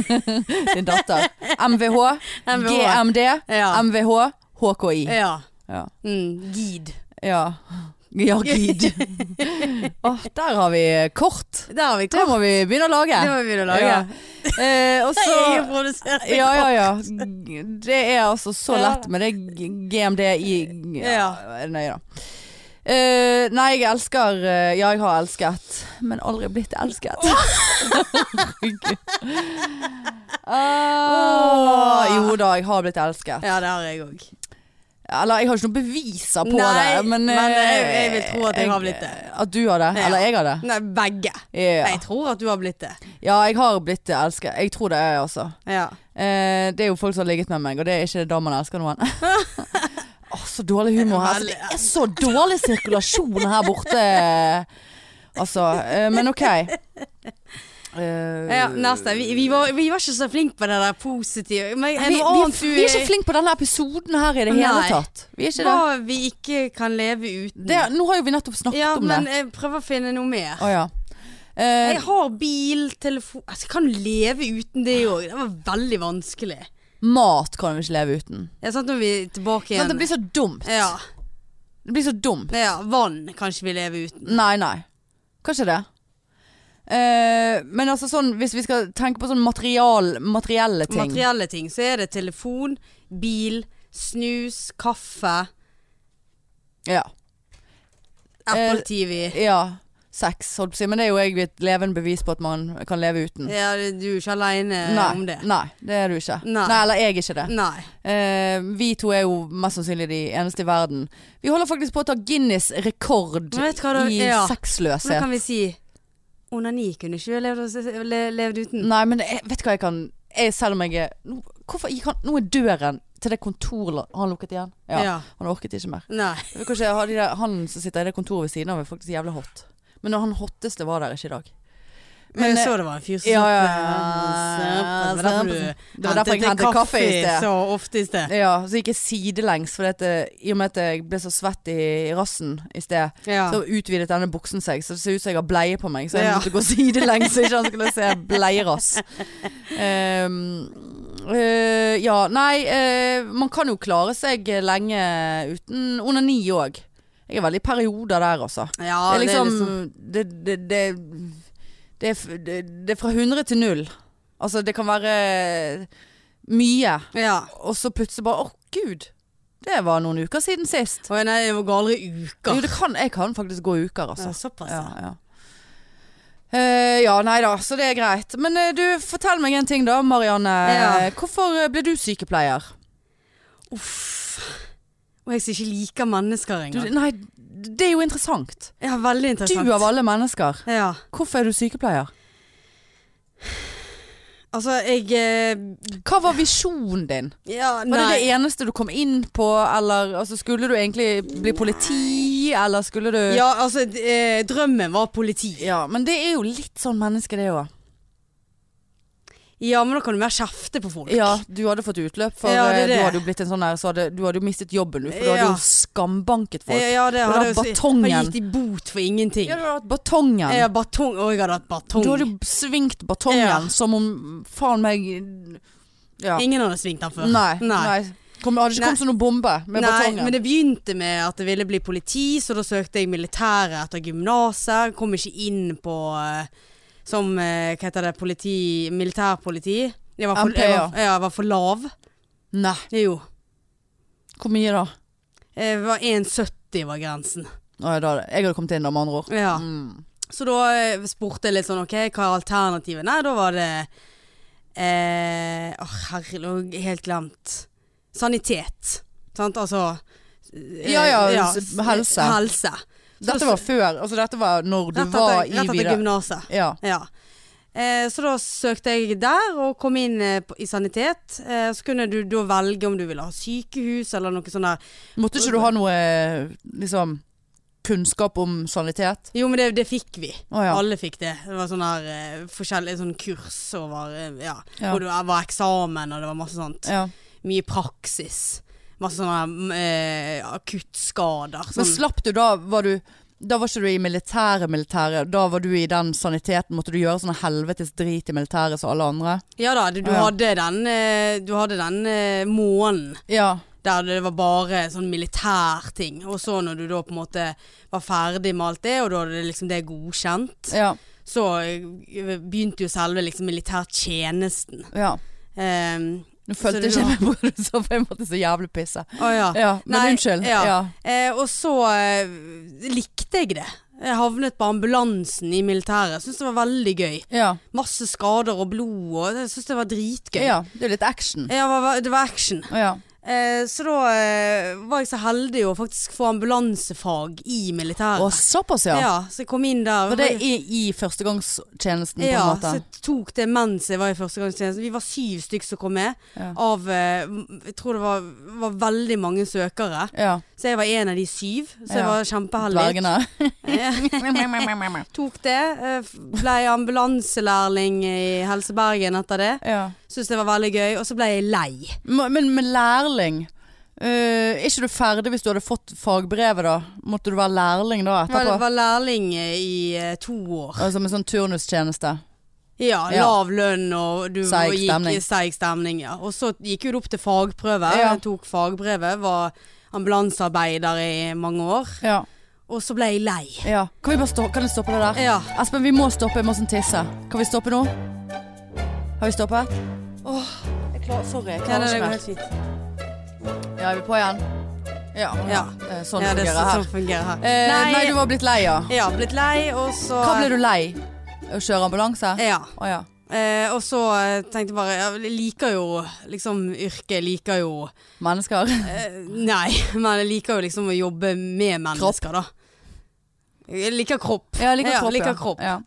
[SPEAKER 1] din datter. MVH,
[SPEAKER 2] MVH.
[SPEAKER 1] GMD,
[SPEAKER 2] Ja.
[SPEAKER 1] MVH, HKI.
[SPEAKER 2] Ja.
[SPEAKER 1] Ja.
[SPEAKER 2] Mm, gid.
[SPEAKER 1] Ja, ja gid. Åh, der har vi kort.
[SPEAKER 2] Der har vi
[SPEAKER 1] Det
[SPEAKER 2] kort.
[SPEAKER 1] må vi begynne å lage.
[SPEAKER 2] Det må vi begynne å lage.
[SPEAKER 1] Ja. Eh, og så
[SPEAKER 2] Jeg produserer
[SPEAKER 1] Ja, ja, ja. Det er altså så
[SPEAKER 2] Ja.
[SPEAKER 1] lett med det g- GMD i ja,
[SPEAKER 2] Ja.
[SPEAKER 1] Nei da. Eh, nei, jeg elsker eh, Ja, jeg har elsket, men aldri blitt elsket. Ah, jo da, jeg har blitt elsket.
[SPEAKER 2] Ja, det har jeg òg.
[SPEAKER 1] Eller jeg har ikke noen beviser på
[SPEAKER 2] Nei,
[SPEAKER 1] det. Men,
[SPEAKER 2] men
[SPEAKER 1] eh,
[SPEAKER 2] jeg- jeg vil tro at jeg har blitt det.
[SPEAKER 1] At du har det?
[SPEAKER 2] Ja. Mm,
[SPEAKER 1] Eller jeg har det?
[SPEAKER 2] Nei, begge.
[SPEAKER 1] Ja.
[SPEAKER 2] Jeg tror at du har blitt det.
[SPEAKER 1] ja, jeg har blitt elsket. Jeg tror det, jeg, altså.
[SPEAKER 2] Ja.
[SPEAKER 1] Eh, det er jo folk som har ligget med meg, og det er ikke da man elsker noen. Åh, så dårlig humor her. Altså, det er så dårlig sirkulasjon her borte. Altså, eh, men ok. Eh,
[SPEAKER 2] ja neste. Vi, vi, var, vi var ikke så flinke på det der positive.
[SPEAKER 1] vi,
[SPEAKER 2] Men
[SPEAKER 1] vi,
[SPEAKER 2] en annen
[SPEAKER 1] vi er ikke flinke på denne episoden her i det hele
[SPEAKER 2] Nei.
[SPEAKER 1] tatt. Vi er ikke det.
[SPEAKER 2] Hva vi ikke kan leve uten.
[SPEAKER 1] det. Nå har jo vi nettopp snakket
[SPEAKER 2] ja,
[SPEAKER 1] om
[SPEAKER 2] men
[SPEAKER 1] det.
[SPEAKER 2] jeg prøver å finne noe mer.
[SPEAKER 1] Å ja. Eh,
[SPEAKER 2] Jeg har bil, telefon Altså, jeg kan leve uten det òg. Det var veldig vanskelig.
[SPEAKER 1] mat kan vi ikke leve uten.
[SPEAKER 2] Ja, sant, når vi er tilbake
[SPEAKER 1] Sånn,
[SPEAKER 2] igjen.
[SPEAKER 1] det blir så dumt.
[SPEAKER 2] ja,
[SPEAKER 1] Det blir så dumt.
[SPEAKER 2] ja, vann kan ikke vi leve uten.
[SPEAKER 1] Nei, nei. Kanskje det. Eh, men altså sånn, hvis vi skal tenke på sånn material, materielle ting
[SPEAKER 2] Materielle ting. Så er det telefon, bil, snus, kaffe,
[SPEAKER 1] ja. Eh,
[SPEAKER 2] Apple TV.
[SPEAKER 1] ja. Sex, holdt på å si. Men det er jo jeg et levende bevis på at man kan leve uten.
[SPEAKER 2] Ja, det- du er ikke aleine
[SPEAKER 1] nei,
[SPEAKER 2] om det.
[SPEAKER 1] nei, det er du ikke.
[SPEAKER 2] Nei.
[SPEAKER 1] eller jeg er ikke det.
[SPEAKER 2] Nei.
[SPEAKER 1] Eh, vi to er jo mest sannsynlig de eneste i verden. Vi holder faktisk på å ta Guinness rekord
[SPEAKER 2] Men vet du hva da-
[SPEAKER 1] i
[SPEAKER 2] ja. Men da
[SPEAKER 1] sexløshet.
[SPEAKER 2] kan vi si onani kunne ikke vi levd, oss- le- levd uten.
[SPEAKER 1] Nei, men jeg, vet du hva jeg kan jeg, Selv om jeg er nå, Hvorfor gikk han Nå er døren til det kontoret Har han lukket igjen? Ja.
[SPEAKER 2] Ja.
[SPEAKER 1] Han orket ikke mer.
[SPEAKER 2] Nei.
[SPEAKER 1] Vi kan ikke ha de der, han som sitter i det kontoret ved siden av, er faktisk jævlig hot. Men når han hotteste var der ikke i dag.
[SPEAKER 2] Men
[SPEAKER 1] Men, eh,
[SPEAKER 2] jeg så det var en fyr som
[SPEAKER 1] ja, ja, ja.
[SPEAKER 2] satt- Det var derfor du
[SPEAKER 1] Det var derfor jeg hentet kaffe i sted.
[SPEAKER 2] Så ofte i sted.
[SPEAKER 1] Ja, så gikk jeg sidelengs, for dette, i og med at jeg ble så svett i, i rassen i sted.
[SPEAKER 2] Ja.
[SPEAKER 1] Så utvidet denne buksen seg, så det ser ut som jeg har bleie på meg. Så jeg
[SPEAKER 2] Ja.
[SPEAKER 1] måtte gå sidelengs, så ikke han skulle se bleierass. Um, øh, ja, nei, øh, man kan jo klare seg lenge uten onani òg. Jeg er veldig i perioder der, altså.
[SPEAKER 2] Ja,
[SPEAKER 1] det er liksom Det, det, det, det, er, f- det, det er fra 100 til 0. Altså, det kan være mye,
[SPEAKER 2] Ja.
[SPEAKER 1] og så plutselig bare Å, gud! Det var noen uker siden sist.
[SPEAKER 2] Oi, nei, det går aldri uker.
[SPEAKER 1] Jo, det kan, jeg kan faktisk gå uker, altså.
[SPEAKER 2] Ja, såpass,
[SPEAKER 1] Ja,
[SPEAKER 2] ja.
[SPEAKER 1] ja. Eh, ja, nei da, så det er greit. Men eh, du, fortell meg en ting da, Marianne.
[SPEAKER 2] Ja.
[SPEAKER 1] Hvorfor eh, ble du sykepleier?
[SPEAKER 2] Og jeg som ikke liker mennesker
[SPEAKER 1] Du,
[SPEAKER 2] engang.
[SPEAKER 1] nei, det er jo interessant.
[SPEAKER 2] Ja, veldig interessant.
[SPEAKER 1] Du av alle mennesker.
[SPEAKER 2] Ja.
[SPEAKER 1] Hvorfor er du sykepleier?
[SPEAKER 2] Altså, jeg eh,
[SPEAKER 1] Hva var visjonen din?
[SPEAKER 2] Ja,
[SPEAKER 1] Var det
[SPEAKER 2] nei.
[SPEAKER 1] det eneste du kom inn på, eller altså, skulle du egentlig bli politi, eller skulle du
[SPEAKER 2] Ja, altså, d- eh, drømmen var politi.
[SPEAKER 1] Ja, men det er jo litt sånn menneske, det òg.
[SPEAKER 2] Ja, men da kan du mer kjefte på folk. Eh,
[SPEAKER 1] Ja, du hadde fått utløp, for
[SPEAKER 2] Ja, det er
[SPEAKER 1] eh, du
[SPEAKER 2] det.
[SPEAKER 1] hadde jo blitt en sånn der så hadde, Du hadde jo mistet jobben, du, for du hadde
[SPEAKER 2] Ja.
[SPEAKER 1] jo skambanket folk.
[SPEAKER 2] Eh, ja det
[SPEAKER 1] Og da
[SPEAKER 2] hadde jeg jo
[SPEAKER 1] batongen.
[SPEAKER 2] Han gikk i bot for ingenting.
[SPEAKER 1] Ja, du hadde hatt batongen.
[SPEAKER 2] Eh, batong. Å, jeg hadde hatt batong.
[SPEAKER 1] Du hadde jo svingt batongen
[SPEAKER 2] Ja.
[SPEAKER 1] som om faen meg Ja.
[SPEAKER 2] Ingen hadde svingt den før.
[SPEAKER 1] Nei.
[SPEAKER 2] Nei.
[SPEAKER 1] nei. Kom, hadde ikke
[SPEAKER 2] Nei.
[SPEAKER 1] kommet som noen bombe med
[SPEAKER 2] Nei,
[SPEAKER 1] batongen.
[SPEAKER 2] men det begynte med at jeg ville bli politi, så da søkte jeg militæret etter gymnaset. Kom ikke inn på eh, som eh, Hva heter det? Politi, militærpoliti. Jeg var, for,
[SPEAKER 1] MP,
[SPEAKER 2] jeg
[SPEAKER 1] ja.
[SPEAKER 2] var, ja, jeg var for lav.
[SPEAKER 1] Nei.
[SPEAKER 2] Jo.
[SPEAKER 1] Hvor mye da?
[SPEAKER 2] Jeg var 1,70 var grensen.
[SPEAKER 1] Å, ja, da jeg hadde kommet inn, da, med andre ord.
[SPEAKER 2] Ja.
[SPEAKER 1] Mm.
[SPEAKER 2] Så da eh, spurte jeg litt sånn OK, hva er alternativet? Nei, da var det eh, Åh, herregud, helt glemt. Sanitet. Sant, altså eh,
[SPEAKER 1] Ja, ja, s- helse.
[SPEAKER 2] Helse. Så
[SPEAKER 1] Dette
[SPEAKER 2] da-
[SPEAKER 1] var før, altså dette var når du
[SPEAKER 2] rett etter,
[SPEAKER 1] var i
[SPEAKER 2] rett etter
[SPEAKER 1] videre...
[SPEAKER 2] gymnaset.
[SPEAKER 1] Ja.
[SPEAKER 2] Ja. Eh, så da søkte jeg der og kom inn eh, på- i sanitet. Eh, så kunne du da velge om du ville ha sykehus eller noe sånt der.
[SPEAKER 1] Måtte ikke du ha noe liksom kunnskap om sanitet?
[SPEAKER 2] Jo, men det, det fikk vi.
[SPEAKER 1] Å ja.
[SPEAKER 2] Alle fikk det. Det var sånn her eh, forskjellig sånn kurs over eh, ja.
[SPEAKER 1] Ja.
[SPEAKER 2] Hvor det var eksamen og det var masse sånt.
[SPEAKER 1] ja.
[SPEAKER 2] Mye praksis. Masse sånne mm, eh, akuttskader.
[SPEAKER 1] Men
[SPEAKER 2] sånn.
[SPEAKER 1] slapp du da, var du da var ikke du i militæret, militæret. Da var du i den saniteten. Måtte du gjøre sånn helvetes drit i militæret som alle andre?
[SPEAKER 2] Ja da, du, du
[SPEAKER 1] Å ja.
[SPEAKER 2] hadde den, eh, du hadde den eh, måneden
[SPEAKER 1] Ja.
[SPEAKER 2] der det var bare sånn militærting. Og så når du da på en måte var ferdig med alt det, og da hadde det liksom det godkjent,
[SPEAKER 1] Ja.
[SPEAKER 2] så eh, begynte jo selve liksom militærtjenesten.
[SPEAKER 1] ja.
[SPEAKER 2] Um,
[SPEAKER 1] Nå
[SPEAKER 2] Så
[SPEAKER 1] følte
[SPEAKER 2] det
[SPEAKER 1] jeg ikke
[SPEAKER 2] var-
[SPEAKER 1] med på det, så for jeg måtte så jævlig pisse.
[SPEAKER 2] å ja.
[SPEAKER 1] Ja, men
[SPEAKER 2] Nei,
[SPEAKER 1] unnskyld.
[SPEAKER 2] ja.
[SPEAKER 1] Ja.
[SPEAKER 2] Eh, og så eh, likte jeg det. Jeg havnet på ambulansen i militæret. Syns det var veldig gøy.
[SPEAKER 1] Ja.
[SPEAKER 2] Masse skader og blod og Jeg syns det var dritgøy.
[SPEAKER 1] ja. Det er litt action.
[SPEAKER 2] Ja, det var- det var action.
[SPEAKER 1] Ja.
[SPEAKER 2] Eh, så da eh, var jeg så heldig å faktisk få ambulansefag i militæret.
[SPEAKER 1] Og såpass, ja.
[SPEAKER 2] Ja, så jeg kom inn der.
[SPEAKER 1] Var det i, i førstegangstjenesten, på en
[SPEAKER 2] ja,
[SPEAKER 1] måte?
[SPEAKER 2] så jeg tok det mens jeg var i førstegangstjenesten. Vi var syv stykk som kom med.
[SPEAKER 1] Ja.
[SPEAKER 2] Av eh, Jeg tror det var, var veldig mange søkere.
[SPEAKER 1] Ja.
[SPEAKER 2] Så jeg var en av de syv. Så jeg
[SPEAKER 1] Ja.
[SPEAKER 2] var kjempeheldig.
[SPEAKER 1] Dvergene.
[SPEAKER 2] Tok det. eh, f- Ble ambulanselærling i Helse Bergen etter det.
[SPEAKER 1] Ja.
[SPEAKER 2] Syns det var veldig gøy. Og så ble jeg lei.
[SPEAKER 1] Men, men med lærling eh, Er ikke du ferdig hvis du hadde fått fagbrevet da? Måtte du være lærling da
[SPEAKER 2] Var,
[SPEAKER 1] etterpå?
[SPEAKER 2] var lærling eh, i eh, to år.
[SPEAKER 1] Altså med sånn turnustjeneste
[SPEAKER 2] Ja,
[SPEAKER 1] Ja.
[SPEAKER 2] lav lønn og du
[SPEAKER 1] Seig
[SPEAKER 2] gikk
[SPEAKER 1] stemning.
[SPEAKER 2] Seig stemning, ja. Og så gikk jo det opp til fagprøve.
[SPEAKER 1] Ja.
[SPEAKER 2] Jeg tok fagbrevet, var ambulansearbeider i mange år.
[SPEAKER 1] ja.
[SPEAKER 2] Og så ble jeg lei.
[SPEAKER 1] ja Kan vi bare stoppe, kan jeg stoppe det der?
[SPEAKER 2] Ja.
[SPEAKER 1] Espen, vi må stoppe, jeg må sånn tisse Kan vi stoppe nå? Har vi stoppet? Åh, jeg klarer, sorry, jeg
[SPEAKER 2] Ja,
[SPEAKER 1] klarer
[SPEAKER 2] det
[SPEAKER 1] ikke
[SPEAKER 2] går
[SPEAKER 1] mer
[SPEAKER 2] helt fint.
[SPEAKER 1] Ja, er vi på igjen? Ja,
[SPEAKER 2] Ja.
[SPEAKER 1] Eh, sånn
[SPEAKER 2] Ja, det er
[SPEAKER 1] fungerer
[SPEAKER 2] sånn
[SPEAKER 1] her
[SPEAKER 2] som fungerer her.
[SPEAKER 1] eh, nei.
[SPEAKER 2] nei,
[SPEAKER 1] du var blitt lei, ja
[SPEAKER 2] Ja, blitt lei, og så
[SPEAKER 1] Hva ble du lei? Å kjøre ambulanse?
[SPEAKER 2] Ja.
[SPEAKER 1] Åja,
[SPEAKER 2] Eh, og så eh, tenkte jeg bare Jeg liker jo liksom yrket. Liker jo
[SPEAKER 1] mennesker
[SPEAKER 2] eh, Nei, men jeg liker jo liksom å jobbe med mennesker, da. Jeg liker kropp.
[SPEAKER 1] Ja, jeg liker
[SPEAKER 2] Ja,
[SPEAKER 1] kropp,
[SPEAKER 2] liker kropp.
[SPEAKER 1] Ja.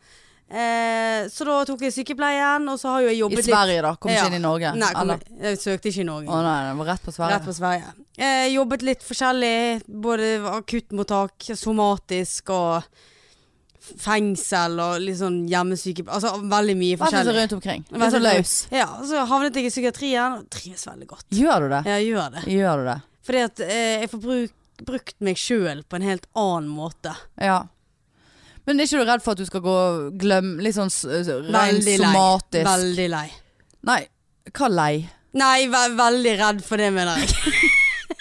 [SPEAKER 2] Eh, så da tok jeg sykepleien, og så har jo
[SPEAKER 1] I
[SPEAKER 2] jeg jobbet litt
[SPEAKER 1] Sverige da, kom ikke
[SPEAKER 2] Ja.
[SPEAKER 1] inn i Norge
[SPEAKER 2] Nei, kom,
[SPEAKER 1] eller?
[SPEAKER 2] jeg søkte ikke i Norge.
[SPEAKER 1] Å nei, det var rett på Sverige
[SPEAKER 2] Rett på Sverige. Jeg jobbet litt forskjellig, både akuttmottak, somatisk og f- fengsel og litt sånn hjemmesyke... Altså veldig mye
[SPEAKER 1] Vær så
[SPEAKER 2] forskjellig.
[SPEAKER 1] rundt omkring. Litt
[SPEAKER 2] Veldig
[SPEAKER 1] så løs.
[SPEAKER 2] Ja, så havnet jeg i psykiatrien og trives veldig godt.
[SPEAKER 1] Gjør du det?
[SPEAKER 2] Ja, Jeg gjør det.
[SPEAKER 1] Gjør du det?
[SPEAKER 2] Fordi at eh, jeg får bruk, brukt meg sjøl på en helt annen måte.
[SPEAKER 1] Ja. Men er ikke du redd for at du skal gå glem litt sånn s- s- rent
[SPEAKER 2] Veldig lei.
[SPEAKER 1] somatisk
[SPEAKER 2] Veldig lei.
[SPEAKER 1] Nei, hva lei?
[SPEAKER 2] Nei, ve veldig redd for det, mener jeg.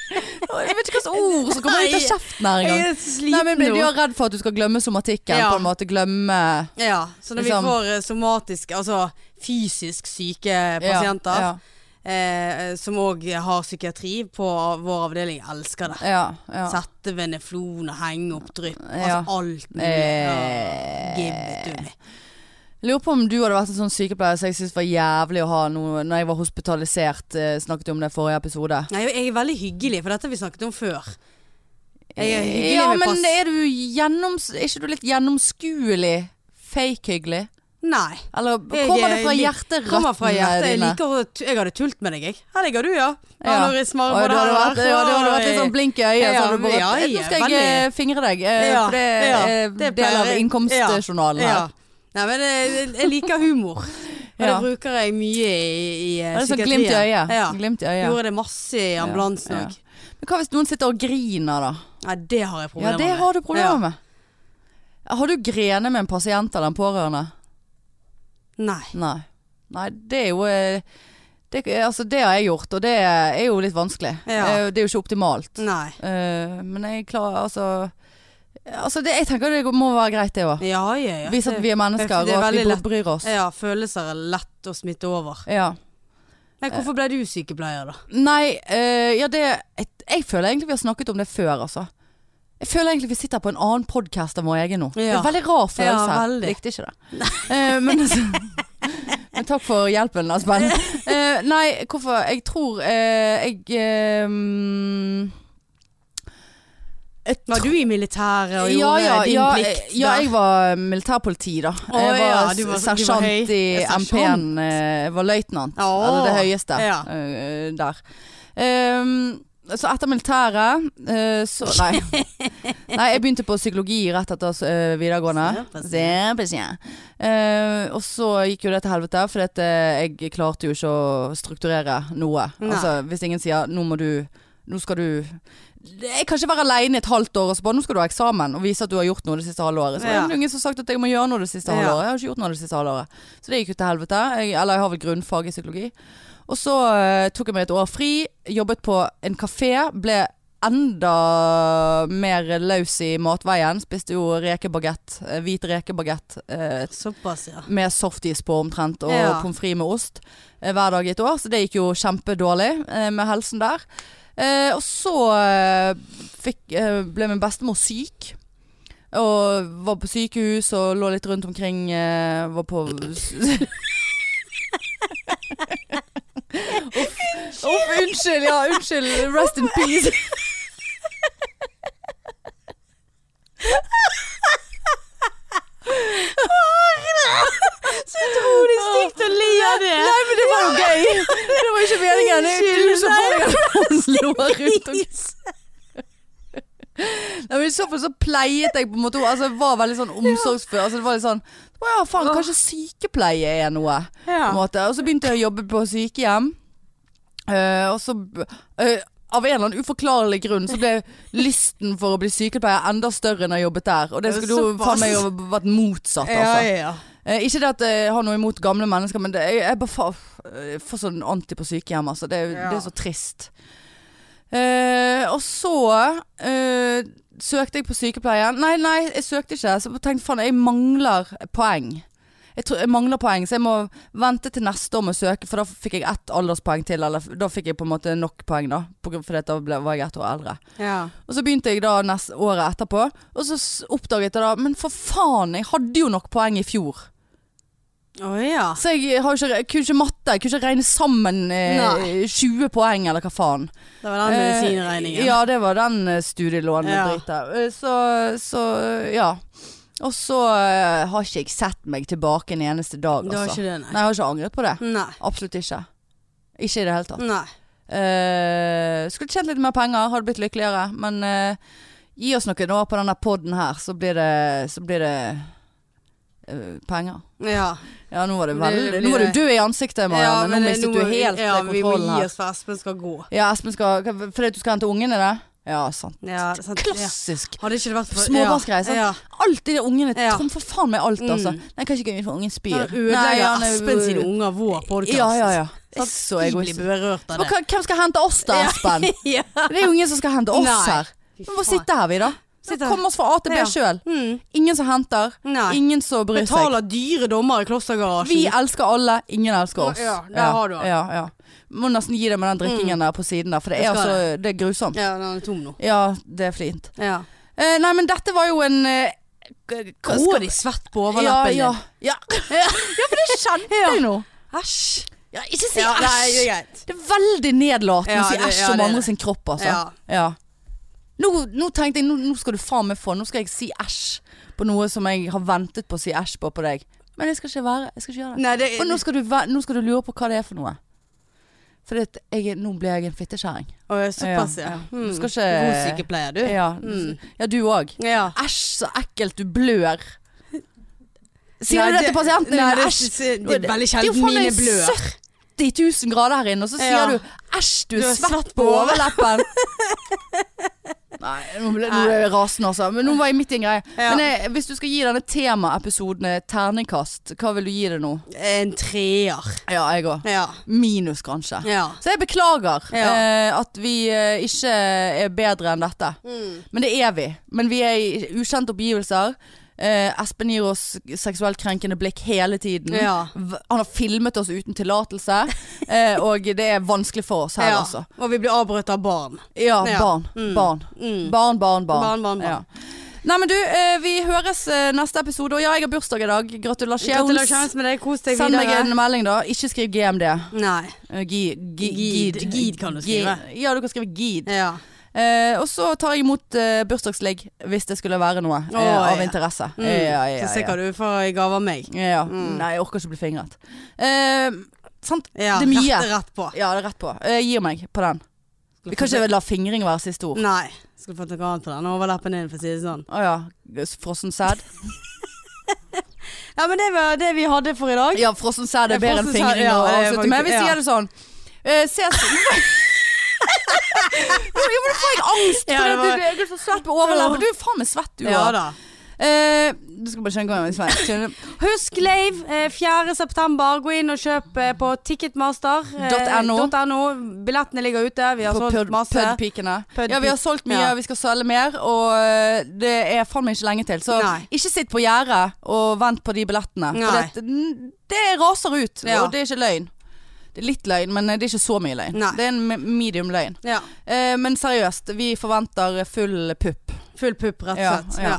[SPEAKER 1] Jeg vet ikke hva slags ord som kommer ut av kjeften her
[SPEAKER 2] Jeg
[SPEAKER 1] engang.
[SPEAKER 2] er så
[SPEAKER 1] Nei, men
[SPEAKER 2] sliten
[SPEAKER 1] blir du
[SPEAKER 2] nå.
[SPEAKER 1] er redd for at du skal glemme somatikken?
[SPEAKER 2] Ja.
[SPEAKER 1] På en måte glemme
[SPEAKER 2] Ja, så når
[SPEAKER 1] Liksom-
[SPEAKER 2] vi får eh, somatiske, altså fysisk syke pasienter
[SPEAKER 1] Ja,
[SPEAKER 2] eh, som òg har psykiatri på vår avdeling, elsker det.
[SPEAKER 1] ja, ja, ja.
[SPEAKER 2] Sette veneflon og henge opp drypp.
[SPEAKER 1] Ja.
[SPEAKER 2] Altså alt mulig. Ja.
[SPEAKER 1] Eh,
[SPEAKER 2] Give it to me.
[SPEAKER 1] Jeg lurer på om du hadde vært en sånn sykepleier som jeg syntes var jævlig å ha noe Når jeg var hospitalisert, eh, snakket om det i forrige episode.
[SPEAKER 2] Nei, jeg er veldig hyggelig, for dette har vi snakket om før. Jeg er hyggelig
[SPEAKER 1] Ja,
[SPEAKER 2] med
[SPEAKER 1] men
[SPEAKER 2] pass.
[SPEAKER 1] er du gjennoms... Er ikke du litt gjennomskuelig fake-hyggelig?
[SPEAKER 2] Nei.
[SPEAKER 1] Eller
[SPEAKER 2] Jeg
[SPEAKER 1] kommer det
[SPEAKER 2] er
[SPEAKER 1] fra
[SPEAKER 2] li-
[SPEAKER 1] hjerterøttene
[SPEAKER 2] Kommer fra hjertet. Jeg
[SPEAKER 1] dine?
[SPEAKER 2] liker å tu- Jeg hadde tult med deg, jeg. Her ligger du, ja.
[SPEAKER 1] Ja.
[SPEAKER 2] Når jeg
[SPEAKER 1] Å,
[SPEAKER 2] smarer
[SPEAKER 1] ja,
[SPEAKER 2] på
[SPEAKER 1] det hadde vært,
[SPEAKER 2] her.
[SPEAKER 1] ja, det hadde vært litt sånn blink i øyet. så
[SPEAKER 2] Ja,
[SPEAKER 1] hadde du bare,
[SPEAKER 2] ja, ja,
[SPEAKER 1] nå skal jeg eh, fingre deg, eh,
[SPEAKER 2] Ja,
[SPEAKER 1] for det
[SPEAKER 2] ja,
[SPEAKER 1] er
[SPEAKER 2] det
[SPEAKER 1] del av
[SPEAKER 2] pleier jeg.
[SPEAKER 1] innkomstjournalen her.
[SPEAKER 2] Ja. Nei, men eh, jeg, jeg liker humor. Og
[SPEAKER 1] Ja.
[SPEAKER 2] det bruker jeg mye i, i
[SPEAKER 1] Det
[SPEAKER 2] eh,
[SPEAKER 1] er sånn
[SPEAKER 2] psykiatrien.
[SPEAKER 1] glimt i øyet.
[SPEAKER 2] Ja.
[SPEAKER 1] Glimt i øyet.
[SPEAKER 2] Gjorde det masse i ambulansen
[SPEAKER 1] Ja, ja.
[SPEAKER 2] òg.
[SPEAKER 1] Men hva hvis noen sitter og griner, da?
[SPEAKER 2] Nei, det har jeg
[SPEAKER 1] Ja,
[SPEAKER 2] problemer
[SPEAKER 1] det har du problemer
[SPEAKER 2] Ja.
[SPEAKER 1] med. Har du grene med en pasient eller en pårørende?
[SPEAKER 2] Nei.
[SPEAKER 1] Nei. Nei, det er jo eh, det, altså, det har jeg gjort, og det er jo litt vanskelig.
[SPEAKER 2] Ja.
[SPEAKER 1] Eh, Det er jo ikke optimalt.
[SPEAKER 2] Nei.
[SPEAKER 1] Eh, men jeg klarer altså Altså, det, jeg tenker det må være greit, det òg.
[SPEAKER 2] Ja, ja, ja.
[SPEAKER 1] Vise at
[SPEAKER 2] Det-
[SPEAKER 1] vi er mennesker,
[SPEAKER 2] det er
[SPEAKER 1] og at vi
[SPEAKER 2] veldig lett.
[SPEAKER 1] bryr oss.
[SPEAKER 2] ja, følelser er lett å smitte over.
[SPEAKER 1] Ja.
[SPEAKER 2] Nei,
[SPEAKER 1] Eh.
[SPEAKER 2] hvorfor ble du sykepleier, da?
[SPEAKER 1] Nei, eh, ja det jeg, jeg føler egentlig vi har snakket om det før, altså. Jeg føler egentlig vi sitter på en annen podkast enn vår egen nå. Det er
[SPEAKER 2] Ja.
[SPEAKER 1] en veldig rar følelse.
[SPEAKER 2] Ja, veldig.
[SPEAKER 1] Likte ikke det. Eh, men, altså, men takk for hjelpen, Aspen. Eh, nei, hvorfor Jeg tror eh, jeg eh, mm, jeg
[SPEAKER 2] Var
[SPEAKER 1] tr-
[SPEAKER 2] du i militæret og
[SPEAKER 1] ja,
[SPEAKER 2] gjorde
[SPEAKER 1] ja,
[SPEAKER 2] eh, din
[SPEAKER 1] ja, eh,
[SPEAKER 2] plikt?
[SPEAKER 1] Ja,
[SPEAKER 2] der?
[SPEAKER 1] jeg var militærpoliti, da.
[SPEAKER 2] Å,
[SPEAKER 1] jeg var,
[SPEAKER 2] ja, du var- du var
[SPEAKER 1] sersjant i
[SPEAKER 2] høy.
[SPEAKER 1] MP-en. eh, Jeg var løytnant,
[SPEAKER 2] Å,
[SPEAKER 1] altså det høyeste
[SPEAKER 2] ja.
[SPEAKER 1] eh, der. Ehm, så etter militæret eh, så Nei. nei. Jeg begynte på psykologi rett etter eh, videregående.
[SPEAKER 2] Såpass,
[SPEAKER 1] Såpass, ja. Eh, og så gikk jo det til helvete, for jeg klarte jo ikke å strukturere noe.
[SPEAKER 2] Nei.
[SPEAKER 1] Altså, hvis ingen sier 'nå må du nå skal du Jeg kan ikke være aleine et halvt år og så bare 'nå skal du ha eksamen' og vise at du har gjort noe det siste halve året. Så
[SPEAKER 2] Ja.
[SPEAKER 1] er det ingen som har sagt at jeg må gjøre noe det siste halve
[SPEAKER 2] Ja.
[SPEAKER 1] året. Jeg har ikke gjort noe det siste halve året. Så det gikk jo til helvete. Jeg, eller jeg har vel grunnfag i psykologi. Og så eh, tok jeg meg et år fri, jobbet på en kafé, ble enda mer løs i matveien. Spiste jo rekebagett, eh, hvit rekebagett eh,
[SPEAKER 2] Såpass, ja.
[SPEAKER 1] med softis på omtrent, og
[SPEAKER 2] Ja.
[SPEAKER 1] pommes frites med ost eh, hver dag i et år. Så det gikk jo kjempedårlig eh, med helsen der. Eh, og så eh, fikk, eh, ble min bestemor syk. Og var på sykehus og lå litt rundt omkring. Eh, var på Uff, uff, unnskyld! Ja, unnskyld. Rest in peace.
[SPEAKER 2] Så utrolig stygt å le av det.
[SPEAKER 1] Nei, men det var jo gøy! Det var ikke meningen. Det er du som får det. Slå rundt og Nei, men I så fall så pleiet jeg på en måte Altså jeg var veldig sånn omsorgsfull. Altså det var litt sånn Å ja, faen, kanskje sykepleie er noe. På en
[SPEAKER 2] Ja.
[SPEAKER 1] måte. Og så begynte jeg å jobbe på sykehjem. Eh, og så eh, Av en eller annen uforklarlig grunn så ble lysten for å bli sykepleier enda større enn jeg jobbet der. Og det
[SPEAKER 2] Ja,
[SPEAKER 1] skulle jo
[SPEAKER 2] såpass.
[SPEAKER 1] faen meg jo vært motsatt, altså.
[SPEAKER 2] Ja, ja.
[SPEAKER 1] Eh, ikke det at jeg har noe imot gamle mennesker, men det, jeg, jeg bare får, jeg får sånn anti på sykehjem. Altså. Det, er-
[SPEAKER 2] Ja.
[SPEAKER 1] det er så trist. Eh, og så eh, søkte jeg på sykepleien. Nei, nei, jeg søkte ikke. Så jeg tenkte faen, jeg mangler poeng. Jeg, tror, jeg mangler poeng, så jeg må vente til neste år med å søke, for da fikk jeg ett alderspoeng til. Eller f- da fikk jeg på en måte nok poeng, da, på grunn- fordi at da ble, var jeg ett år eldre.
[SPEAKER 2] ja.
[SPEAKER 1] Og så begynte jeg da neste året etterpå, og så s- oppdaget jeg da Men for faen, jeg hadde jo nok poeng i fjor.
[SPEAKER 2] Å ja.
[SPEAKER 1] Så jeg har ikke, jeg kunne ikke matte, jeg kunne ikke regne sammen eh,
[SPEAKER 2] Nei.
[SPEAKER 1] 20 poeng eller hva faen.
[SPEAKER 2] Det var den medisinregningen.
[SPEAKER 1] Eh, ja, det var den eh, studielånet
[SPEAKER 2] Ja.
[SPEAKER 1] dritt der. Eh, Så, så eh, ja. Og så eh, har ikke jeg sett meg tilbake en eneste dag,
[SPEAKER 2] Det var
[SPEAKER 1] altså.
[SPEAKER 2] ikke det,
[SPEAKER 1] Nei,
[SPEAKER 2] nei.
[SPEAKER 1] jeg har ikke angret på det.
[SPEAKER 2] Nei.
[SPEAKER 1] Absolutt ikke. Ikke i det hele tatt.
[SPEAKER 2] Nei.
[SPEAKER 1] Eh, skulle tjent litt mer penger, hadde blitt lykkeligere. Men eh, gi oss noen år på denne poden her, så blir det, så blir det eh, penger.
[SPEAKER 2] Ja.
[SPEAKER 1] Ja, nå var, det
[SPEAKER 2] Det
[SPEAKER 1] veldig,
[SPEAKER 2] blir
[SPEAKER 1] nå var du
[SPEAKER 2] det.
[SPEAKER 1] død i ansiktet,
[SPEAKER 2] Ja,
[SPEAKER 1] Marianne.
[SPEAKER 2] men
[SPEAKER 1] nå
[SPEAKER 2] det-
[SPEAKER 1] mistet
[SPEAKER 2] nå
[SPEAKER 1] du
[SPEAKER 2] må vi-
[SPEAKER 1] helt
[SPEAKER 2] ja,
[SPEAKER 1] kontrollen
[SPEAKER 2] Vi må gi
[SPEAKER 1] her.
[SPEAKER 2] oss for Espen skal gå.
[SPEAKER 1] Ja, Espen skal hva- Fordi du skal hente ungene, da? Ja, sant.
[SPEAKER 2] Ja, det er sant. Ja.
[SPEAKER 1] Klassisk.
[SPEAKER 2] Hadde ikke det vært for
[SPEAKER 1] Småbarnsgreier, sant?
[SPEAKER 2] Ja.
[SPEAKER 1] Alltid de ungene
[SPEAKER 2] Ja.
[SPEAKER 1] trumfer faen meg alt, altså.
[SPEAKER 2] Mm.
[SPEAKER 1] Nei, kan ikke gå inn for ungen
[SPEAKER 2] Ja.
[SPEAKER 1] spyr. Nei,
[SPEAKER 2] Ødelegger
[SPEAKER 1] han er-
[SPEAKER 2] Espen sine unger vår podkast.
[SPEAKER 1] Ja, ja, ja. Det er
[SPEAKER 2] Sant?
[SPEAKER 1] Så
[SPEAKER 2] de blir
[SPEAKER 1] egoistisk.
[SPEAKER 2] berørt av
[SPEAKER 1] Men
[SPEAKER 2] det.
[SPEAKER 1] hva- Hvem skal hente oss da, Espen?
[SPEAKER 2] ja.
[SPEAKER 1] Det er jo ingen som skal hente oss
[SPEAKER 2] Nei.
[SPEAKER 1] her. Vi må sitte her, vi, da.
[SPEAKER 2] Sitt her.
[SPEAKER 1] Kom oss fra A til B
[SPEAKER 2] Ja.
[SPEAKER 1] sjøl.
[SPEAKER 2] Mm.
[SPEAKER 1] Ingen som henter.
[SPEAKER 2] Nei.
[SPEAKER 1] Ingen som bryr seg.
[SPEAKER 2] Betaler dyre dommer i klostergarasjen.
[SPEAKER 1] Vi elsker alle, ingen elsker oss.
[SPEAKER 2] Ja, der har du han. Mm.
[SPEAKER 1] ja, ja. Må nesten gi deg med den drikkingen der på siden der, for det
[SPEAKER 2] Det
[SPEAKER 1] er,
[SPEAKER 2] skal
[SPEAKER 1] altså, det er grusomt.
[SPEAKER 2] Ja, den er tom nå.
[SPEAKER 1] Ja, det er flint.
[SPEAKER 2] Ja.
[SPEAKER 1] Eh, nei, men dette var jo en eh,
[SPEAKER 2] Gror de svett på
[SPEAKER 1] Ja,
[SPEAKER 2] overlappen
[SPEAKER 1] ja.
[SPEAKER 2] din?
[SPEAKER 1] Ja. ja, for det kjente jeg nå.
[SPEAKER 2] Æsj.
[SPEAKER 1] Ja, ikke si
[SPEAKER 2] Ja, nei, det
[SPEAKER 1] æsj.
[SPEAKER 2] er greit.
[SPEAKER 1] Det er veldig nedlatende å
[SPEAKER 2] Ja,
[SPEAKER 1] si
[SPEAKER 2] det-
[SPEAKER 1] æsj
[SPEAKER 2] ja, det
[SPEAKER 1] om
[SPEAKER 2] er
[SPEAKER 1] andre
[SPEAKER 2] det.
[SPEAKER 1] sin kropp, altså.
[SPEAKER 2] Ja.
[SPEAKER 1] Ja. Nå, nå tenkte jeg, nå, nå skal du faen meg få, nå skal jeg si æsj på noe som jeg har ventet på å si æsj på på deg. Men jeg skal ikke være, jeg skal ikke gjøre det.
[SPEAKER 2] Nei, det,
[SPEAKER 1] For nå skal du, væ- nå skal du lure på hva det er for noe. For det, at jeg, er- nå blir jeg en fittekjerring.
[SPEAKER 2] Å, ja, såpass, ja.
[SPEAKER 1] Ja, ja.
[SPEAKER 2] Hmm.
[SPEAKER 1] Du skal
[SPEAKER 2] God
[SPEAKER 1] ikke
[SPEAKER 2] sykepleier, du.
[SPEAKER 1] Ja,
[SPEAKER 2] Mm.
[SPEAKER 1] ja du òg.
[SPEAKER 2] Ja.
[SPEAKER 1] Æsj, så ekkelt, du blør. Sier
[SPEAKER 2] Nei,
[SPEAKER 1] du det til pasientene
[SPEAKER 2] nei,
[SPEAKER 1] dine?
[SPEAKER 2] det-
[SPEAKER 1] Æsj.
[SPEAKER 2] det- Det er veldig
[SPEAKER 1] Det er jo
[SPEAKER 2] sjelden
[SPEAKER 1] faen meg
[SPEAKER 2] mine blør.
[SPEAKER 1] 70 000 grader her inne, og så sier
[SPEAKER 2] Ja.
[SPEAKER 1] du æsj, du
[SPEAKER 2] Du
[SPEAKER 1] er svett på overleppen. Nei, nå ble nå ble jeg rasende altså. Men nå var jeg midt i en greie.
[SPEAKER 2] Ja.
[SPEAKER 1] Men eh, hvis du skal gi denne temaepisoden et terningkast, hva vil du gi det nå?
[SPEAKER 2] En treer.
[SPEAKER 1] Ja, jeg òg.
[SPEAKER 2] Ja.
[SPEAKER 1] Minus, kanskje.
[SPEAKER 2] ja.
[SPEAKER 1] Så jeg beklager
[SPEAKER 2] Ja.
[SPEAKER 1] eh, at vi eh, ikke er bedre enn dette.
[SPEAKER 2] Mm.
[SPEAKER 1] Men det er vi. Men vi er i ukjente oppgivelser. Eh, Espen gir oss seksuelt krenkende blikk hele tiden.
[SPEAKER 2] Ja.
[SPEAKER 1] V- Han har filmet oss uten tillatelse. eh, og det er vanskelig for oss her,
[SPEAKER 2] ja.
[SPEAKER 1] altså.
[SPEAKER 2] Og vi blir avbrutt av barn.
[SPEAKER 1] Ja,
[SPEAKER 2] Ja.
[SPEAKER 1] barn. Barn.
[SPEAKER 2] Mm.
[SPEAKER 1] barn. Barn, barn,
[SPEAKER 2] Barn, barn, barn.
[SPEAKER 1] Ja. Nei, men du, eh, vi høres eh, neste episode. Og ja, jeg har bursdag i dag.
[SPEAKER 2] Gratulerer
[SPEAKER 1] Gratulasjoner.
[SPEAKER 2] kjæreste med deg. Kos deg
[SPEAKER 1] Send meg
[SPEAKER 2] videre.
[SPEAKER 1] en melding, da. Ikke skriv GMD.
[SPEAKER 2] Nei.
[SPEAKER 1] Eh, gi- gi-
[SPEAKER 2] Gid. Gid kan du skrive.
[SPEAKER 1] Gi- Ja, du kan skrive gid.
[SPEAKER 2] Ja.
[SPEAKER 1] Eh, og så tar jeg imot eh, bursdagsligg hvis det skulle være noe eh,
[SPEAKER 2] Å,
[SPEAKER 1] av
[SPEAKER 2] ja.
[SPEAKER 1] interesse.
[SPEAKER 2] Mm.
[SPEAKER 1] Eh, ja, ja,
[SPEAKER 2] Så se
[SPEAKER 1] ja.
[SPEAKER 2] hva du får i gave av meg.
[SPEAKER 1] Ja, ja.
[SPEAKER 2] Mm.
[SPEAKER 1] Nei, jeg orker ikke bli fingret. Eh, sant?
[SPEAKER 2] Ja,
[SPEAKER 1] Det er mye.
[SPEAKER 2] Rett, rett på.
[SPEAKER 1] Ja, det er rett på. Eh, gir meg på den. Vi kan ikke la fingring være siste ord.
[SPEAKER 2] Nei. Skulle fått noe annet på den overlappen din, for å si det sånn.
[SPEAKER 1] Å ja. Frossen sæd.
[SPEAKER 2] Ja, men det var det vi hadde for i dag.
[SPEAKER 1] Ja, frossen sæd
[SPEAKER 2] Ja,
[SPEAKER 1] er bedre enn
[SPEAKER 2] frossen sæd,
[SPEAKER 1] fingring
[SPEAKER 2] ja,
[SPEAKER 1] å
[SPEAKER 2] det er
[SPEAKER 1] avslutte med. Vi
[SPEAKER 2] faktisk- ja.
[SPEAKER 1] sier det sånn. Eh, ses Jo, men da får jeg angst!
[SPEAKER 2] Ja,
[SPEAKER 1] for
[SPEAKER 2] det
[SPEAKER 1] at
[SPEAKER 2] var-
[SPEAKER 1] du, du er så svett på overleppa. Du er faen meg svett, du
[SPEAKER 2] Ja
[SPEAKER 1] òg.
[SPEAKER 2] da.
[SPEAKER 1] Eh, du skal bare skjønne hva jeg mener. Skjønner du?
[SPEAKER 2] Husk Lave, eh, 4. september. Gå inn og kjøp eh, på ticketmaster. eh,
[SPEAKER 1] .no.
[SPEAKER 2] .no. Billettene ligger ute. Vi har
[SPEAKER 1] På
[SPEAKER 2] solgt
[SPEAKER 1] pud-
[SPEAKER 2] masse.
[SPEAKER 1] pudpikene.
[SPEAKER 2] Pudpik-
[SPEAKER 1] Ja, vi har solgt mye,
[SPEAKER 2] Ja.
[SPEAKER 1] vi skal selge mer, og eh, det er faen meg ikke lenge til. Så
[SPEAKER 2] Nei.
[SPEAKER 1] ikke sitt på gjerdet og vent på de billettene.
[SPEAKER 2] Nei.
[SPEAKER 1] For det, n- det raser ut,
[SPEAKER 2] Ja.
[SPEAKER 1] og det er ikke løgn. Det er litt løgn, men eh, det er ikke så mye løgn.
[SPEAKER 2] Nei.
[SPEAKER 1] Det er en me- medium løgn.
[SPEAKER 2] Ja.
[SPEAKER 1] Eh, men seriøst, vi forventer full pupp.
[SPEAKER 2] Full pupp, rett og
[SPEAKER 1] Ja,
[SPEAKER 2] slett.
[SPEAKER 1] ja.
[SPEAKER 2] Ja.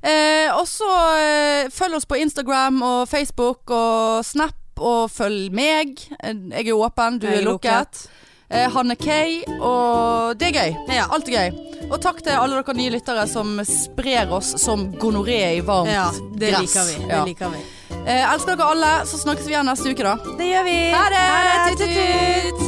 [SPEAKER 1] Eh, og så eh, følg oss på Instagram og Facebook og Snap. Og følg meg. Eh, Jeg er åpen, du
[SPEAKER 2] Jeg
[SPEAKER 1] er
[SPEAKER 2] er
[SPEAKER 1] lukket. Eh, Hanne K. Og det er gøy.
[SPEAKER 2] Ja.
[SPEAKER 1] Alt er gøy. Og takk til alle dere nye lyttere som sprer oss som gonoré i varmt
[SPEAKER 2] Ja, det
[SPEAKER 1] gress.
[SPEAKER 2] liker vi. Det
[SPEAKER 1] Ja.
[SPEAKER 2] liker vi.
[SPEAKER 1] Eh, elsker dere alle. Så snakkes vi igjen neste uke, da.
[SPEAKER 2] Det gjør vi.
[SPEAKER 1] Ha det!
[SPEAKER 2] Ha det.
[SPEAKER 1] Tut, tut, tut.